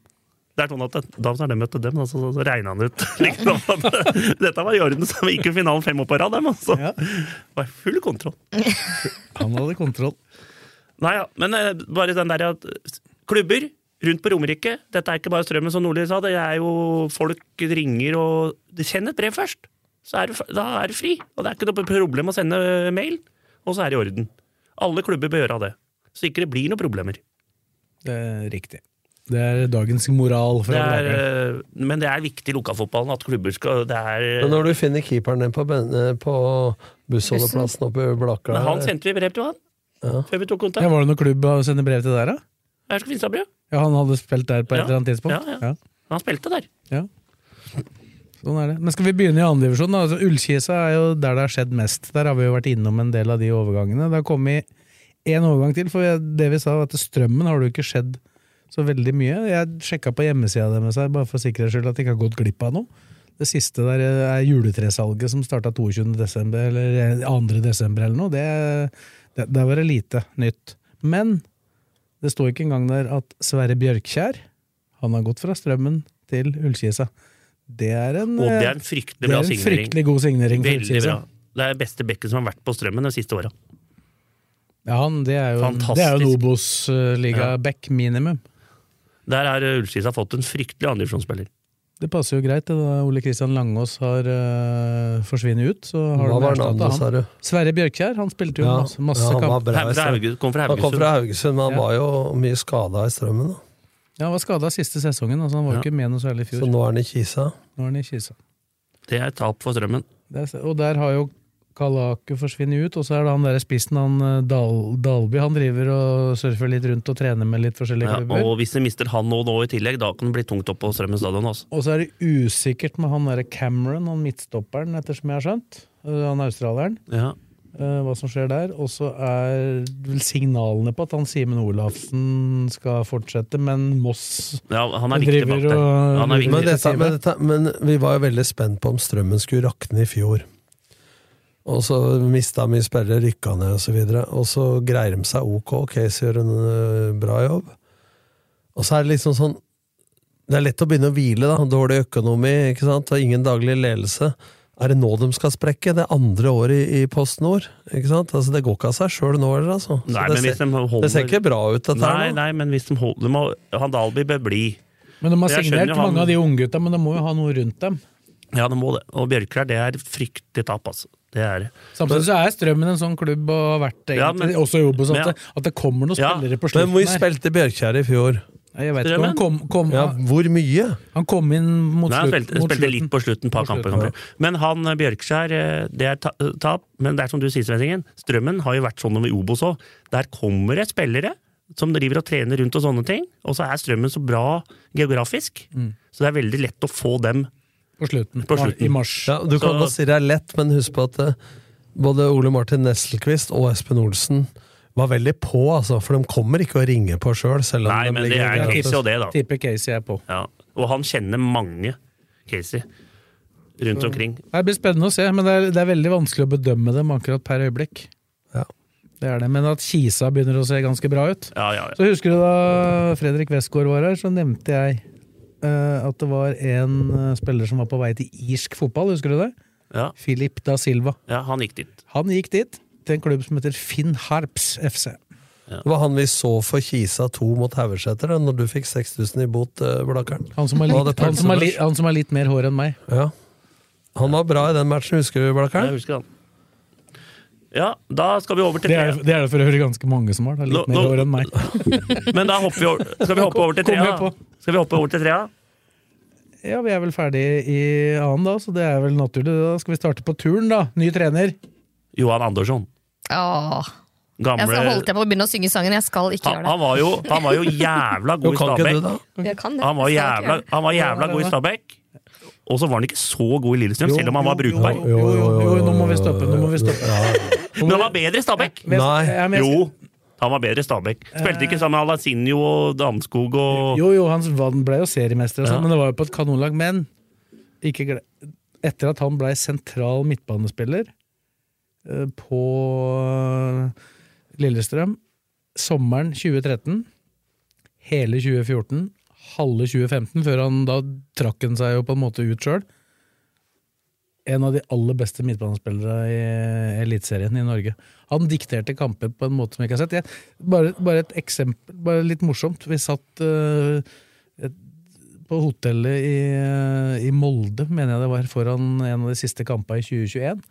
Speaker 3: Det er sånn at det- Da de møtte dem, altså, så, så regna han ut (laughs) liksom, at (laughs) dette var i orden. Så vi gikk jo finalen fem år på rad. dem, Altså.
Speaker 2: Ja.
Speaker 3: Det var full kontroll.
Speaker 2: Han hadde kontroll.
Speaker 3: Nei, ja, men eh, bare den der at klubber rundt på Romerike Dette er ikke bare Strømmen, som Nordli sa. Det er jo folk ringer og de sender et brev først. Så er du, f- da er du fri. Og det er ikke noe problem å sende eh, mail. Og så er det i orden. Alle klubber bør gjøre det. Så ikke det blir noen problemer.
Speaker 2: Det er riktig. Det er dagens moral. For
Speaker 3: Det
Speaker 2: alle
Speaker 3: er,
Speaker 2: lagene.
Speaker 3: eh, men det er viktig i lokalfotballen at klubber skal det er,
Speaker 4: Men når du finner keeperen din på, ben- eh, på bussholdeplassen oppe i eh, Blakka
Speaker 3: Men han sendte vi brev til, han. Før vi tok
Speaker 2: ja,
Speaker 3: kontakt.
Speaker 2: var det noen klubb å sende brev til der, da?
Speaker 3: Her skal Finstadbrød.
Speaker 2: Ja, Han hadde spilt der på et
Speaker 3: Ja.
Speaker 2: eller annet tidspunkt?
Speaker 3: Ja, ja. Han spilte der.
Speaker 2: Ja. Sånn er det. Men skal vi begynne i andredivisjon? Altså, Ullkisa er jo der det har skjedd mest. Der har vi jo vært innom en del av de overgangene. Det har kommet én overgang til, for det vi sa, var at strømmen har det jo ikke skjedd så veldig mye. Jeg sjekka på hjemmesida deres her, bare for sikkerhets skyld, at de ikke har gått glipp av noe. Det siste der eh, er juletresalget som starta 22. desember, eller 2. desember eller noe. Det, det, der var det lite nytt. Men det står ikke engang der at Sverre Bjørkjær han har gått fra Strømmen til Ullkisa. Det er en,
Speaker 3: Og det er
Speaker 2: eh,
Speaker 3: en fryktelig
Speaker 2: det er
Speaker 3: bra
Speaker 2: en
Speaker 3: signering.
Speaker 2: fryktelig god signering for
Speaker 3: Veldig
Speaker 2: Ullkisa.
Speaker 3: bra. Det er beste bekken som har vært på strømmen de siste åra.
Speaker 2: Ja, han, det er jo,
Speaker 3: Fantastisk.
Speaker 2: det er jo en Obos-liga
Speaker 3: Ja.
Speaker 2: back minimum.
Speaker 3: eh, Der har Ullskis har fått en fryktelig andredivisjonsspiller.
Speaker 2: Det passer jo greit. det Da Ole Kristian Langås har eh, forsvunnet ut, så har
Speaker 4: Hva
Speaker 2: de
Speaker 4: var
Speaker 2: erstattet
Speaker 4: navnet, sa du?
Speaker 2: Sverre Bjørkjær, han spilte jo
Speaker 4: Ja,
Speaker 2: masse, masse
Speaker 4: ja, han var
Speaker 2: kamp.
Speaker 4: bra
Speaker 3: Fra
Speaker 4: i Strøm-
Speaker 3: Haugesund- kom fra
Speaker 4: Han kom fra
Speaker 3: Haugesund.
Speaker 4: Haugesund, men han
Speaker 2: Ja.
Speaker 4: var jo mye skada i strømmen. Da.
Speaker 2: Ja, han var skada siste sesongen, altså han var
Speaker 3: Ja.
Speaker 2: ikke med noe særlig i
Speaker 4: Så
Speaker 2: fjor.
Speaker 4: nå er han i Kisa.
Speaker 2: Nå er han i Kisa.
Speaker 3: Det er et tap for strømmen.
Speaker 2: Der, og der har jo Kalaku forsvunnet ut, og så er det han der spissen, han eh, Dal, Dalby, han driver og surfer litt rundt og trener med litt forskjellige
Speaker 3: Ja,
Speaker 2: klubber.
Speaker 3: og hvis de mister han nå, nå i tillegg, da kan det bli tungt opp på Strømmen stadion. Altså.
Speaker 2: Og så er det usikkert med han derre Cameron, han midtstopperen, ettersom jeg har skjønt. eh, Han australieren.
Speaker 3: Ja.
Speaker 2: eh, hva som skjer der. Og så er vel signalene på at han Simen Olafsen skal fortsette, men Moss
Speaker 3: Ja, han er
Speaker 2: Han
Speaker 3: viktig
Speaker 2: driver
Speaker 3: bak der.
Speaker 2: og-
Speaker 3: Han er
Speaker 4: Men,
Speaker 3: viktig.
Speaker 4: dette, men, dette, men vi var jo veldig spent på om strømmen skulle rakne i fjor. Og så mista mye spillere, rykka ned osv. Og så greier de seg ok. ok, så gjør en øh, bra jobb. Og så er det liksom sånn Det er lett å begynne å hvile. da, Dårlig økonomi ikke sant, og ingen daglig ledelse. Er det nå de skal sprekke? Det er andre året i, i Post Nord. ikke sant? Altså, Det går ikke av seg sjøl nå heller, altså. Så
Speaker 3: Nei,
Speaker 4: det,
Speaker 3: men hvis de
Speaker 4: ser,
Speaker 3: holder-
Speaker 4: det ser ikke bra ut, dette
Speaker 3: Nei,
Speaker 4: her nå.
Speaker 3: nei, men hvis de holder de må- Han Dalby bør bli.
Speaker 2: Men de har
Speaker 3: Jeg skjønner
Speaker 2: signert
Speaker 3: jo han-
Speaker 2: mange av de unggutta, men de må jo ha noe rundt dem.
Speaker 3: Ja, de må det. Og Bjørkjær, det er fryktelig tap, altså. Det er det.
Speaker 2: Samtidig så er Strømmen en sånn klubb og har vært det,
Speaker 3: Ja,
Speaker 2: egentlig,
Speaker 3: men-
Speaker 2: også i Obos,
Speaker 3: men
Speaker 2: at,
Speaker 3: ja.
Speaker 2: det- at det kommer noen
Speaker 3: Ja,
Speaker 2: spillere på
Speaker 4: Men
Speaker 2: slutten
Speaker 4: hvor
Speaker 2: her.
Speaker 4: spilte Bjørkjær i fjor?
Speaker 2: Nei, Jeg vet ikke, han
Speaker 3: Strømmen?
Speaker 2: kom, kom,
Speaker 4: Ja, hvor mye?
Speaker 2: han kom inn mot,
Speaker 3: Nei, han
Speaker 2: slutt,
Speaker 3: spilte,
Speaker 2: mot
Speaker 3: spilte
Speaker 2: slutten.
Speaker 3: litt på slutten, et par
Speaker 2: Mot slutten,
Speaker 3: kamper. kanskje. Men han eh, Bjørkskjær, eh, det er ta- tap. Men det er som du sier, Svenningen, strømmen har jo vært sånn over i Obos òg. Der kommer det spillere som driver og trener rundt og sånne ting. Og så er strømmen så bra geografisk,
Speaker 2: Mm.
Speaker 3: så det er veldig lett å få dem
Speaker 2: på slutten,
Speaker 3: På slutten.
Speaker 2: i mars.
Speaker 4: Ja, du kan
Speaker 3: Så-
Speaker 4: godt si det er lett, men husk på at eh, både Ole Martin Nesselquist og Espen Olsen var veldig på, altså, for de kommer ikke å ringe på sjøl. Selv, om
Speaker 3: Nei,
Speaker 4: de
Speaker 3: men det er
Speaker 4: ligger i gratis.
Speaker 3: Casey og det, da.
Speaker 2: Tipper Casey er på.
Speaker 3: Ja. Og han kjenner mange Casey rundt omkring.
Speaker 2: Det blir spennende å se, men det er, det er veldig vanskelig å bedømme dem akkurat per øyeblikk.
Speaker 4: Ja.
Speaker 2: Det er det, Men at Kisa begynner å se ganske bra ut
Speaker 3: Ja, ja, ja.
Speaker 2: Så husker du da Fredrik Westgård var her, så nevnte jeg eh, at det var en eh, spiller som var på vei til irsk fotball, husker du det?
Speaker 3: ja.
Speaker 2: Filip da Silva.
Speaker 3: ja han gikk dit.
Speaker 2: Han gikk dit, til en klubb som heter Finn Harps FC.
Speaker 4: Det var han vi så for Kisa 2 mot Haugeseter, da, når du fikk 6000 i bot, eh, Blakkaren.
Speaker 2: Han som, har
Speaker 4: Og
Speaker 2: litt,
Speaker 4: hadde
Speaker 2: han, som har litt,
Speaker 4: pølsebrød.
Speaker 2: han som har litt mer hår enn meg.
Speaker 4: Ja. Han var bra i den matchen, husker du,
Speaker 3: Jeg
Speaker 4: Blakkaren?
Speaker 3: husker han. Ja, da skal vi over til
Speaker 2: Det er det er det for å høre ganske mange som har. Det er
Speaker 3: Nå-
Speaker 2: litt mer
Speaker 3: nå-
Speaker 2: hår enn meg.
Speaker 3: Men da hopper vi over, skal vi hoppe over
Speaker 2: (laughs)
Speaker 3: til
Speaker 2: Kom
Speaker 3: trea.
Speaker 2: jeg på.
Speaker 3: da? Skal vi hoppe over til trea?
Speaker 2: Ja, vi er vel ferdig i annen da, så det er vel naturlig. Da skal vi starte på turn, da. Ny trener.
Speaker 3: Johan Andersson.
Speaker 6: Åh,
Speaker 3: Gamle
Speaker 6: jeg skal holdt jeg på å begynne å synge sangen. Jeg skal ikke
Speaker 3: han,
Speaker 6: gjøre det.
Speaker 3: han, var jo, han var jo jævla
Speaker 4: Jo,
Speaker 3: god i
Speaker 4: kan ikke
Speaker 3: Stabæk.
Speaker 4: (laughs) du, da?
Speaker 6: Jeg kan det.
Speaker 3: Han var
Speaker 6: Jeg skal ikke
Speaker 3: jævla,
Speaker 6: gjøre det.
Speaker 3: han var jævla god i Stabæk. Og så var han ikke så god i Lillestrøm, selv om han var brukbar.
Speaker 2: Jo, jo, jo, jo, nå må vi stoppe. Nå må vi stoppe.
Speaker 3: Men han var bedre i Stabæk!
Speaker 4: Nei.
Speaker 2: Ja, men jeg skal-
Speaker 3: Jo, han var bedre i Stabæk. Spilte ikke sammen med Alasinho og Danskog og
Speaker 2: Jo, jo, han vann- ble jo seriemester, og sånn,
Speaker 3: Ja.
Speaker 2: men det var jo på et kanonlag. Men ikke gle etter at han blei sentral midtbanespiller eh, på Lillestrøm sommeren 2013, hele 2014, halve 2015, før han da trakk han seg jo på en måte ut sjøl. En av de aller beste midtbanespillere i Eliteserien i Norge. Han dikterte kamper på en måte som vi ikke har sett. Jeg, bare, bare et eksempel, bare litt morsomt. Vi satt eh, et, på hotellet i, eh, i Molde, mener jeg det var, foran en av de siste kampene i 2021.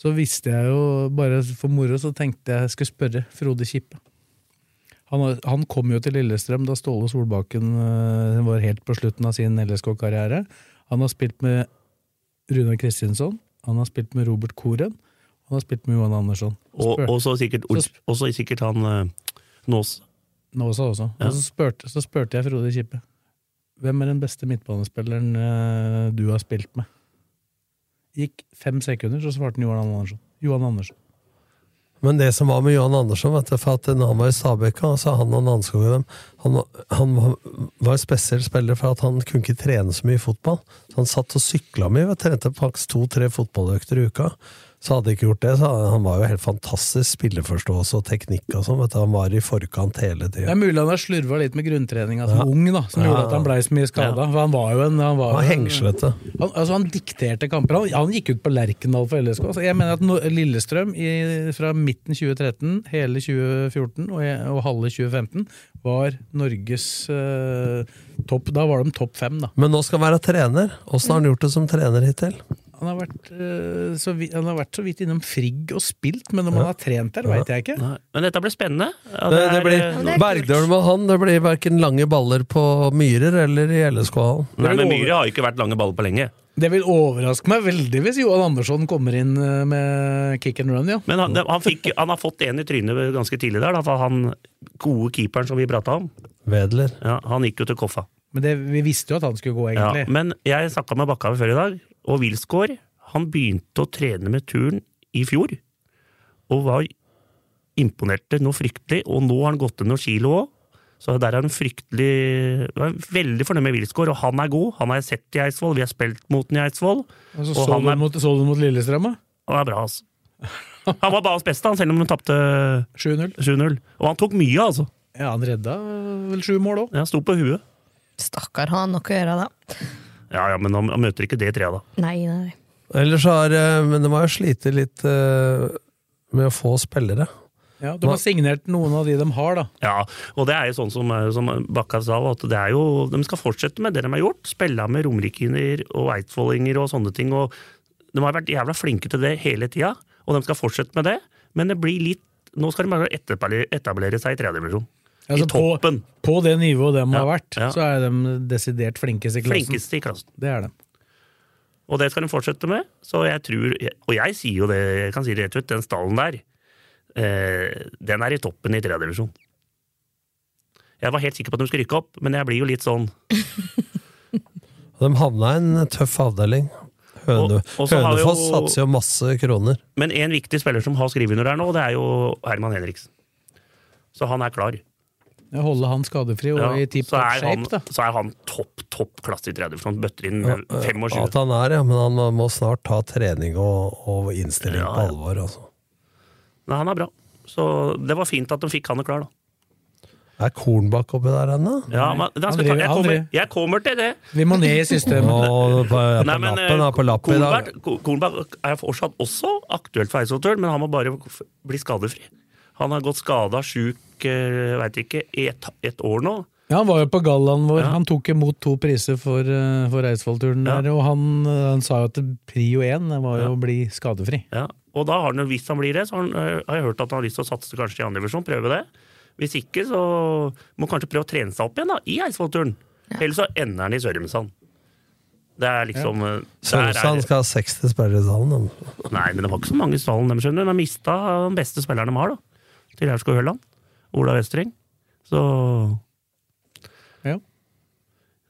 Speaker 2: Så visste jeg jo, bare for moro, så tenkte jeg jeg skulle spørre Frode Kippe. Han, har- han kom jo til Lillestrøm da Ståle Solbakken eh, var helt på slutten av sin LSK-karriere. Han har spilt med Runar Kristinsson, han har spilt med Robert Koren, han har spilt med Johan Andersson.
Speaker 3: Og, og så sikkert, og så sikkert han eh, Nås.
Speaker 2: Nåsa også. Og så spurte, så spurte jeg Frode Kippe hvem er den beste midtbanespilleren eh, du har spilt med. Gikk fem sekunder, så svarte han Johan Andersson. Johan Andersson.
Speaker 4: Men det som var med Johan Andersson, vet du, for at når han var i Stabæk, altså han og Nanskog og dem, han, var- han var- var en spesiell spiller for at han kunne ikke trene så mye fotball. Så han satt og sykla mye, og trente faktisk to-tre fotballøkter i uka. Så hadde jeg ikke gjort det, så hadde- han var jo helt fantastisk spilleforståelse og teknikk og sånn. vet du. Han var i forkant hele
Speaker 2: Det
Speaker 4: tida.
Speaker 2: er mulig han har slurva litt med grunntreninga som
Speaker 4: Ja.
Speaker 2: ung, da, som
Speaker 4: Ja.
Speaker 2: gjorde at han blei så mye skada. For han var jo en Han,
Speaker 4: Han
Speaker 2: var
Speaker 4: var
Speaker 2: jo en-
Speaker 4: hengslete.
Speaker 2: han, altså, han dikterte kamper. Han, han gikk ut på Lerkendal for LSK. Så jeg mener at no, Lillestrøm i, fra midten 2013, hele 2014 og, og halve 2015 var Norges eh, topp Da var de topp fem, da.
Speaker 4: Men nå skal han være trener. Åssen har han gjort det som trener hittil?
Speaker 2: Han har vært, eh, så, vidt, han har vært så vidt innom Frigg og spilt, men om han har trent der, veit jeg ikke.
Speaker 3: Nei. Men dette blir spennende. Ja,
Speaker 4: Det, det
Speaker 3: er, eh,
Speaker 4: blir Bergdølm og han. Det blir verken lange baller på Myrer eller i LSK-hallen.
Speaker 3: Nei,
Speaker 2: Det
Speaker 3: men
Speaker 2: blir
Speaker 3: Myhre har jo ikke vært lange baller på lenge.
Speaker 2: Det vil overraske meg veldig hvis Johan Andersson kommer inn eh, med kick and run, ja.
Speaker 3: Men han, han, fikk, han har fått en i trynet ganske tidlig der. Da, for han gode keeperen som vi prata om,
Speaker 4: Wedler.
Speaker 3: ja, han gikk jo til Koffa.
Speaker 2: Men det, vi visste jo at han skulle gå,
Speaker 3: Ja,
Speaker 2: egentlig.
Speaker 3: men jeg snakka med Bakkhaug før i dag, og Wilsgård han begynte å trene med turn i fjor. Og var imponerte noe fryktelig, og nå har han gått ned noen kilo òg. Så der er han fryktelig jeg er Veldig fornøyd med Wilsgård, og han er god. Han har jeg sett i Eidsvoll, vi har spilt mot den i Eidsvoll.
Speaker 2: Og så
Speaker 3: Og
Speaker 2: så,
Speaker 3: han
Speaker 2: du
Speaker 3: er-
Speaker 2: mot, så du mot Lillestrøm, da?
Speaker 3: Han er bra, altså. Han var banens beste, han, selv om han tapte
Speaker 2: 7-0.
Speaker 3: 7-0. Og han tok mye, altså.
Speaker 2: Ja, han redda eh, vel sju mål òg.
Speaker 3: Ja, Han sto på huet.
Speaker 6: Stakkar, har han nok å gjøre da?
Speaker 3: Ja, ja, men han, han møter ikke det treet, da.
Speaker 6: Nei, nei.
Speaker 4: Ellers har eh, Men de har jo slitt litt eh, med å få spillere.
Speaker 2: Ja, de har signert noen av de de har, da.
Speaker 3: Ja, og det er jo sånn som, som Bakka sa, at det er jo, de skal fortsette med det de har gjort. Spille med romerikinger og eidsvollinger og sånne ting. og De har vært jævla flinke til det hele tida, og de skal fortsette med det. Men det blir litt Nå skal de bare etterpelle- etablere seg i tredjedivisjon. I
Speaker 2: Altså, på-
Speaker 3: toppen.
Speaker 2: På det nivået de har
Speaker 3: Ja,
Speaker 2: vært,
Speaker 3: ja.
Speaker 2: så er de desidert flinkest i klassen.
Speaker 3: Flinkeste i klassen.
Speaker 2: Det er de.
Speaker 3: Og det skal de fortsette med. Så jeg tror, og jeg sier jo det, jeg kan si det rett ut, den stallen der, eh, den er i toppen i tredje divisjon. Jeg var helt sikker på at de skulle rykke opp, men jeg blir jo litt sånn
Speaker 4: De havna i en tøff avdeling. Høne,
Speaker 3: Og- og så har vi jo-
Speaker 4: Hønefoss satser jo masse kroner.
Speaker 3: Men en viktig spiller som har skrevet under her nå, det er jo Herman Henriksen. Så han er klar.
Speaker 2: Ja, Holde han skadefri og
Speaker 3: Ja,
Speaker 2: i tip
Speaker 3: så,
Speaker 2: top
Speaker 3: er han,
Speaker 2: shape, da.
Speaker 3: så er han topp, topp klasse i tredje divisjon. Bøtter inn
Speaker 4: At
Speaker 3: 25.
Speaker 4: han er, ja, men han må- må snart ta trening og, og innstilling
Speaker 3: Ja, ja.
Speaker 4: på alvor. Altså.
Speaker 3: Nei, han er bra. Så det var fint at de fikk han klar, da.
Speaker 4: Er Kornbakk oppi der ennå?
Speaker 3: Ja, men, da skal,
Speaker 2: driver-
Speaker 3: jeg,
Speaker 2: han
Speaker 3: kommer,
Speaker 2: driver.
Speaker 3: jeg kommer til det.
Speaker 2: Vi må ned i systemet.
Speaker 4: Å, på, ja, på
Speaker 3: Nei, men,
Speaker 4: lappen, ja, på lappen i dag.
Speaker 3: Kornberg- Ko- Kornberg er fortsatt også aktuelt for Eidsvollturen, men han må bare f- bli skadefri. Han har gått skada, sjuk, eh, veit ikke, i ett et år nå.
Speaker 2: Ja, han var jo på gallaen vår.
Speaker 3: Ja.
Speaker 2: Han tok imot to priser for, eh, for Eidsvollturen
Speaker 3: Ja.
Speaker 2: der, og han, eh, han sa jo at prio én var jo å bli skadefri.
Speaker 3: Ja. Og da har han, jo- hvis han blir det, så har, han, eh, har jeg hørt at han har lyst til å satse kanskje i andre divisjon, prøve det. Hvis ikke, så må han kanskje prøve å trene seg opp igjen da, i Eidsvollturen. Ellers så ender han i Sørumsand. Det er liksom eh, der er
Speaker 4: Sørumsand
Speaker 3: det-
Speaker 4: skal ha 60 spillere i salen. da.
Speaker 3: Nei, men det var ikke så mange i stallen, de skjønner. De har mista den beste spilleren de har, da. Til Aurskog Høland. Ola Vestreng. Så
Speaker 2: Ja.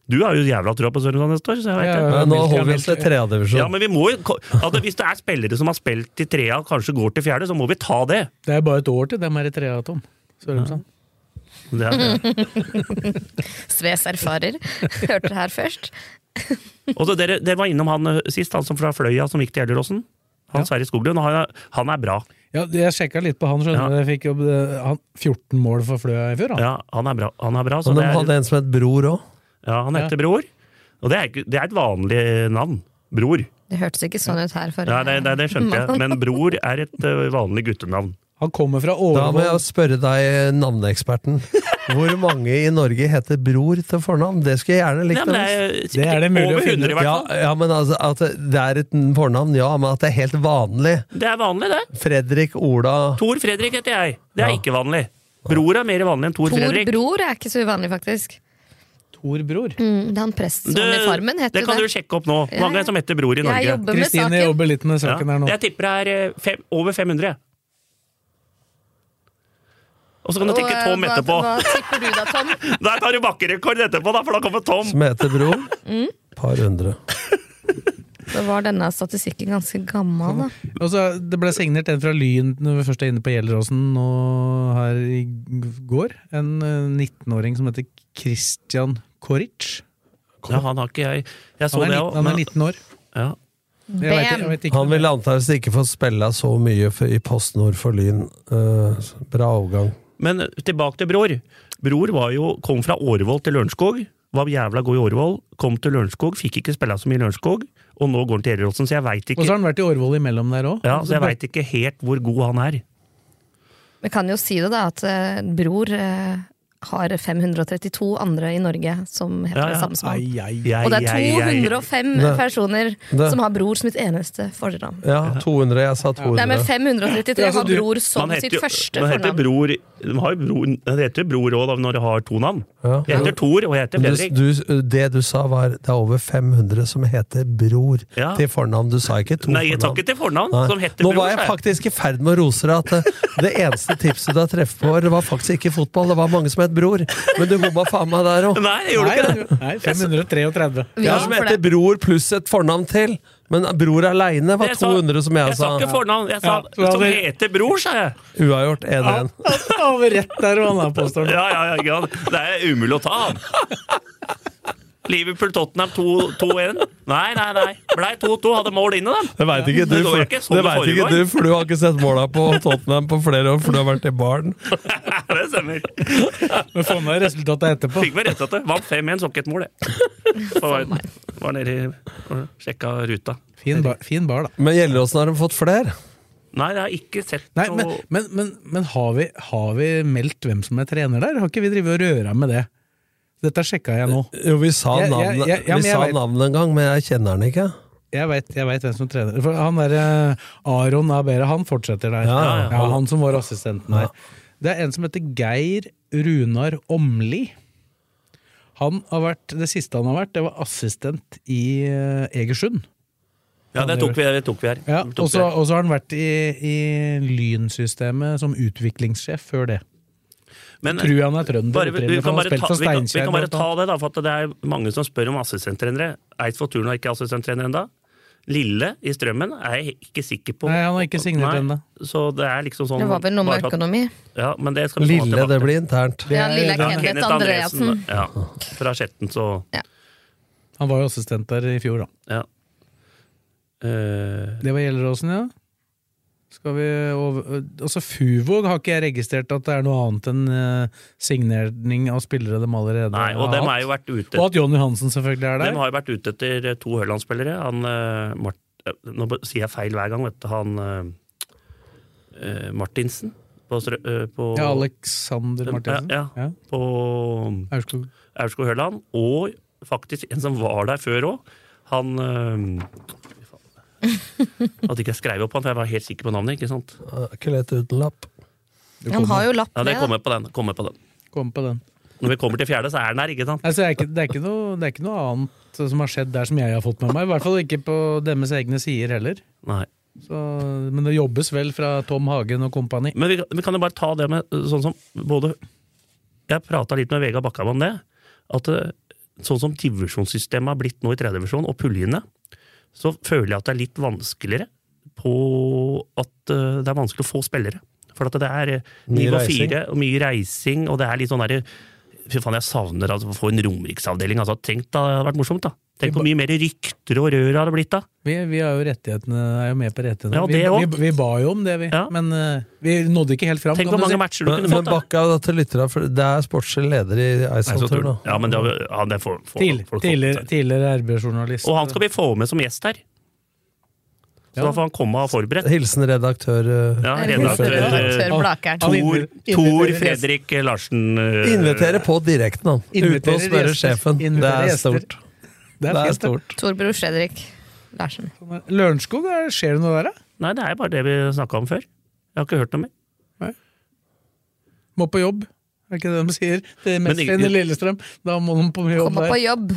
Speaker 3: Du har jo jævla trua på Sørumsand neste år, så jeg vet
Speaker 2: Ja,
Speaker 3: det.
Speaker 4: Men Nå
Speaker 2: Milke,
Speaker 4: holder vi oss til
Speaker 2: Milke.
Speaker 3: Ja,
Speaker 4: tredjedivisjon.
Speaker 3: men vi må jo ko- altså, Hvis det er spillere som har spilt i trea, og kanskje går til fjerde, så må vi ta det.
Speaker 2: Det er bare et år til dem er i trea, Tom. Sørumsand.
Speaker 3: Det er,
Speaker 6: Sves
Speaker 3: (laughs)
Speaker 6: erfarer. Hørte det her først.
Speaker 3: Og så dere, dere var innom han eh, sist, han som fra Fløya som gikk til Gjelleråsen. Han Sverre Skoglund. Han, er- han er bra.
Speaker 2: Ja, jeg sjekka litt på han, skjønner du. Jeg fikk jo eh, han, 14 mål for Fløya i fjor, han.
Speaker 3: Ja, han er bra. Han er bra så
Speaker 4: Men
Speaker 3: det
Speaker 4: de
Speaker 3: er,
Speaker 4: hadde en som het Bror òg.
Speaker 3: ja, han heter Bror. Og det er, ikke- det er et vanlig eh, navn. Bror.
Speaker 6: Det hørtes ikke sånn ut her forrige
Speaker 3: Ja, det, det, det skjønte jeg. Men Bror er et eh, vanlig guttenavn.
Speaker 2: Han kommer fra
Speaker 4: Da må jeg
Speaker 2: Ålvål.
Speaker 4: spørre deg, navneeksperten. Hvor mange i Norge heter Bror til fornavn? Det skulle jeg gjerne
Speaker 3: Nei,
Speaker 4: likt
Speaker 3: men
Speaker 4: å
Speaker 3: det
Speaker 4: vite.
Speaker 3: er,
Speaker 2: Det er det mulig å
Speaker 3: over 100
Speaker 2: finne
Speaker 3: i hvert
Speaker 4: Ja,
Speaker 3: fall.
Speaker 4: ja, men altså, at det er et fornavn, ja, men at det er helt vanlig.
Speaker 3: Det er vanlig, det.
Speaker 4: Fredrik, Ola
Speaker 3: Tor Fredrik heter jeg. Det er
Speaker 4: Ja.
Speaker 3: ikke vanlig. Bror er mer vanlig enn Tor,
Speaker 6: Tor
Speaker 3: Fredrik.
Speaker 6: Bror er ikke så uvanlig, faktisk.
Speaker 2: Tor Bror.
Speaker 6: Mm, det er han presten som i Farmen
Speaker 3: det
Speaker 6: heter
Speaker 3: kan
Speaker 6: jo
Speaker 3: du
Speaker 6: det.
Speaker 3: sjekke opp nå. Hvor
Speaker 6: Ja,
Speaker 3: mange
Speaker 6: ja.
Speaker 3: som heter Bror i
Speaker 6: Jeg
Speaker 3: Norge?
Speaker 6: jobber med
Speaker 2: Kristine
Speaker 6: saken.
Speaker 2: jobber litt med saken her nå.
Speaker 3: Jeg tipper det er eh, fem, over 500. Og så kan du tenke
Speaker 6: Og, eh,
Speaker 3: Tom etterpå. (laughs)
Speaker 6: Hva, hva tipper du da, Tom?
Speaker 3: Der tar du bakkerekord etterpå, da, for da kommer Tom.
Speaker 4: som heter Bror.
Speaker 3: Mm.
Speaker 4: Par hundre.
Speaker 6: Da var denne statistikken ganske gammel, da.
Speaker 2: Og så Det ble signert en fra Lyn når vi først er inne på Gjelleråsen nå her i går. En eh, 19-åring som heter Christian Koric.
Speaker 3: Ja, han har ikke jeg. Jeg så
Speaker 2: Han er,
Speaker 3: det
Speaker 2: 19,
Speaker 3: òg.
Speaker 2: han er 19 år.
Speaker 3: Ja.
Speaker 2: Jeg vet, jeg vet ikke.
Speaker 4: Han ville antakeligvis ikke fått spille så mye for, i Post Nord for Lyn. Eh, bra overgang.
Speaker 3: Men eh, tilbake til Bror. Bror var jo, kom fra Årvoll til Lørenskog. Var jævla god i Årvoll. Kom til Lørenskog, fikk ikke spille så mye i Lørenskog. Og nå går han til Ereråsen, så jeg veit
Speaker 2: Og så
Speaker 3: ikke,
Speaker 2: har han vært i Årvoll imellom der òg.
Speaker 3: ja, så jeg vet ikke helt hvor god han er.
Speaker 6: Vi kan jo si det, da, at eh, Bror eh, har 532 andre i Norge som heter
Speaker 3: Ja, ja.
Speaker 6: det samme som han.
Speaker 3: Jeg-
Speaker 6: Og det er
Speaker 3: jeg- jeg-
Speaker 6: 205
Speaker 4: Det-
Speaker 6: personer
Speaker 4: det-
Speaker 6: som har Bror som sitt eneste fornavn.
Speaker 4: Ja, 200. Jeg sa
Speaker 6: Nei, men
Speaker 4: 200.
Speaker 6: 533
Speaker 2: Ja, så
Speaker 6: har
Speaker 2: du-
Speaker 6: Bror
Speaker 3: Man
Speaker 6: som
Speaker 3: heter
Speaker 6: sitt
Speaker 3: jo-
Speaker 6: første
Speaker 3: man heter
Speaker 6: fornavn.
Speaker 3: bror, de har jo bror, det heter jo bror òg, når du har to navn.
Speaker 4: Ja.
Speaker 3: Jeg heter Tor, og jeg heter
Speaker 4: Men
Speaker 3: Fredrik.
Speaker 4: Du, du, det du sa, var det er over 500 som heter Bror
Speaker 3: Ja.
Speaker 4: til fornavn. Du sa ikke to
Speaker 3: Nei, jeg tar
Speaker 4: fornavn.
Speaker 3: ikke til fornavn,
Speaker 4: Nei.
Speaker 3: som heter
Speaker 4: Nå
Speaker 3: bror.
Speaker 4: var jeg
Speaker 3: sa jeg.
Speaker 4: faktisk i ferd med å rose deg at eh, det eneste tipset du har treffet på, det var faktisk ikke fotball. Det var mange som het Bror. Men du bomma faen meg der òg.
Speaker 3: Nei, jeg gjorde ikke det.
Speaker 2: Nei, 533.
Speaker 6: Vi
Speaker 4: Ja,
Speaker 6: har
Speaker 4: som
Speaker 6: for
Speaker 4: heter
Speaker 6: det.
Speaker 4: Bror pluss et fornavn til. Men Bror aleine var
Speaker 3: Jeg sa-
Speaker 4: 200, som jeg
Speaker 3: Jeg sa
Speaker 4: sa.
Speaker 3: ikke fornavn, jeg sa
Speaker 2: Ja, så
Speaker 3: som
Speaker 2: hadde-
Speaker 3: heter bror, sa jeg.
Speaker 4: Uavgjort 1-1.
Speaker 2: Han var rett der og han er påstår.
Speaker 3: Ja, ja, ja, ikke sant? Det er umulig å ta, han. Liverpool-Tottenham 2-1. Nei, nei, nei. Blei 2-2, hadde mål inne, dem.
Speaker 4: Det veit ikke, du,
Speaker 3: Det går
Speaker 4: for-
Speaker 3: jo ikke sånn
Speaker 4: det
Speaker 3: det
Speaker 4: vet ikke
Speaker 3: foregår. (laughs)
Speaker 4: du, for du har ikke sett måla på Tottenham på flere år, for du har vært i baren.
Speaker 3: Det stemmer.
Speaker 2: Men få med resultatet etterpå.
Speaker 3: Fikk meg rett at det. Vant 5-1, så ikke et mål, det.
Speaker 6: (laughs)
Speaker 3: Så
Speaker 6: Sånn,
Speaker 3: Var, var nede i- og sjekka ruta.
Speaker 2: Fin bar, fin bar da.
Speaker 4: Men Gjelleråsen har de fått flere.
Speaker 3: Nei, jeg har ikke sett
Speaker 2: Nei,
Speaker 3: noe
Speaker 2: men, men, men, men har, vi, har vi meldt hvem som er trener der? Har ikke vi drevet og røra med det? Dette sjekka jeg nå.
Speaker 4: Jo, vi sa
Speaker 2: Jeg- jeg-
Speaker 4: navnet,
Speaker 2: jeg- ja, men
Speaker 4: vi
Speaker 2: jeg
Speaker 4: sa
Speaker 2: vet.
Speaker 4: navnet en gang, men jeg kjenner den ikke.
Speaker 2: Jeg veit hvem som trener. For han derre Aron Abere, han fortsetter der.
Speaker 4: Ja, ja.
Speaker 2: han som var assistenten der. Det er en som heter Geir Runar Åmli. Han har vært, Det siste han har vært, det var assistent i eh, Egersund.
Speaker 3: Ja, det tok vi, det tok vi her.
Speaker 2: Ja,
Speaker 3: Det
Speaker 2: og
Speaker 3: tok vi
Speaker 2: så
Speaker 3: her.
Speaker 2: og så har han vært i, i Lynsystemet som utviklingssjef før det.
Speaker 3: Men
Speaker 2: Tror jeg han er trønder.
Speaker 3: bare, vi, vi, kan
Speaker 2: for han har
Speaker 3: bare
Speaker 2: spilt
Speaker 3: ta,
Speaker 2: for
Speaker 3: vi, kan, vi
Speaker 2: Steinkjer
Speaker 3: kan bare
Speaker 2: blant
Speaker 3: ta
Speaker 2: annet.
Speaker 3: det, da, for at det er mange som spør om assistenttrenere. Eidsvoll Turn har ikke assistenttrener ennå. Lille i Strømmen er jeg ikke sikker på.
Speaker 2: Nei, han har ikke signert
Speaker 3: Nei,
Speaker 2: ennå.
Speaker 3: Så det er liksom sånn
Speaker 6: Det var vel noe med
Speaker 3: bare at-
Speaker 6: økonomi.
Speaker 3: Ja, men det skal vi komme
Speaker 4: Lille,
Speaker 3: tilbake
Speaker 4: det
Speaker 3: til.
Speaker 4: blir internt.
Speaker 6: Ja, Lille
Speaker 3: Ja,
Speaker 6: Kenneth, Andreassen.
Speaker 3: Ja, fra Skjetten, så
Speaker 2: Han var jo assistent der i fjor, da.
Speaker 3: ja. Eh,
Speaker 2: Det var Gjelleråsen, ja. Skal vi over... Altså, Fuvåg har ikke jeg registrert at det er noe annet enn eh, signering av spillere de allerede
Speaker 3: nei, og
Speaker 2: har
Speaker 3: dem
Speaker 2: hatt.
Speaker 3: har jo vært ute
Speaker 2: Og at Jonny Hansen selvfølgelig er
Speaker 3: De
Speaker 2: der.
Speaker 3: har jo vært ute etter eh, to Hørland-spillere. Han eh, Mart eh, Nå b- sier jeg feil hver gang, vet du. Han eh, eh, Martinsen på, Strø- eh, på,
Speaker 2: Ja, Alexander Martinsen.
Speaker 3: Ja, ja. på
Speaker 2: Aurskog.
Speaker 3: Aurskog Hørland. Og faktisk en som var der før òg. Han eh, fy faen. At ikke jeg skrev opp han, for jeg var helt sikker på navnet. ikke sant?
Speaker 4: Ja, Ikke lett uten lapp.
Speaker 6: Han har jo lapp
Speaker 3: Ja,
Speaker 6: med.
Speaker 3: det
Speaker 6: da.
Speaker 3: kommer på den. Kommer på den.
Speaker 2: Kom på den.
Speaker 3: Når vi kommer til fjerde, så er den her, ikke sant?
Speaker 2: Nei, så det, er ikke, det, er ikke noe, det er ikke noe annet som har skjedd der som jeg har fått med meg. I hvert fall ikke på deres egne sider heller.
Speaker 3: Nei.
Speaker 2: Så, men det jobbes vel fra Tom Hagen og kompani.
Speaker 3: Men vi, kan- vi kan jo bare ta det med øh, sånn som både Jeg prata litt med Vegard Bakkam om det. At øh, sånn som divisjonssystemet har blitt nå i tredje divisjon, og puljene, så føler jeg at det er litt vanskeligere på at øh, det er vanskelig å få spillere. For at det er øh,
Speaker 4: Mye
Speaker 3: nivå
Speaker 4: reising.
Speaker 3: fire og mye reising, og det er litt sånn derre Fy faen, jeg savner altså, å få en Romeriksavdeling. Altså, tenk da, det hadde vært morsomt, da. Tenk hvor mye mer rykter og rør det hadde blitt da.
Speaker 2: Vi, vi har jo rettighetene, er jo med på rettighetene.
Speaker 3: Ja, det
Speaker 2: vi,
Speaker 3: også.
Speaker 2: vi, vi ba jo om det, vi.
Speaker 3: Ja.
Speaker 2: Men eh, vi nådde ikke helt fram.
Speaker 3: Tenk
Speaker 2: kan
Speaker 3: hvor
Speaker 2: du
Speaker 3: mange
Speaker 2: si.
Speaker 3: matcher du
Speaker 4: Men,
Speaker 3: kunne
Speaker 4: men
Speaker 3: fått, da.
Speaker 4: Bakka, da, til lyttere, for det er sportslig leder i
Speaker 3: Nei, så tror-
Speaker 4: Eidsvoll-turen.
Speaker 3: Ja, men det, er- ja, det får, får,
Speaker 2: Tidlig-
Speaker 3: folk-
Speaker 2: tidligere tidligere RB-journalist.
Speaker 3: Og han skal vi få med som gjest her. Så
Speaker 2: Ja.
Speaker 3: da får han komme og forberedt.
Speaker 4: Hilsen redaktør eh,
Speaker 3: Ja,
Speaker 6: Det er
Speaker 3: redaktør,
Speaker 6: redaktør
Speaker 3: eh,
Speaker 6: Blakeren.
Speaker 2: Han
Speaker 3: Tor,
Speaker 2: inviterer-
Speaker 3: Tor
Speaker 2: inviterer
Speaker 3: Fredrik Larsen. eh,
Speaker 4: Inviterer på direkten, da. Uten å
Speaker 2: Inviterer
Speaker 4: spørre
Speaker 2: gjester.
Speaker 4: sjefen. Det
Speaker 2: Inviterer
Speaker 4: er
Speaker 2: gjester.
Speaker 4: stort.
Speaker 2: Det
Speaker 4: Det
Speaker 2: er
Speaker 4: er
Speaker 2: fint,
Speaker 4: stort.
Speaker 6: Torbror Fredrik Larsen.
Speaker 2: det. Lørenskog, er- skjer det noe der, da?
Speaker 3: Nei, det er bare det vi snakka om før. Jeg har ikke hørt noe mer.
Speaker 2: Må på jobb. Er ikke det de sier? Det er mest
Speaker 3: ingen-
Speaker 2: i Lillestrøm. Da må de på jobb
Speaker 6: Kommer
Speaker 2: der.
Speaker 6: på jobb.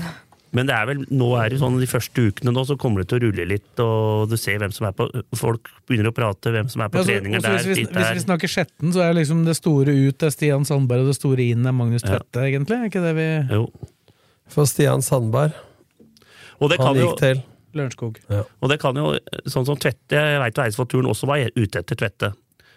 Speaker 3: Men det er vel, nå er det sånn de første ukene nå, så kommer det til å rulle litt, og du ser hvem som er på Folk begynner å prate hvem som er på
Speaker 2: Ja, så-
Speaker 3: treninger
Speaker 2: også
Speaker 3: der.
Speaker 2: hvis, vi,
Speaker 3: dit
Speaker 2: hvis
Speaker 3: der.
Speaker 2: vi snakker Skjetten, så er liksom det store ut det er Stian Sandberg, og det store inn er Magnus
Speaker 3: Ja.
Speaker 2: Tvedte, egentlig. Er ikke det vi
Speaker 3: Jo.
Speaker 4: For Stian Sandberg,
Speaker 3: Og det kan
Speaker 4: han
Speaker 3: jo
Speaker 4: gikk til.
Speaker 2: Lørenskog.
Speaker 3: Og det kan jo, sånn som Tvette, jeg vet jo Eidsvoll-turen også var ute etter Tvette.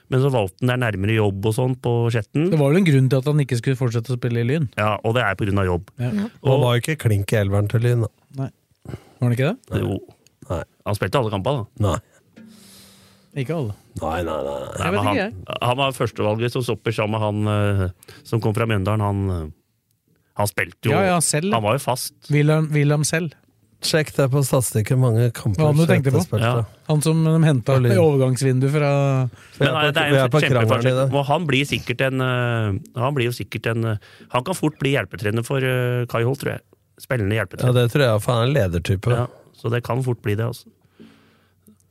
Speaker 3: Men så valgte han der nærmere jobb og sånn på Skjetten.
Speaker 2: Det var vel en grunn til at han ikke skulle fortsette å spille i Lyn?
Speaker 3: Ja, og det er på grunn av jobb.
Speaker 2: Ja.
Speaker 4: Han
Speaker 3: Og,
Speaker 4: var jo ikke klink i elveren til Lyn. da.
Speaker 2: Var han ikke det?
Speaker 3: jo,
Speaker 4: Nei.
Speaker 3: Han spilte alle kampene, da.
Speaker 4: Nei.
Speaker 2: Ikke alle.
Speaker 4: Nei, nei, nei. nei.
Speaker 3: Nei, men
Speaker 2: vet
Speaker 3: han, han var førstevalget som stopper sammen med han eh, som kom fra Mjøndalen. Han, eh, han spilte jo
Speaker 2: Ja, ja, selv.
Speaker 3: Han var jo fast.
Speaker 2: Wilhelm, Wilhelm selv.
Speaker 4: Sjekk der på statistikken mange kamper
Speaker 2: Hva var det du tenkte på?
Speaker 4: Kjøpte spilte.
Speaker 3: Ja.
Speaker 2: Han som de henta i overgangsvinduet fra
Speaker 3: Men
Speaker 4: Vi er
Speaker 3: nei,
Speaker 4: på-
Speaker 3: det
Speaker 4: vi
Speaker 3: er
Speaker 4: er
Speaker 3: en
Speaker 4: på krangelen i
Speaker 3: kjempeforskjell.
Speaker 4: det.
Speaker 3: Og han blir sikkert en eh, Han blir jo sikkert en eh, Han kan fort bli hjelpetrener for eh, Kai Holt, tror jeg. Spillende
Speaker 4: Ja,
Speaker 3: hjelpetrener.
Speaker 4: det tror jeg, for han er en ledertype.
Speaker 3: Ja, så det kan fort bli det, altså.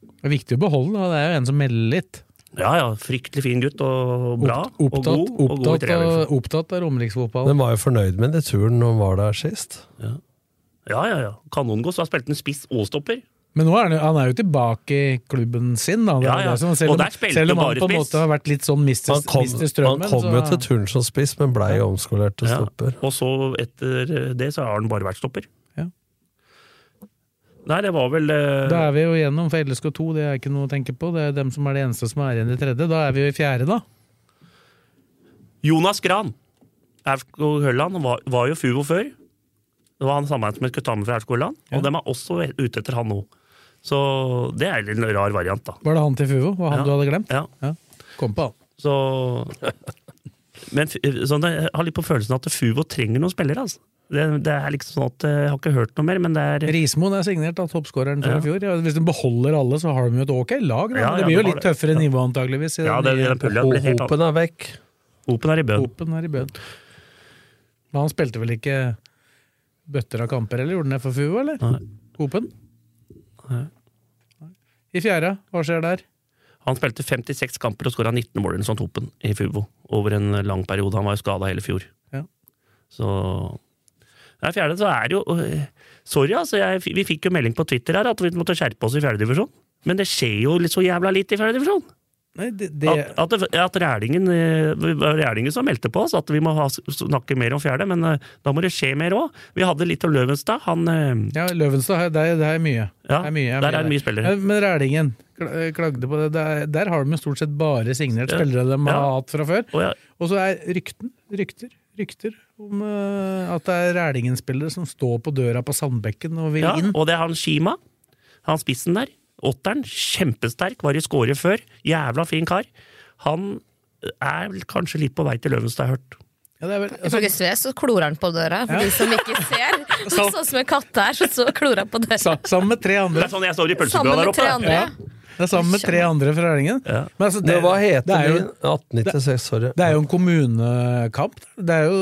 Speaker 2: Det er viktig å beholde, da. det er jo en som melder litt.
Speaker 3: Ja ja, fryktelig fin gutt og bra.
Speaker 2: Opp- opptatt,
Speaker 3: og god. liksom. og god i
Speaker 2: opptatt,
Speaker 3: trening.
Speaker 2: av, opptatt av
Speaker 4: Den
Speaker 2: Romeriksfotballen.
Speaker 4: var jo fornøyd med det turen når han var der sist.
Speaker 3: Ja ja ja. Kanongod. Så han spilte en spiss og stopper.
Speaker 2: Men nå er han, jo- han er jo tilbake i klubben sin, da. Det er
Speaker 3: Ja,
Speaker 2: jo
Speaker 3: ja.
Speaker 2: det som- selv
Speaker 3: Og
Speaker 2: om,
Speaker 3: der spilte
Speaker 2: selv om
Speaker 3: jo
Speaker 2: han
Speaker 3: bare
Speaker 2: på en
Speaker 3: spiss.
Speaker 2: måte har vært litt sånn mister,
Speaker 4: Han kom,
Speaker 2: mister
Speaker 4: han
Speaker 2: strømmen.
Speaker 4: kom jo
Speaker 2: så-
Speaker 4: til turen som spiss, men blei omskolert til
Speaker 3: Ja.
Speaker 4: stopper.
Speaker 3: Og så etter det så har han bare vært stopper.
Speaker 2: Ja.
Speaker 3: Nei, det var vel eh,
Speaker 2: Da er vi jo igjennom, for LSK2 det er ikke noe å tenke på. Det er dem som er det eneste som er igjen i tredje. Da er vi jo i fjerde, da.
Speaker 3: Jonas Gran. Aurskog Høland var, var jo FUVO før. Det var han samme som jeg skulle ta med fra Aurskog Høland. Og dem er også ute etter han nå. Så det er en rar variant, da.
Speaker 2: Var det han til Fuvo? Var han
Speaker 3: Ja.
Speaker 2: du hadde glemt?
Speaker 3: Ja,
Speaker 2: Ja. Kom på han.
Speaker 3: så Men f- sånn, jeg har litt på følelsen at FUVO trenger noen spillere, altså. Det, det er liksom sånn at eh, Jeg har ikke hørt noe mer, men det er
Speaker 2: Rismoen er signert av toppskåreren fra
Speaker 3: Ja.
Speaker 2: i fjor. Ja, Hvis de beholder alle, så har de jo et ok lag. Da.
Speaker 3: Ja,
Speaker 2: Men
Speaker 3: ja,
Speaker 2: det blir
Speaker 3: de
Speaker 2: jo
Speaker 3: har
Speaker 2: litt
Speaker 3: det.
Speaker 2: tøffere nivå, antageligvis. i
Speaker 3: Ja, det,
Speaker 2: den nye
Speaker 3: den pulja blir helt
Speaker 4: Hopen er vekk.
Speaker 3: Open er i bøen.
Speaker 2: Open her i bøen. Men han spilte vel ikke bøtter av kamper, eller gjorde han det for FUO, eller?
Speaker 3: Nei.
Speaker 2: Open?
Speaker 3: Nei.
Speaker 2: I fjerde, hva skjer der?
Speaker 3: Han spilte 56 kamper og skåra 19 mål eller sånt Open i Fubo over en lang periode. Han var jo skada hele fjor.
Speaker 2: Ja.
Speaker 3: Så Nei, fjerde så er det jo øh, Sorry, altså. Jeg, vi fikk jo melding på Twitter her at vi måtte skjerpe oss i fjerdedivisjon. Men det skjer jo litt så jævla lite i fjerdedivisjon!
Speaker 2: Nei, det,
Speaker 3: At, at, det- at Rælingen øh, det var Rælingen som meldte på oss at vi må ha, snakke mer om fjerde, men øh, da må det skje mer òg. Vi hadde litt om Løvenstad. Han øh,
Speaker 2: Ja, Løvenstad, det er, det er mye.
Speaker 3: Ja,
Speaker 2: Det er mye,
Speaker 3: der er det mye spillere.
Speaker 2: Ja, Men Rælingen kla- eh, klagde på det. Der, der har de jo stort sett bare signert
Speaker 3: Ja.
Speaker 2: spillere de har
Speaker 3: Ja.
Speaker 2: hatt fra før.
Speaker 3: Å ja.
Speaker 2: Og så er rykten, rykter, rykter om eh, at det er Rælingen-spillere som står på døra på Sandbekken og vil
Speaker 3: Ja,
Speaker 2: inn.
Speaker 3: og det er han Shima. Han spissen der. Åtteren. Kjempesterk. Var i skåret før. Jævla fin kar. Han er vel kanskje litt på vei til Løvenstad, har jeg hørt.
Speaker 2: Ja, det er vel, altså,
Speaker 6: Ifølge Sve så klorer han på døra, for de som ikke
Speaker 2: (laughs)
Speaker 6: ser.
Speaker 2: Så-
Speaker 6: Sånn som en katt der, så, så klorer han på døra.
Speaker 2: sa- sammen med tre
Speaker 3: Det
Speaker 2: andre.
Speaker 3: er sånn jeg står i
Speaker 6: Sammen
Speaker 3: pølsekøa der
Speaker 6: med
Speaker 3: oppe.
Speaker 6: tre andre.
Speaker 2: Det er sammen med tre andre fra Rælingen.
Speaker 3: Ja.
Speaker 2: Men altså,
Speaker 4: Det, hva heter
Speaker 2: det er jo,
Speaker 4: den? 1896, sorry.
Speaker 2: det er jo en kommunekamp. Det er, jo,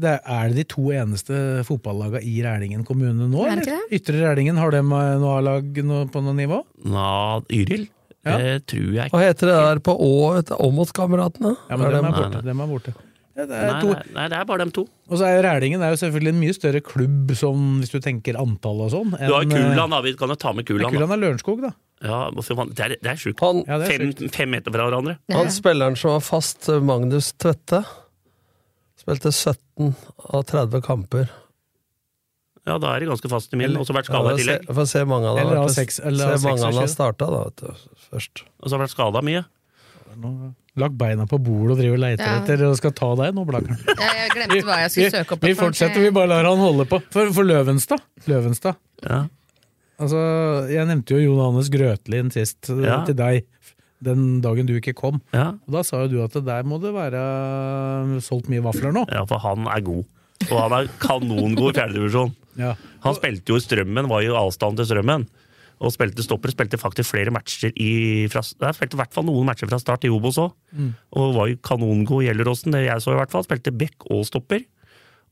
Speaker 2: det er, er det de to eneste fotballagene i Rælingen kommune nå?
Speaker 6: Er det
Speaker 2: eller?
Speaker 6: ikke
Speaker 2: Ytre Rælingen, har de eh, noe A-lag nå- på noe nivå?
Speaker 3: Nå, Yril?
Speaker 2: Ja.
Speaker 3: Det tror jeg ikke.
Speaker 4: Hva heter det der på Å, etter Åmot-kameratene?
Speaker 2: Ja, men
Speaker 4: Er
Speaker 2: dem
Speaker 4: det-
Speaker 2: er borte. Dem er borte. Ja, det er
Speaker 3: Nei,
Speaker 2: to.
Speaker 3: nei, nei, det er bare dem to.
Speaker 2: Og så er jo Rælingen er jo selvfølgelig en mye større klubb, sånn, hvis du tenker antall og sånn.
Speaker 3: Du har
Speaker 2: enn,
Speaker 3: Kulan, da. Vi kan jo ta med
Speaker 2: eh,
Speaker 3: Kulan. da.
Speaker 2: Kulan er Lørenskog, da.
Speaker 3: Ja, hva faen, det er, det er sjukt.
Speaker 4: han,
Speaker 2: Ja, det er
Speaker 3: Fem,
Speaker 2: sjukt.
Speaker 3: fem meter fra hverandre.
Speaker 4: han spilleren som var fast, eh, Magnus Tvedte, spilte 17 av 30 kamper.
Speaker 3: Ja, da er det ganske fast i min. Også vært
Speaker 4: Ja,
Speaker 3: skada i
Speaker 4: vi får
Speaker 3: tillegg.
Speaker 4: se- vi får se mange han har
Speaker 2: Eller av
Speaker 4: vært-
Speaker 2: seks- eller av
Speaker 4: se mange han har
Speaker 2: 26.
Speaker 4: starta, da, vet du. Først.
Speaker 3: Og så har vært skada mye.
Speaker 2: Lagt beina på bordet og driver og leter
Speaker 6: Ja.
Speaker 2: etter og skal ta deg nå, Blakkaren.
Speaker 6: Ja, jeg glemte hva jeg skulle søke opp.
Speaker 2: vi fortsetter, vi bare lar han holde på. For, for Løvenstad. Løvenstad.
Speaker 3: Ja.
Speaker 2: Altså, jeg nevnte jo Jon Hannes Grøtlin sist, eh,
Speaker 3: Ja.
Speaker 2: til deg, den dagen du ikke kom.
Speaker 3: Ja.
Speaker 2: Og da sa jo du at det der må det være eh, solgt mye vafler nå.
Speaker 3: ja, for han er god. Og han er kanongod i fjerdedivisjon.
Speaker 2: Ja.
Speaker 3: Han spilte jo i Strømmen, var jo avstand til Strømmen. Og spilte stopper, spilte faktisk flere matcher i fra, Nei, spilte i hvert fall noen matcher fra start i Obos òg.
Speaker 2: Mm.
Speaker 3: Og var jo kanongod i Gjelleråsen, det jeg så i hvert fall. Spilte back og stopper.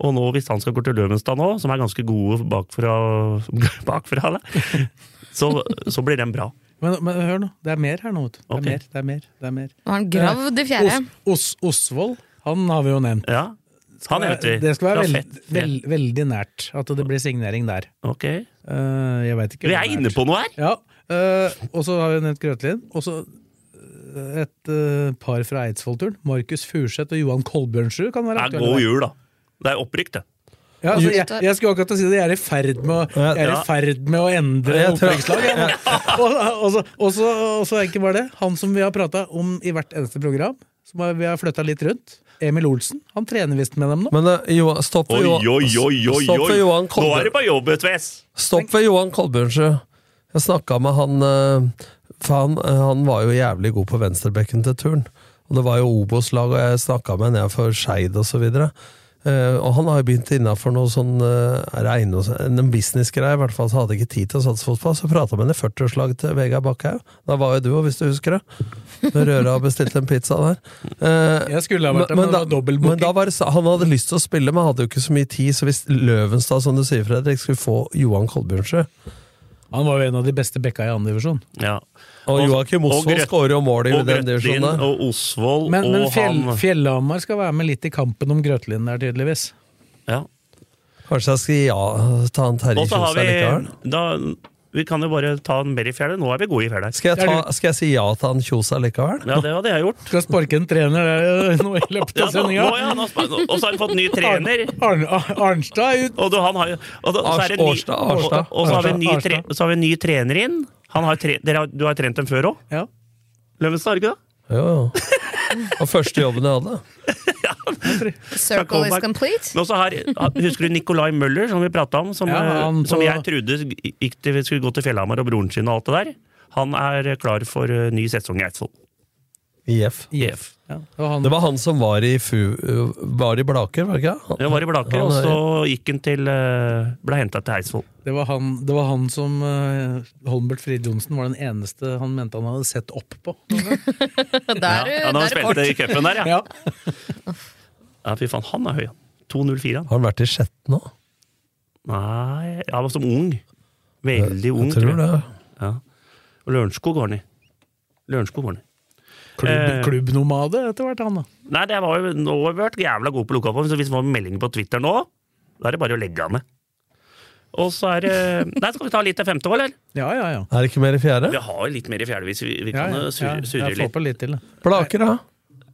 Speaker 3: Og nå, hvis han skal gå til Løvenstad nå, som er ganske gode (laughs) bakfra, bakfra det, så, så blir den bra.
Speaker 2: Men, men hør nå, det er mer her nå. vet du. Det er
Speaker 3: Ok.
Speaker 2: mer, det er mer, det er mer. Eh,
Speaker 6: Var han gravd i fjerde?
Speaker 2: Os, Os, Osvold, han har vi jo nevnt. Eh,
Speaker 3: Ja. Han nevnte vi.
Speaker 2: Det skal være
Speaker 3: Fra
Speaker 2: veld,
Speaker 3: Fett-
Speaker 2: vel- veldig nært at det blir signering der.
Speaker 3: Ok.
Speaker 2: Eh, jeg veit ikke.
Speaker 3: Vi
Speaker 2: hvor
Speaker 3: er
Speaker 2: nært.
Speaker 3: inne på noe her!
Speaker 2: Ja. eh, og så har vi nevnt Grøtlin. Og så eh, et eh, par fra Eidsvollturen. Markus Furseth og Johan Kolbjørnsrud kan være
Speaker 3: Ja, god jul, da. Det er opprykk, det.
Speaker 2: Ja, altså, jeg, jeg skulle akkurat til å si det. Jeg er i ferd med å, jeg er i
Speaker 3: Ja.
Speaker 2: ferd med å endre
Speaker 4: Jeg tror-
Speaker 2: oppleggslaget. (laughs) Og, og, så- og, så- og så er ikke bare det. Han som vi har prata om i hvert eneste program, som har- vi har flytta litt rundt. Emil Olsen. Han trener visst med dem nå.
Speaker 4: Men eh, Johan, stopp
Speaker 3: Oi,
Speaker 4: ved
Speaker 3: oi,
Speaker 4: Johan,
Speaker 3: oi, oi!
Speaker 4: stopp
Speaker 3: oi.
Speaker 4: ved Johan
Speaker 3: Nå er
Speaker 4: Kolbjørn-
Speaker 3: det på jobb, Tves!
Speaker 4: stopp ved Johan Kolbjørnsrud. Jeg snakka med han eh, For han, eh, han var jo jævlig god på venstrebekken til turn. Og det var jo Obos-lag, og jeg snakka med han jeg for Skeid og så videre. Eh, og han har jo begynt innafor noe sånn eh, er det eiendoms- en businessgreie, i hvert fall så hadde jeg ikke tid til å satse fotball. Så prata med han i 40-årslaget til Vegard Bakkhaug. Da var jo du òg, hvis du husker det. Når Røra bestilte en pizza
Speaker 2: (laughs)
Speaker 4: der. Eh,
Speaker 2: Jeg skulle ha vært der, men det var dobbeltbooking.
Speaker 4: men da var det, sa- han hadde lyst til å spille, men hadde jo ikke så mye tid. Så hvis Løvenstad, som du sier, Fredrik, skulle få Johan Kolbjørnsrud
Speaker 2: Han var jo en av de beste bekka i annen divisjon.
Speaker 3: Ja.
Speaker 4: Og Joakim Osvold
Speaker 3: Grøt-
Speaker 4: skårer jo sånn mål i
Speaker 3: og
Speaker 4: den divisjonen
Speaker 3: Grøtlin
Speaker 4: der.
Speaker 3: Og Osvold
Speaker 2: Men, men
Speaker 3: og
Speaker 2: fjell,
Speaker 3: han
Speaker 2: Fjellhamar skal være med litt i kampen om Grøtlinen der, tydeligvis.
Speaker 3: ja.
Speaker 4: Kanskje jeg skal ja, ta han Terje
Speaker 3: Og så har
Speaker 4: Kjosberg likevel?
Speaker 3: vi da, Vi kan jo bare ta en mer i fjellet. Nå er vi gode i fjellet.
Speaker 4: Skal jeg, ta, skal jeg si ja til han Kjosa likevel?
Speaker 3: Ja, det hadde jeg gjort.
Speaker 2: Skal sparke en trener der nå i løpet
Speaker 3: Ja, nå,
Speaker 2: av
Speaker 3: nå,
Speaker 2: sendinga.
Speaker 3: ja, nå, og så har vi fått ny trener.
Speaker 2: Arn, Arn- Arnstad er ut.
Speaker 3: Og du, han har jo og da, og så er det ny,
Speaker 4: Årstad, Årstad,
Speaker 3: og, og så har vi en ny,
Speaker 2: Årstad,
Speaker 3: tre,
Speaker 2: Årstad.
Speaker 3: så har vi en ny trener inn. Han har tre, dere har, du har trent dem før òg?
Speaker 2: Ja.
Speaker 3: Løvenstad, har du ikke det?
Speaker 4: Jo, jo. Og første jobben jeg hadde.
Speaker 6: Circle is complete.
Speaker 3: Men også her, Husker du Nicolai Møller, som vi prata om? Som, eh,
Speaker 2: Ja, han
Speaker 3: som
Speaker 2: på-
Speaker 3: jeg trodde gikk til, skulle gå til Fjellhamar og broren sin og alt det der. Han er klar for eh, ny sesong i Eidsvoll.
Speaker 4: IF.
Speaker 3: IF. Ja.
Speaker 2: Og han,
Speaker 4: Det var han som var i, fu, var i Blaker, var det ikke? Han-
Speaker 3: Det var i Blaker,
Speaker 4: Han
Speaker 3: og
Speaker 4: er-
Speaker 3: så gikk han til eh, Ble henta til Eidsvoll.
Speaker 2: det, var han, det var han som eh, Holmbert Frid Johnsen var den eneste han mente han hadde sett opp på.
Speaker 6: Og der,
Speaker 3: Ja, da
Speaker 6: der
Speaker 3: han
Speaker 6: er det fort.
Speaker 3: spilte i cupen der, ja.
Speaker 2: Ja.
Speaker 3: ja. Fy faen, han er høy, han. 2,04, han.
Speaker 4: Har han vært i Skjetten nå?
Speaker 3: Nei ja, han var som ung. Veldig ung,
Speaker 4: Jeg tror det.
Speaker 3: Ja. Og Lørenskog var han i. Lørenskog var han i.
Speaker 2: Klubb,
Speaker 3: Eh.
Speaker 2: klubbnomade etter hvert, han da.
Speaker 3: Nei, det var jo, nå har vi vært jævla gode på lokalform, så hvis det var meldinger på Twitter nå, da er det bare å legge av med. Og så er det
Speaker 2: (laughs)
Speaker 3: Nei, skal vi ta litt til femte år, eller?
Speaker 2: Ja, ja, ja.
Speaker 4: Er det ikke mer i fjerde?
Speaker 3: Vi har jo litt mer i fjerde hvis vi, vi
Speaker 2: ja,
Speaker 3: kan
Speaker 2: ja,
Speaker 3: eh, surre, surre
Speaker 2: Jeg får
Speaker 3: litt.
Speaker 2: på litt til. da.
Speaker 4: Blaker, da?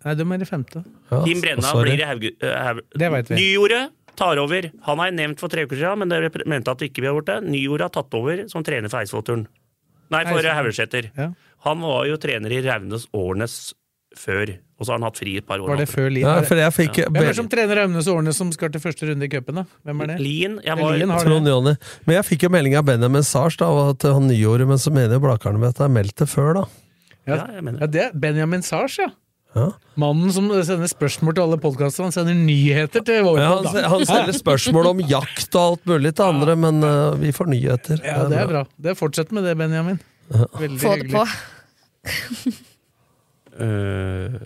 Speaker 2: Nei, de er i femte.
Speaker 4: Ja,
Speaker 3: Kim Brenna
Speaker 4: sorry.
Speaker 3: blir i Hauge... eh, Haug-
Speaker 2: Det vet vi.
Speaker 3: Nyordet tar over. Han har jeg nevnt for tre uker siden, men dere mente at vi ikke har gjort det. Nyordet har tatt over som trener for Eidsvollturen. Nei, for eh, Haugesæter.
Speaker 2: Ja.
Speaker 3: Han var jo trener i Raunes Årnes før, og så har han hatt fri et par år.
Speaker 2: Var det
Speaker 3: etter.
Speaker 2: før Lien?
Speaker 4: Ja,
Speaker 2: Er det-
Speaker 4: for jeg fikk
Speaker 2: Hvem er det som trener Aune Sårene som skal til første runde i cupen, da? Hvem er det?
Speaker 3: Lien, jeg
Speaker 2: Ja,
Speaker 3: var,
Speaker 2: Lien har det.
Speaker 4: Trond Jonny. Men jeg fikk jo melding av Benjamin Sars da, og at han nyåret, men så mener jo Blakerne at det er meldt det før, da.
Speaker 3: Ja, jeg mener
Speaker 2: Ja, det er Benjamin Sars, ja.
Speaker 4: Ja.
Speaker 2: Mannen som sender spørsmål til alle podkaster. Han sender nyheter til vår
Speaker 4: Ja, han,
Speaker 2: podd, da.
Speaker 4: han stiller spørsmål om jakt og alt mulig til andre, men eh, vi får nyheter.
Speaker 2: Ja, det er bra. Det Fortsett med det, Benjamin. Veldig
Speaker 6: Få det på.
Speaker 3: Øh,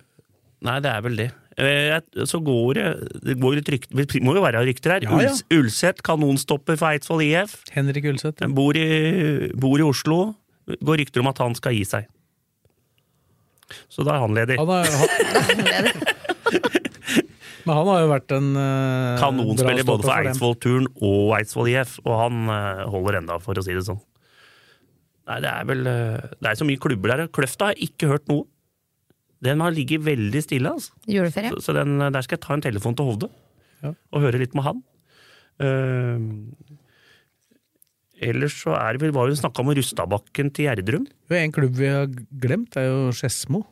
Speaker 3: nei, det er vel det. Eh, jeg- Så går det Det går litt rykt, det må jo være rykter her.
Speaker 2: Ja, ja.
Speaker 3: Uls- Ulseth, kanonstopper for Eidsvoll IF.
Speaker 2: Henrik Ulseth.
Speaker 3: Bor i, bor i Oslo. Går rykter om at han skal gi seg. Så da er han ledig.
Speaker 2: Han har,
Speaker 6: (laughs)
Speaker 2: han, men han har jo vært en eh, bra
Speaker 3: Kanonspiller både
Speaker 2: stopper
Speaker 3: for
Speaker 2: dem.
Speaker 3: Eidsvoll Turn og Eidsvoll IF, og han eh, holder enda, for å si det sånn. Nei, det er vel eh, Det er så mye klubber der. Kløfta har jeg ikke hørt noe. Den har ligget veldig stille, altså.
Speaker 6: Juleferie.
Speaker 3: Så, så den, der skal jeg ta en telefon til Hovde
Speaker 2: Ja.
Speaker 3: og høre litt med han. Eh, ellers så er det vel hva hun snakka om Rustabakken til Gjerdrum.
Speaker 2: Det er En klubb vi har glemt, er jo Skedsmo.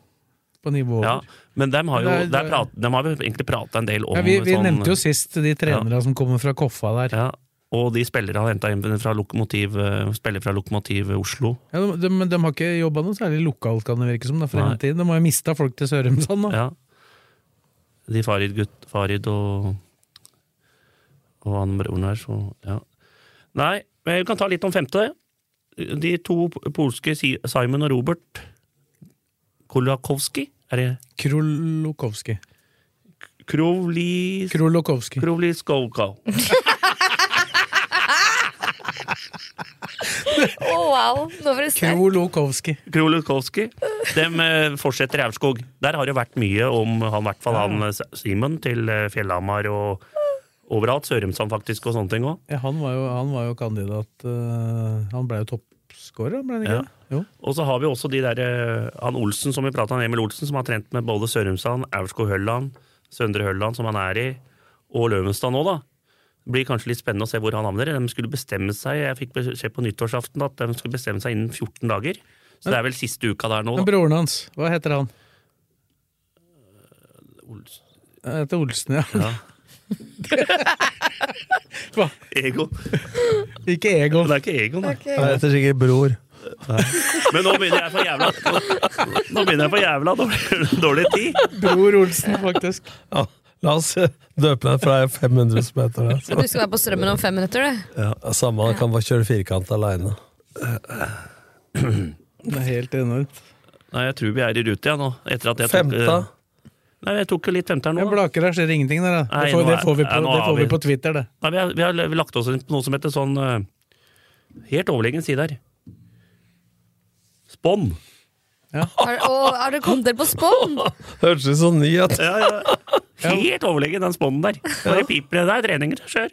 Speaker 2: På nivå over.
Speaker 3: Ja, men dem har jo
Speaker 2: Det er-
Speaker 3: der prat, dem har vi egentlig prata en del om
Speaker 2: Ja, vi vi
Speaker 3: sånn-
Speaker 2: nevnte jo sist de trenerne som kommer fra Koffa der.
Speaker 3: ja, Og de spillere han henta inn fra Lokomotiv eh, Spiller fra Lokomotiv Oslo.
Speaker 2: Ja, de, de, men de har ikke jobba noe særlig lokalt, kan det virke som. Da, for
Speaker 3: Nei.
Speaker 2: hele tiden. De har jo mista folk til Sørumsand. da.
Speaker 3: Ja. De Farid, gutt, Farid og Og han broren her, så ja. Nei, men vi kan ta litt om femte. De to polske Si- Simon og Robert Kolakowski Er det
Speaker 2: Krolokowski.
Speaker 3: Krovli...
Speaker 2: Krolokowski.
Speaker 3: Krovli Skovkov.
Speaker 6: Å, wow! Nå var det sterkt.
Speaker 2: Krolokowski.
Speaker 3: Krolukowski. Dem eh, fortsetter i Aurskog. Der har det vært mye om han, i hvert fall han eh, Simon til eh, Fjellhamar og overalt. Sørumsand faktisk og sånne ting òg.
Speaker 2: Ja, han, var jo, han var jo kandidat eh, Han ble jo toppskårer, ble han ikke?
Speaker 3: Ja.
Speaker 2: det? Jo.
Speaker 3: Og så har vi også de der, eh, han Olsen som vi pratet om, Emil Olsen, som har trent med både Sørumsand, Aurskog-Hølland, Søndre Hølland, som han er i, og Løvenstad nå, da. Det blir kanskje litt spennende å se hvor han havner. De skulle bestemme seg, Jeg fikk beskjed på nyttårsaften at de skulle bestemme seg innen 14 dager. Så det er vel siste uka der nå. Da.
Speaker 2: Men broren hans, hva heter han?
Speaker 3: Ols-
Speaker 2: Han heter Olsen, ja.
Speaker 3: (laughs) Ja.
Speaker 2: (laughs) Hva?
Speaker 3: Ego.
Speaker 2: Ikke Egon.
Speaker 3: Det er ikke Egon, da.
Speaker 4: Jeg heter sikkert Bror.
Speaker 3: Men nå begynner jeg på jævla Nå, nå begynner jeg på jævla dårlig, dårlig tid.
Speaker 2: Bror Olsen, faktisk.
Speaker 4: Ja, la oss eh, døpe den, for det er 500 som heter det.
Speaker 6: Du skal være på strømmen om fem minutter, du.
Speaker 4: Ja, Samme, han kan bare kjøre firkant aleine.
Speaker 2: Det er helt enormt.
Speaker 3: Nei, jeg tror vi er i rute, jeg nå. Etter at jeg tok,
Speaker 4: Femta.
Speaker 3: eh, Nei, jeg tok jo litt femte her
Speaker 2: Ja,
Speaker 3: nå. Da.
Speaker 2: Blaker, der skjer ingenting der, da.
Speaker 3: Nei,
Speaker 2: Det får,
Speaker 3: nå er-
Speaker 2: det får, vi,
Speaker 3: ja,
Speaker 2: på,
Speaker 3: nå
Speaker 2: det
Speaker 3: har
Speaker 2: får
Speaker 3: vi-
Speaker 2: vi på Twitter, det.
Speaker 3: Nei, vi, har, vi har lagt oss inn på noe som heter sånn eh, Helt overlegen side her. Spånn.
Speaker 6: Har, og, har du kommet dere på spån?
Speaker 2: (laughs)
Speaker 4: Hørtes ut som ny at
Speaker 3: Ja, ja. (laughs) Helt overlegen den spånnen der. Bare piper det der. Treninger. Kjør.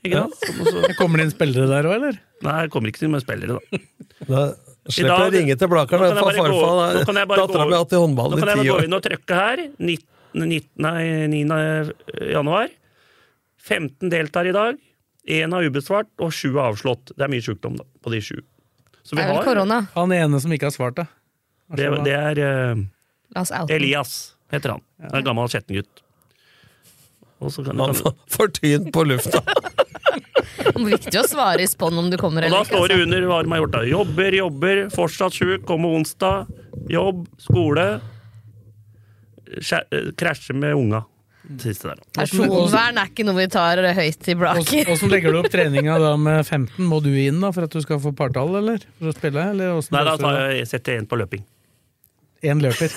Speaker 3: Ikke sant? Og så-
Speaker 2: Kommer det inn spillere der òg, eller?
Speaker 3: Nei, jeg kommer ikke til med spillere, da.
Speaker 4: Da slipper
Speaker 3: I
Speaker 4: jeg
Speaker 3: dag-
Speaker 4: å ringe til
Speaker 3: Nå
Speaker 4: Blakeren.
Speaker 3: kan jeg
Speaker 4: for
Speaker 3: bare gå-
Speaker 4: farfar,
Speaker 3: nå kan jeg bare
Speaker 4: Dattera
Speaker 3: gå-
Speaker 4: mi har hatt i
Speaker 3: Nå
Speaker 4: håndballen
Speaker 3: kan
Speaker 4: i
Speaker 3: jeg
Speaker 4: ti
Speaker 3: bare gå
Speaker 4: år.
Speaker 3: inn og trykke her. 19, 19, nei, 9. januar. 15 deltar i dag. Én har ubesvart, og sju er avslått. Det er mye sjukdom da, på de sju. Så
Speaker 6: Det er vel korona.
Speaker 2: Han ene som ikke har svart, da.
Speaker 3: det, det er
Speaker 6: La oss
Speaker 3: eh,
Speaker 6: oute den.
Speaker 3: Elias, heter han. Det er En gammel skjettengutt. Og så kan,
Speaker 4: Han
Speaker 3: kan,
Speaker 4: får- får tyn på lufta.
Speaker 6: Det er viktig å svare i spån om du kommer
Speaker 3: Og da
Speaker 6: eller ikke.
Speaker 3: står det
Speaker 6: Altså.
Speaker 3: under hva de har gjort. da. Jobber, jobber, fortsatt sjuk, kommer onsdag. Jobb, skole. skjæ- eh, Krasjer med unga. Siste der.
Speaker 6: Personvern er ikke noe vi tar høyt i blaker.
Speaker 2: Åssen legger du opp treninga da med 15? Må du inn da for at du skal få partall, eller? For å spille? Eller åssen
Speaker 3: Nei, da
Speaker 2: løser du
Speaker 3: tar
Speaker 2: det?
Speaker 3: jeg, setter jeg en på løping.
Speaker 2: En løper.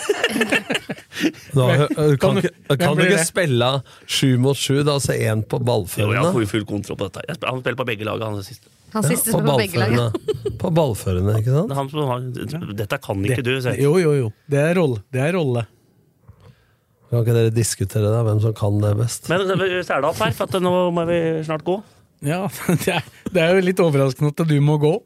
Speaker 4: Nå, eh, kan
Speaker 2: Kan du-
Speaker 4: ikke, kan
Speaker 2: hvem
Speaker 4: du
Speaker 2: blir
Speaker 4: ikke
Speaker 2: det?
Speaker 4: spille sju mot sju, da, altså én på
Speaker 3: Jo, jeg
Speaker 4: ballførende?
Speaker 3: får jo full kontroll på dette. Jeg sp- Han spiller på begge lag, han er siste.
Speaker 6: Han
Speaker 4: Ja,
Speaker 6: siste på begge lag.
Speaker 4: ballførende. På ballførende, ikke sant?
Speaker 3: Men Han, som har- dette kan ikke du. sier jeg.
Speaker 2: Jo, jo, jo. Det er rolle. Det er rolle.
Speaker 4: Kan ikke dere diskutere da, hvem som kan det best?
Speaker 3: Men eh, Særdal her, for at nå må vi snart gå.
Speaker 2: Ja, (laughs) det er, det er jo litt overraskende at du må gå.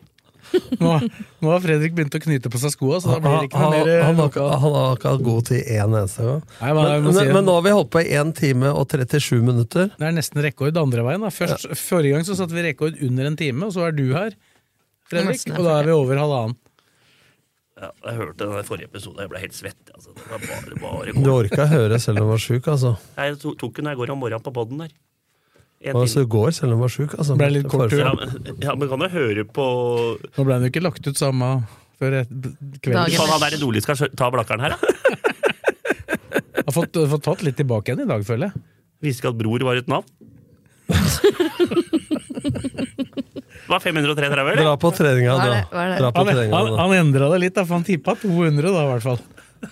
Speaker 2: Nå, nå har Fredrik begynt å knyte på seg skoa, så da blir det ikke noe
Speaker 4: Han- han- han
Speaker 2: mer eh,
Speaker 4: var ikke- Han var ikke god til én eneste gang.
Speaker 2: Nei, men jeg
Speaker 4: men,
Speaker 2: må si-
Speaker 4: men, men nå har vi holdt på i 1 time og 37 minutter.
Speaker 2: Det er nesten rekord andre veien. Da. Først, Forrige gang så satte vi rekord under en time, og så er du her, Fredrik.
Speaker 6: Nesten er
Speaker 2: Og da er vi over halvannen.
Speaker 3: Ja, jeg hørte den der forrige episoden, jeg ble helt svett. Altså. Det var bare, bare
Speaker 4: Du orka høre selv om du var sjuk, altså.
Speaker 3: Jeg to- tok den når jeg går om morgenen på poden der. En
Speaker 4: Altså,
Speaker 3: time.
Speaker 4: du går selv om du var sjuk, altså.
Speaker 2: Ble litt kort tur,
Speaker 3: Ja, men, ja, men kan du høre på
Speaker 2: Nå ble den jo ikke lagt ut samme før et- kvelden.
Speaker 6: Dagen.
Speaker 3: Kan han være rolig skal skjø- ta blakkeren her, da?
Speaker 2: Har fått, fått tatt litt tilbake igjen i dag, føler jeg.
Speaker 3: Visste ikke at bror var et navn. Det var 533, eller?
Speaker 4: Dra på treninga,
Speaker 6: Hva er det? Hva er
Speaker 4: dra.
Speaker 6: det?
Speaker 4: dra på
Speaker 2: Han, han,
Speaker 4: treninga, da.
Speaker 2: han endra det litt, da, for han tippa 200, da, i hvert fall.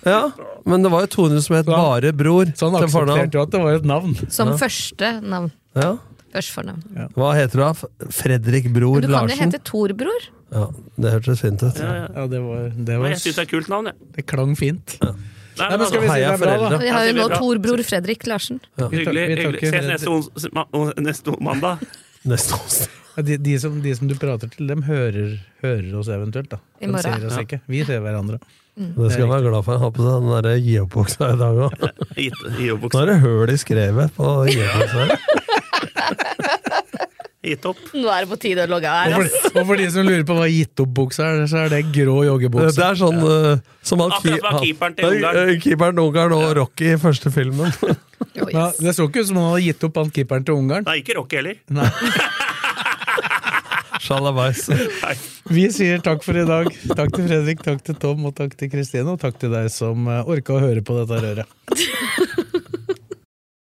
Speaker 4: Ja, men det var jo 200 som het
Speaker 2: Så han-
Speaker 4: Bare Bror
Speaker 2: Så han
Speaker 4: til fornavn.
Speaker 2: aksepterte jo at det var et navn.
Speaker 6: Som første navn.
Speaker 4: Ja.
Speaker 6: Først fornavn.
Speaker 4: Hva heter du da? Fredrik Bror
Speaker 6: Men du kan jo
Speaker 4: Larsen?
Speaker 6: hete Tor-bror.
Speaker 4: Ja, det hørtes fint ut.
Speaker 2: Ja, det var, det
Speaker 3: Men
Speaker 2: var
Speaker 3: Jeg syns det er et kult navn, jeg. Nei,
Speaker 2: Det klang fint.
Speaker 3: men
Speaker 2: men
Speaker 3: altså,
Speaker 2: skal vi si det
Speaker 4: Heia
Speaker 2: er bra, da?
Speaker 4: foreldre.
Speaker 6: Vi har
Speaker 3: Ja,
Speaker 6: jo
Speaker 3: det blir
Speaker 6: nå
Speaker 3: bra.
Speaker 6: Tor-bror Fredrik Larsen.
Speaker 3: Hyggelig.
Speaker 2: Vi takker
Speaker 3: hyggelig. Ses neste, ons ma- on- neste mandag.
Speaker 4: Neste onsdag.
Speaker 2: Ja, De, de, som, de som du prater til, dem hører, hører oss eventuelt, da.
Speaker 6: I
Speaker 2: De
Speaker 6: morgen.
Speaker 2: ser oss ikke. Vi ser hverandre.
Speaker 6: Mm.
Speaker 4: Det skal jeg være glad for. Jeg har på seg den der gi-opp-buksa i dag òg.
Speaker 3: Gitt- Gi opp.
Speaker 4: Nå
Speaker 3: buksa.
Speaker 4: er det høl i skrevet på gi-opp-buksa.
Speaker 3: Gitt opp.
Speaker 6: Nå er det på tide å logge av
Speaker 2: Og
Speaker 6: her.
Speaker 2: for, og for de som lurer på hva gitt opp-buksa er, så er det grå
Speaker 4: (laughs) Det
Speaker 2: joggebukse.
Speaker 4: er sånn eh, som han,
Speaker 3: Akkurat som han keeperen til
Speaker 4: Nei,
Speaker 3: Ungarn.
Speaker 4: eh, Keeperen til Ungarn og Rocky i første filmen. (laughs)
Speaker 6: Jo,
Speaker 2: Ja,
Speaker 6: yes.
Speaker 2: det så ikke ut som han hadde gitt opp han keeperen til Ungarn.
Speaker 3: Nei, ikke Rocky heller.
Speaker 4: Shalabais.
Speaker 3: Nei.
Speaker 2: Vi sier takk for i dag. Takk til Fredrik, takk til Tom og takk til Kristine. Og takk til deg som eh, orka å høre på dette røret.